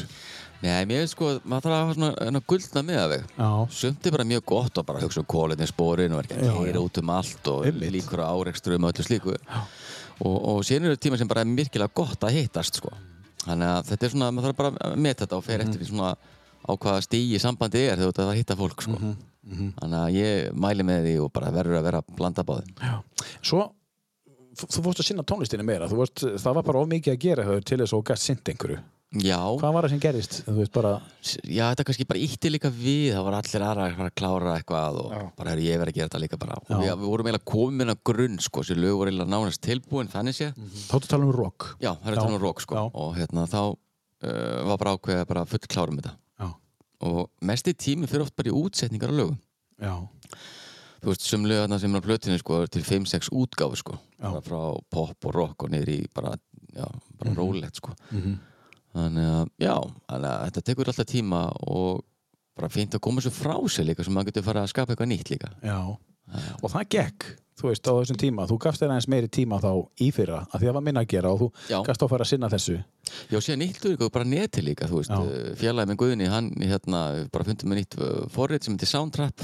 Speaker 2: Nei, mér finnst sko, maður þarf að hafa svona, svona guldna miðaveg.
Speaker 1: Já.
Speaker 2: Sumt er bara mjög gott og bara hugsa um kólinni spórin og er ekki
Speaker 1: Já,
Speaker 2: að keira út um allt og
Speaker 1: Einmitt.
Speaker 2: líkur á áreikstrum og öllu slíku. Og, og síðan eru tíma sem bara er virkilega gott að hittast sko. Þannig að þetta er svona, maður þarf bara að meta þetta og fer eftir því
Speaker 1: Mhm.
Speaker 2: svona á hvaða stígi sambandi er þegar þetta var að hitta fólk sko.
Speaker 1: Mhm,
Speaker 2: Þannig að ég mæli með því og bara verður að vera að blanda báðum.
Speaker 1: Já. Svo, þú- þú fórst að sinna tónlistinni meira. Þú Vorst, það var bara of mikið að gera hjá þér til þess að þú gæst sinnt einhverju.
Speaker 2: Já,
Speaker 1: Hvað var það sem gerist? Þú veist bara,
Speaker 2: já, þetta kannski bara ítti líka við, það var allir aðra að fara að klára eitthvað og bara hefur ég verið að gera þetta líka bara. Og
Speaker 1: Já.
Speaker 2: Við, við vorum eiginlega komin að grunn, sko, þessi lög voru eiginlega nánast tilbúin, þannig sé.
Speaker 1: þá ertu að tala um rock.
Speaker 2: Já, það er
Speaker 1: Já.
Speaker 2: þannig rók, sko.
Speaker 1: Já.
Speaker 2: Og hérna, þá uh, var bara ákveðið að bara full klára með þetta.
Speaker 1: Já.
Speaker 2: Og mesti tími fyrir oft bara í útsetningar á lögum.
Speaker 1: Já.
Speaker 2: Þú veist, sem lög þarna sem er á plötinu, sko, eru til 5-6 útgáfi, sko.
Speaker 1: Já.
Speaker 2: Bara frá pop og rock og niður í bara, já, bara
Speaker 1: Mhm.
Speaker 2: rólegt, sko. Þannig að, já, þannig að þetta tekur alltaf tíma og bara fínt að koma svo frá sig líka sem maður getur fara að skapa eitthvað nýtt líka.
Speaker 1: Já. Og það gekk, þú veist, á þessum tíma. Þú gafst þér aðeins meiri tíma þá í fyrra, að því það var minna að gera og þú
Speaker 2: Já.
Speaker 1: gafst á að fara að sinna þessu.
Speaker 2: Já, síðan nýttu ykkur bara neti líka,
Speaker 1: Já.
Speaker 2: þú veist, félagið minn Guðni, hann hérna, bara fundið með nýtt uh, forrit sem heitir Soundtrap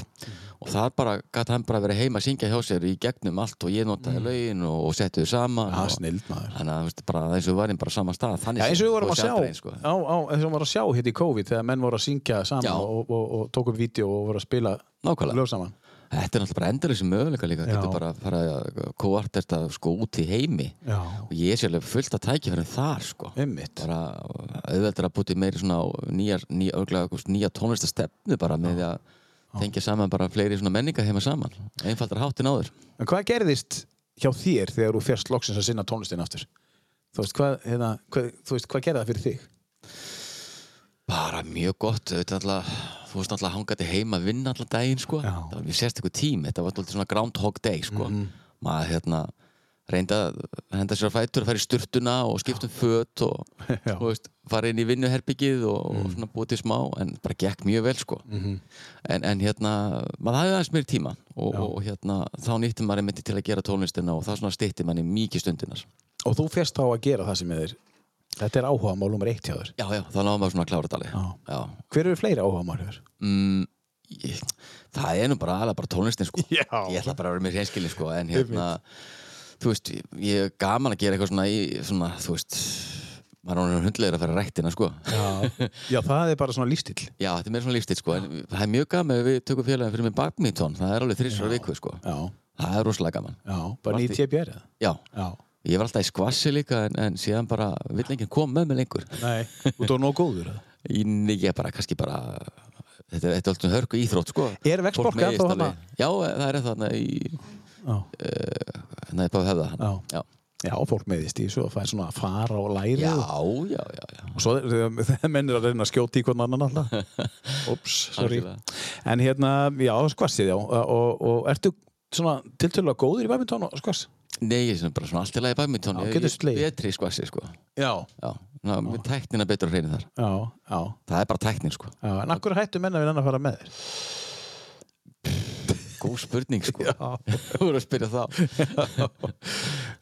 Speaker 2: og þar bara gæti hann bara verið heima að syngja hjá sér í gegnum allt og ég
Speaker 1: Mm.
Speaker 2: notaði lögin og, og setti þau saman.
Speaker 1: Það
Speaker 2: og-
Speaker 1: er snild, Ah, maður.
Speaker 2: Þannig að, þú veist, bara eins og við varum bara á sama stað. Þannig
Speaker 1: Já, eins og við vorum
Speaker 2: og
Speaker 1: að
Speaker 2: sjaldra eins,
Speaker 1: sjá,
Speaker 2: sko.
Speaker 1: á, á, eins og við vorum að sjá hitt í COVID þegar menn voru að syngja
Speaker 2: Já.
Speaker 1: saman og, og, og tók upp vídeo og voru að spila
Speaker 2: Nákvæmlega.
Speaker 1: lög saman.
Speaker 2: Þetta er náttúrulega bara endurlega sem möguleika líka,
Speaker 1: Já.
Speaker 2: getur bara að fara að kóart þetta sko út í heimi
Speaker 1: Já.
Speaker 2: og ég er sérlega fullt að tækja fyrir þar sko.
Speaker 1: Einmitt.
Speaker 2: bara eh, auðveldur að búti meiri svona á nýjar, nýja, örglega, nýja tónlistastefnu bara með því að tengja saman bara fleiri svona menninga heima saman einfaldar háttin áður
Speaker 1: En hvað gerðist hjá þér þegar þú fyrst loksins að sinna tónlistin aftur? Þú veist, hvað, hérna, hvað, þú veist, hvað gerði það fyrir þig?
Speaker 2: bara mjög gott auðvitað alltaf þú veist alltaf hangandi heima að vinna alltaf daginn sko
Speaker 1: Já. Mhm.
Speaker 2: það var mjög sérstakur tími þetta var alltaf svona groundhog day sko maður hérna reynda að henda sér á fætur fara í sturtuna og skipta um föt og
Speaker 1: Já. Mhm.
Speaker 2: þú veist, fara inn í vinnuherbyggið og, og svona búið til smá en bara gekk mjög vel sko en, en hérna, maður hafði aðeins meiri tíma og, og hérna, þá nýtti maður einmitt til að gera tónlistina og þá svona stytti manni mikið stundinar
Speaker 1: Og þú fyrst þá að gera það sem er Þetta er áhuga mál nummer eitt hjá þér
Speaker 2: já, já, þá náðum maður svona að klára dali
Speaker 1: Já.
Speaker 2: já.
Speaker 1: Hver eru fleiri áhuga mál hjá þér?
Speaker 2: Mm, ég, það er nú bara aðlega bara tónlistin sko
Speaker 1: Já.
Speaker 2: ég ætla bara að vera með reynskilin sko en hérna, þú veist, ég er gaman að gera eitthvað svona, í, svona þú veist maður er hundlegur að fara að ræktina sko
Speaker 1: Já. Já, það er bara svona lífstíll
Speaker 2: Já, þetta er meira svona lífstíl sko, en það er mjög gaman ef við tökum félagin fyrir mig badminton, það er alveg þrísvara viku sko,
Speaker 1: Já,
Speaker 2: það er rosalega gaman.
Speaker 1: já, bara nýtt ég björða
Speaker 2: Já,
Speaker 1: Já,
Speaker 2: ég var alltaf í skvassi líka en, en síðan bara vill enginn koma með mig lengur.
Speaker 1: nei, og þú er nóg góður eða?
Speaker 2: Í- Nei, ég bara kannski bara, þetta, þetta er alltaf hörku íþrótt sko.
Speaker 1: Er veggspokka
Speaker 2: Fólk meiðist
Speaker 1: ennþá þarna?
Speaker 2: alveg. Já, það er þarna í,
Speaker 1: Já,
Speaker 2: hérna í Páfi Höfða. þarna.
Speaker 1: Já. já fólk meðist í þessu og fær svona að fara og læri
Speaker 2: Já,
Speaker 1: og-
Speaker 2: já, já, já.
Speaker 1: og svo þeir mennir að reyna að skjóta í hvern annan alltaf Ups, sorry
Speaker 2: Algjörlega.
Speaker 1: En hérna, já, skvassið, já og, og, og ertu svona tiltölulega góður í badminton og skvass?
Speaker 2: Nei, ég er svona bara svona allt í lagi badminton,
Speaker 1: Já,
Speaker 2: ég,
Speaker 1: getur
Speaker 2: ég
Speaker 1: slegið.
Speaker 2: er betri í skvassi sko.
Speaker 1: Já,
Speaker 2: Já, ná, með tæknina betur að reyna þar.
Speaker 1: já, já,
Speaker 2: Það er bara tæknin sko.
Speaker 1: já En akkur hættu menna við hann að fara með þér?
Speaker 2: Góð spurning sko. Þú voru að spyrja þá.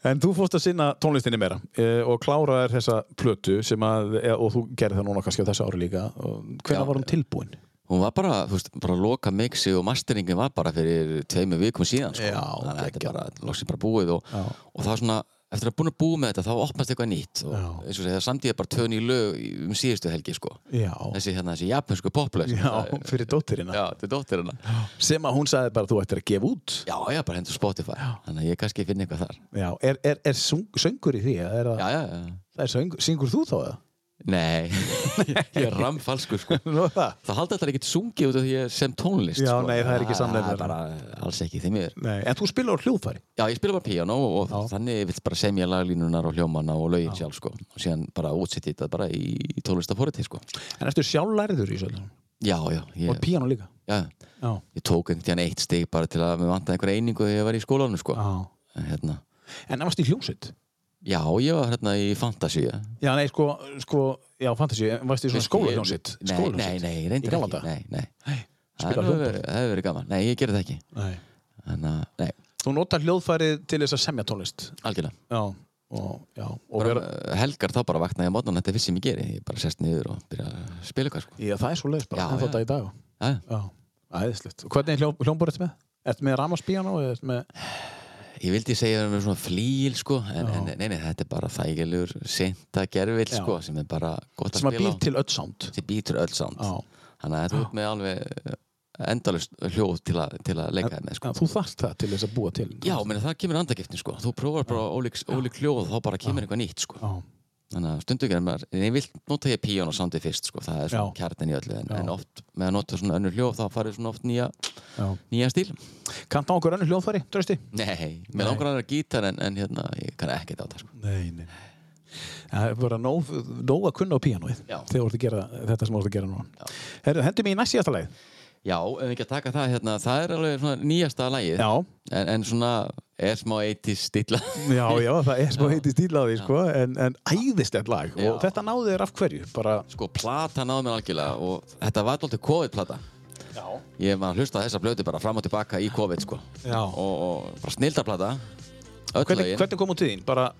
Speaker 1: En þú fórst að sinna tónlistinni meira eh, og kláraðir þessa plötu sem að, eh, og þú gerði það núna kannski á þessu ári líka
Speaker 2: Já.
Speaker 1: hvernig var hún tilbúin?
Speaker 2: Hún var bara, þú veist, bara loka mixi og masteringin var bara fyrir tveimur vikum síðan, sko.
Speaker 1: Já,
Speaker 2: Þannig að þetta
Speaker 1: geggjað.
Speaker 2: er bara, loksir bara búið og,
Speaker 1: Já.
Speaker 2: og það svona, eftir að búin að búið með þetta, þá opnast eitthvað nýtt og
Speaker 1: Já.
Speaker 2: eins og segja, samt ég bara tvö ný lög í- um síðustu helgi, sko.
Speaker 1: Já,
Speaker 2: Þessi hérna, þessi japansku poplaus.
Speaker 1: já fyrir dóttirina
Speaker 2: Já, þetta er dóttir hennar.
Speaker 1: sem að hún sagði bara þú ættir að gefa út
Speaker 2: Já, já, bara hendur Spotify. Þannig að ég kannski finn eitthvað þar.
Speaker 1: Já, er, er, er sung, söngur í því? eða Er
Speaker 2: Já,
Speaker 1: að,
Speaker 2: já, já.
Speaker 1: er söngur, syngur þú þá það?
Speaker 2: Nei, ég er ramfalskur, sko.
Speaker 1: Nú er það?
Speaker 2: Það haldi alltaf ekki sungið út af því ég sem tónlist,
Speaker 1: Já,
Speaker 2: sko.
Speaker 1: nei, það er ekki samnefnari.
Speaker 2: er bara alls ekki því miður.
Speaker 1: Nei, en þú spilar á hljóðfæri?
Speaker 2: Já, ég spila bara píano og
Speaker 1: Já.
Speaker 2: þannig vill bara semja laglínunar og hljómana og lögin sjálf sko og síðan bara útsetti þetta bara í, í tólestafóriti sko
Speaker 1: En ertu sjálflæriður í svolítið?
Speaker 2: Já, já,
Speaker 1: Og
Speaker 2: ég,
Speaker 1: píano líka?
Speaker 2: já,
Speaker 1: Já.
Speaker 2: ég tók einhvern tíðan eitt stig bara til að mér vantaði einhverja einingu þegar ég var í skólanum sko
Speaker 1: Já.
Speaker 2: en, hérna,
Speaker 1: En varst í hljómsveit?
Speaker 2: Já, ég var hérna í Fantasíu
Speaker 1: Já, nei, sko, sko já, fantasi, varst í svona skóla hljómsveit?
Speaker 2: Nei, nei, nei, ég reyndar ekki Nei, nei,
Speaker 1: Nei,
Speaker 2: það
Speaker 1: spila
Speaker 2: hefur
Speaker 1: hljóðfæri?
Speaker 2: verið, það hefur verið gaman Nei, ég gerði það ekki
Speaker 1: Nei.
Speaker 2: Þannig að, nei,
Speaker 1: Þú notar hljóðfærið til þess að semja tónlist?
Speaker 2: algjörlega
Speaker 1: Já. Og, já, og
Speaker 2: bara,
Speaker 1: vera,
Speaker 2: Helgar þá bara vaknaði á mótnan Þetta er vissi sem ég geri, ég bara sest niður og byrja að spila eitthvað sko
Speaker 1: já, það er svo leiðis bara,
Speaker 2: Já,
Speaker 1: en þá
Speaker 2: já.
Speaker 1: dag í dag.
Speaker 2: Já, já.
Speaker 1: Já, æðislegt. Og Hvernig hljó, hljómbor ertu með? Ertu með rámaspíano? Með...
Speaker 2: Ég vildi segja það með svona flíl sko, en, en nei, nei, þetta er bara þægilegur senta gerfill
Speaker 1: Já.
Speaker 2: sko, sem er bara gott að
Speaker 1: Sem að
Speaker 2: spila
Speaker 1: býr til öll sound?
Speaker 2: á sem býtur öll sound
Speaker 1: Já.
Speaker 2: þannig að þú ert með alveg endalust hljóð til að, til að leika þér með sko.
Speaker 1: Já, þú þarft það til þess að búa til.
Speaker 2: Já, meni, það kemur andagiftin sko, þú prófar bara ólík, ólík hljóð þá bara kemur eitthvað nýtt sko.
Speaker 1: Já.
Speaker 2: þannig að stundum gerir maður, en ég vil nota ég píón og soundið fyrst sko, það er svona
Speaker 1: Já.
Speaker 2: kjarnin í öllu en,
Speaker 1: Já.
Speaker 2: en oft með að nota svona önnur hljóð þá farið svona oft nýja,
Speaker 1: Já.
Speaker 2: nýja stíl
Speaker 1: Kanta á okkur önnur hljóðfæri, trösti?
Speaker 2: Nei, mér langar að vera gítar en, en hérna, ég kann ekkert á það sko.
Speaker 1: Nei, nei. Það er bara nóg, nóg að kunna á píanóið
Speaker 2: Já.
Speaker 1: þegar þú ert að gera þetta sem þú ert að gera núna. Herru, hendum í næst síðasta leið.
Speaker 2: Já, ef við ekki að taka það hérna, það er alveg svona nýjasta lagið
Speaker 1: Já.
Speaker 2: en, en svona er smá 80s stilla
Speaker 1: Já, já, það er smá heiti stíla á því, sko, en, en æðislegt lag.
Speaker 2: Já.
Speaker 1: Og þetta náði þér af hverju, bara...
Speaker 2: Sko, plata náði mér algjörlega og þetta var alltaf COVID-plata
Speaker 1: Já.
Speaker 2: Ég var að hlusta á þessa blötu bara fram og tilbaka í COVID, sko
Speaker 1: Já.
Speaker 2: Og, og bara snildarplata Öll
Speaker 1: Hvernig,
Speaker 2: lögin
Speaker 1: hvernig kom hún til þín? Bara,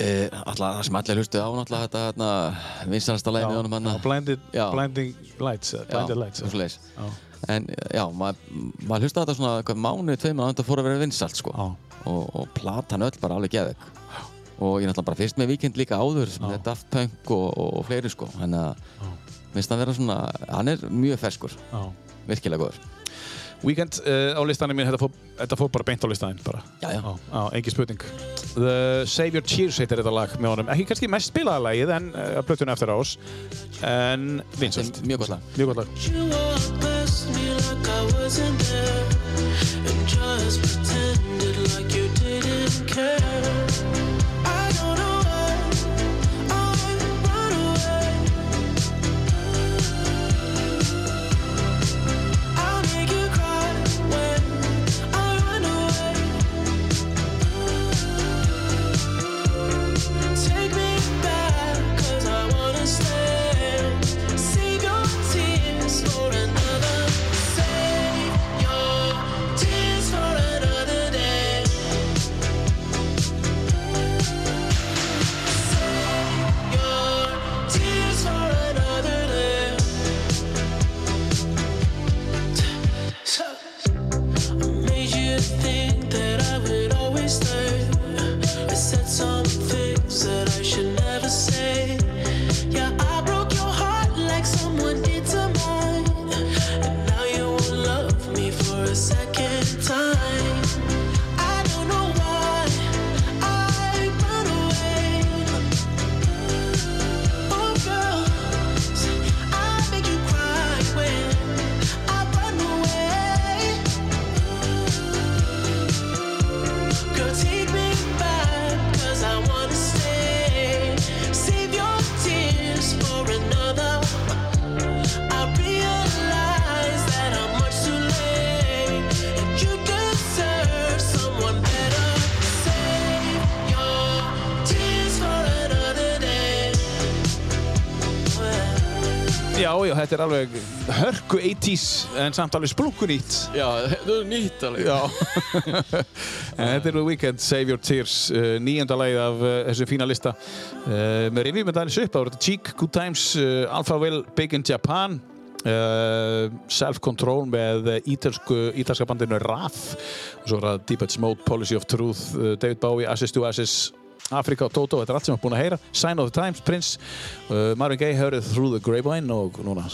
Speaker 2: Eh, Alla, það sem allir hlustu á, náttúrulega þetta hérna, vinsanasta lagið með honum hann
Speaker 1: já, blinded,
Speaker 2: Já. um
Speaker 1: blinding lights, eða blinded lights. eða-
Speaker 2: svoleiðis.
Speaker 1: Já.
Speaker 2: En já, maður mað hlusta þetta svona hvað, mánuði, tveimur að þetta fór að vera vinsalt sko.
Speaker 1: Já.
Speaker 2: og, og platan öll bara alveg geðvegg og ég náttúrulega bara fyrst með Víkend líka áður sem er Daft Punk og, og, og fleiri sko þannig að minnst hann vera svona hann er mjög ferskur,
Speaker 1: Já.
Speaker 2: virkilega góður
Speaker 1: Weekend uh, á listanum minn, þetta fór, þetta fór bara beint á listanum bara.
Speaker 2: Já, já.
Speaker 1: Á, á, engin spurning. The Save Your Tears heitir þetta lag með honum. Ekki kannski mest spilaða lagið en uh, blötuna eftir ás. En vinsöld.
Speaker 2: Þetta er mjög gott lag.
Speaker 1: Mjög gott lag.
Speaker 5: You walked past me like I wasn't there and just pretended like you didn't care. I don't know why I run away. I'll make you cry when I run away. Take me back, 'cause I wanna stay. Save your tears for another. Save your tears for another day. Save your tears for another day. So. Made you think that I would always stay. I said some things that I should never say. Yeah, I broke your heart like someone did to mine. And now you won't love me for a second time. I don't know why I run away. Oh girl, I make you cry when I run away. Girl, take me back, 'cause I wanna stay. Save your tears for another. I realize that I'm much too late, and you deserve someone better. Save your tears for another day.
Speaker 1: Já, já, þetta er alveg hörku 80s en samt alveg splunkunýtt.
Speaker 2: Já, þetta er nýtt alveg.
Speaker 1: Já. en þetta er The Weeknd, Save Your Tears, uh, nýjönda lagið af uh, þessu fína lista. Uh, með rivjum þetta aðeins upp, það voru þetta Cheek, Good Times, uh, Alpha Will, Big in Japan, uh, Self Control með ítalsku, ítalska bandinu RAF, og svo er það Deepest Mode, Policy of Truth, uh, David Bowie, Assis to Assis, Afrika og Toto, þetta er allt sem við erum búin að heyra Sign of the Times, Prince, uh, Marvin Gaye hörið Through the Grapevine og núna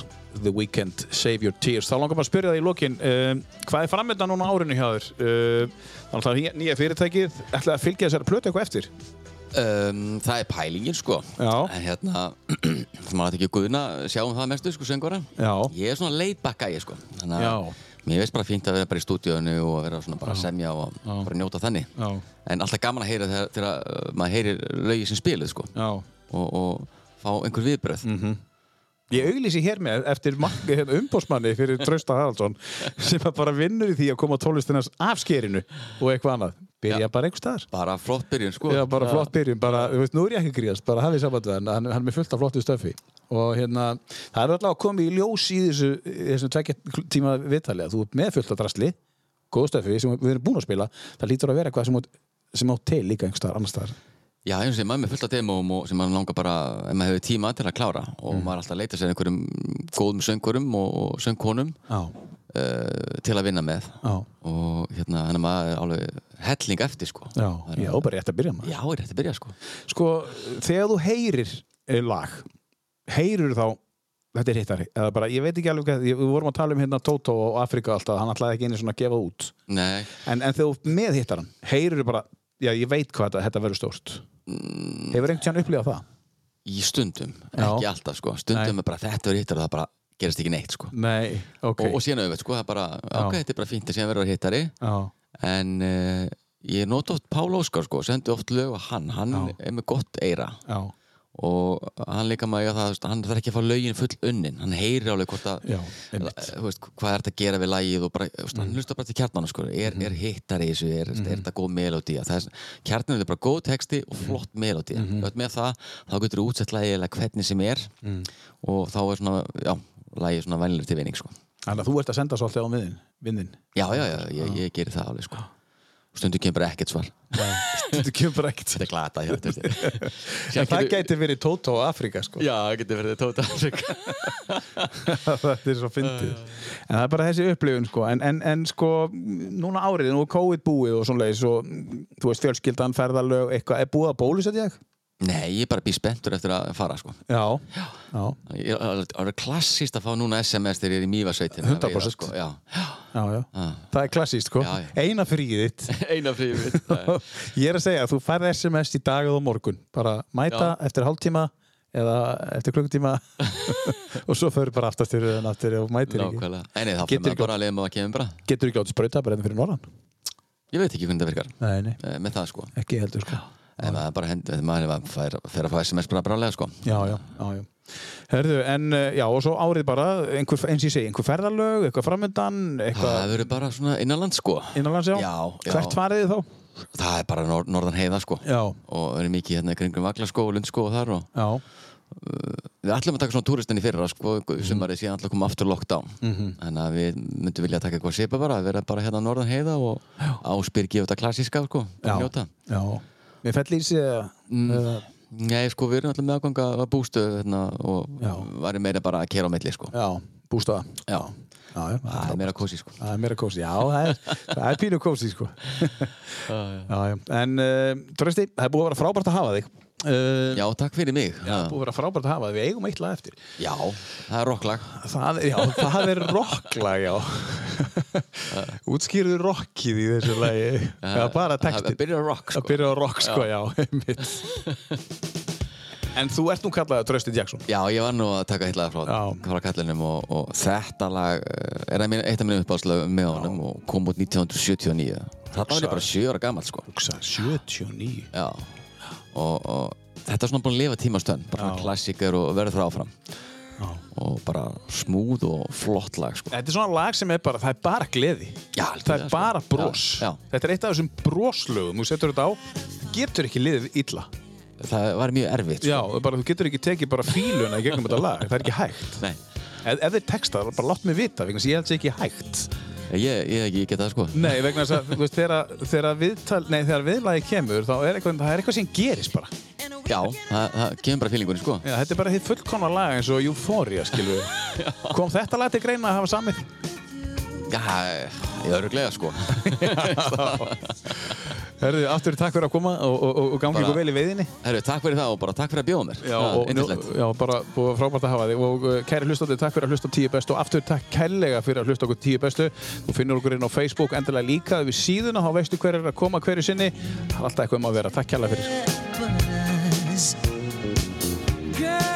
Speaker 1: The Weeknd, Save Your Tears þá langar maður að spyrja það í lokin um, hvað er framöndan núna á árinu hjá þér um, þannig að það nýja fyrirtækið ætlaði að fylgja þessari plötu eitthvað eftir
Speaker 2: Um, það er pælingin sko
Speaker 1: Já.
Speaker 2: En hérna, maður ætti ekki guðna Sjáum það mestu sko söngvara
Speaker 1: Já.
Speaker 2: Ég er svona leitbakka ég sko Þannig
Speaker 1: Já.
Speaker 2: mér veist bara fínt að vera bara í stúdíónu Og vera svona bara að semja og bara njóta þannig
Speaker 1: Já.
Speaker 2: En alltaf gaman að heyra þegar, þegar uh, maður heyrir lögi sem spiluð sko
Speaker 1: Já.
Speaker 2: og, og fá einhver viðbröð
Speaker 1: Mhm. ég auglýsi hér með eftir umbósmanni fyrir Trausta Haraldsson sem að bara vinnur í því að koma tónlistinans afskerinu og eitthvað annað byrja bara einhver staðar
Speaker 2: Bara flott byrjun sko
Speaker 1: Já, bara flott byrjun, bara, þú veist, nú er ég ekki að gríðast, bara hafið samband við hann, hann, hann er með fullt af flottu stöfi og hérna, það er alltaf að koma í ljós í þessu, í þessu tvekja tíma viðtalið, þú ert með fullt af drasli góð stöfi sem við erum búin að spila það lítur að vera eitthvað sem, átt- sem átt til líka einhvers staðar, annars staðar
Speaker 2: Já, eins og segir, maður er með fullt af demóm og sem maður langar bara, ef maður hefur tíma til að klára og
Speaker 1: Mhm.
Speaker 2: maður er alltaf að leita sér einhverjum góðum söngurum og, og söngkonum
Speaker 1: Já,
Speaker 2: uh, til að vinna með
Speaker 1: já,
Speaker 2: og hérna, þannig að maður er alveg helling eftir sko
Speaker 1: já,
Speaker 2: Það er
Speaker 1: já,
Speaker 2: alveg-
Speaker 1: bara rétt að byrja maður
Speaker 2: Já, er þetta að byrja sko
Speaker 1: Sko, þegar þú heyrir eh, lag, heyrir þá þetta er hittari, eða bara, ég veit ekki alveg hvað, ég- við vorum að tala um hérna Toto og Afrika og allt það, hann ætlaði ekki einu svona að gefa út
Speaker 2: Nei,
Speaker 1: En, en þegar þú meðhittar hann, heyrir bara, já ég veit hvað þetta, þetta verður stórt. Hefur einhvern tíðan upplifað það?
Speaker 2: í stundum,
Speaker 1: Já.
Speaker 2: ekki alltaf sko Stundum
Speaker 1: Nei.
Speaker 2: er bara þetta verið hittar og það bara gerist ekki neitt sko
Speaker 1: Nei, ok.
Speaker 2: og, og síðan auðvitað sko, það er bara,
Speaker 1: Já.
Speaker 2: ok, þetta er bara fínt að síðan verður hittari
Speaker 1: já,
Speaker 2: en uh, ég nota oft Pál Óskar sko, sendi oft lög að hann hann er með gott eira
Speaker 1: já,
Speaker 2: og hann líka maður að það, þú veist, hann þarf ekki að fá lögin full unnin, hann heyrir alveg hvort að
Speaker 1: Já,
Speaker 2: la-
Speaker 1: einmitt. Mm.
Speaker 2: þú veist, hvað er þetta að gera við lagið og bara, þú veist, hann hlustar bara til kjarnan sko, er,
Speaker 1: Mhm.
Speaker 2: er hittar í þessu, er, er þetta góð melódía það er, kjarnan er bara góð texti og
Speaker 1: Mhm.
Speaker 2: flott melódía, mm -hmm. með það þá getur þú útsett lagið eða hvernig sem er
Speaker 1: Mm.
Speaker 2: og þá er svona, já lagið svona vænlega til vinning sko
Speaker 1: þannig að þú ert að senda svolítið á miðin, vinnin.
Speaker 2: já, já, já, ég, ég gerir það alveg sko stundum kemur bara ekkert svar
Speaker 1: Þetta kemur bara ekkert.
Speaker 2: þetta er glata hjá þetta
Speaker 1: En það gæti verið Tótó og Afrika sko.
Speaker 2: já, það getur verið tóta afsök
Speaker 1: þetta er svo fyndið. En það er bara þessi upplifun sko. En, en, en sko, núna árið, nú er COVID búið og svona leiðis og mm, þú veist fjölskyldan, ferðalög, eitthvað, er búið að bólusetja þig?
Speaker 2: Nei, ég er bara býð spenntur eftir að fara sko.
Speaker 1: Já, já,
Speaker 2: Ég er alveg- það er klassíst að fá núna SMS þegar ég er í mývarsveitin
Speaker 1: 100%.
Speaker 2: sko. Já, já,
Speaker 1: já, já.
Speaker 2: já.
Speaker 1: Það er klassíst, sko.
Speaker 2: Já, já.
Speaker 1: Eina fríið þitt.
Speaker 2: Eina fríið mitt það er-
Speaker 1: Ég er að segja að þú færð SMS í dag eða á morgun. Bara mæta eftir hálftíma eða eftir klukkutíma og svo fyrir bara aftast fyrir en aftur og mætir ekki.
Speaker 2: Nákvæmlega Nei, nei,
Speaker 1: Getur
Speaker 2: þá fyrir maður
Speaker 1: ekki-
Speaker 2: bara að leiða maður að kemur bara
Speaker 1: Getur ekki átt sprauta bara enn fyrir norðan?
Speaker 2: Ég veit ekki hvernig það virkar
Speaker 1: Nei, nei,
Speaker 2: eh, með það sko
Speaker 1: ekki heldur, sko.
Speaker 2: En maður bara hendur, maður er- fær, fer að fá SMS bara brálega sko
Speaker 1: Já, já, já, já. Herðu, en eh, já, og svo árið bara, einhver, eins og ég segi, einhver ferðalög, eitthvað framöndan,
Speaker 2: Það
Speaker 1: eitthvað
Speaker 2: verður bara svona innanland sko
Speaker 1: innanlands, já?
Speaker 2: Já, já.
Speaker 1: Hvert farið þið þá?
Speaker 2: Það er bara nor norðan heiða sko
Speaker 1: Já,
Speaker 2: og verður mikið hérna í kringum Vaglaskó og Lundskó og þar og
Speaker 1: já,
Speaker 2: við ætlum að taka svona túristin í fyrra sko,
Speaker 1: Mhm.
Speaker 2: sumarið síðan ætlum að koma aftur lockdown þannig að við myndum vilja taka eitthvað sipa bara að vera bara hérna norðan heiða og áspyrgi og þetta klassíska sko, bara
Speaker 1: já.
Speaker 2: njóta Mm.
Speaker 1: Já, mér fell í sig að... eða-
Speaker 2: Nei, sko, við erum alltaf með aðgang að bústöðu hérna, og
Speaker 1: Já.
Speaker 2: varum meira bara að kera á milli sko.
Speaker 1: Já, bústaða
Speaker 2: Já,
Speaker 1: Já, já,
Speaker 2: það er meira kósi sko.
Speaker 1: Það er meira kósi, já, það er, það er pínu kósi sko. já, já. En uh, Trösti, það er búið að vera frábært að hafa þig uh,
Speaker 2: Já, takk fyrir mig Já,
Speaker 1: Búið að vera frábært að hafa þig, við eigum eitt lag eftir
Speaker 2: já það er rocklag
Speaker 1: Það, já, það er rocklag, já Útskýrðu rockið í þessu lagi Já, bara
Speaker 2: Það
Speaker 1: textin
Speaker 2: byrjar að rock
Speaker 1: Að
Speaker 2: sko.
Speaker 1: byrja á rock, sko, já, einmitt En þú ert nú kallaðið Trösti Jackson
Speaker 2: Já, ég var nú að taka eitt lag frá,
Speaker 1: Já.
Speaker 2: frá kallinum og, og þetta lag eh, er að minn, eitt af minnum uppáðslega með honum og kom út 1979 Þarna var ég bara 7 ára gammal sko.
Speaker 1: 79
Speaker 2: Já og, og þetta er svona búin að lifa tímastönd bara svona klassíker og verður það áfram
Speaker 1: Já.
Speaker 2: og bara smúð og flott lag sko.
Speaker 1: Þetta er svona lag sem er bara, það er bara gleði
Speaker 2: Já,
Speaker 1: Það er
Speaker 2: algjörlega, sko.
Speaker 1: bara brós
Speaker 2: Já, já.
Speaker 1: Þetta er eitt af þessum bróslögum Þú setur þetta á, getur ekki liðið illa sko.
Speaker 2: Það var mjög erfitt sko.
Speaker 1: Já, það er bara, þú getur ekki tekið bara fíluna í gegnum þetta lag Það er ekki hægt
Speaker 2: Nei,
Speaker 1: Ef, ef þið texta, það bara látt mig vita vegna þess að ég held sé ekki hægt
Speaker 2: ég, ég, ég get það sko
Speaker 1: Nei, vegna þess að, þú veist, þegar, þegar viðtal Nei, þegar viðlagi kemur, þá er eitthvað Það er eitthvað sem gerist bara Já,
Speaker 2: Já, það, það kemur bara fílingunni sko
Speaker 1: þetta er bara þitt fullkomna lag eins og Euphoria, skilur Kom þetta lag til greina að hafa samið?
Speaker 2: Já, ég er öruglega sko
Speaker 1: Herðu, aftur takk fyrir að koma og, og, og, og gangi
Speaker 2: Bara-
Speaker 1: ykkur vel í veiðinni
Speaker 2: Herru, takk fyrir það og bara takk fyrir að bjóða mér
Speaker 1: Já,
Speaker 2: Það er
Speaker 1: og,
Speaker 2: yndislegt.
Speaker 1: já, bara búið frábært að hafa þig og uh, kæri hlustandi, takk fyrir að hlusta á tíu bestu og aftur takk kærlega fyrir að hlusta okkur tíu bestu þú finnur okkur inn á Facebook endilega líka við síðuna, þá veistu hver er að koma hverju sinni það er alltaf eitthvað um að vera, takk kærlega fyrir
Speaker 5: Girl,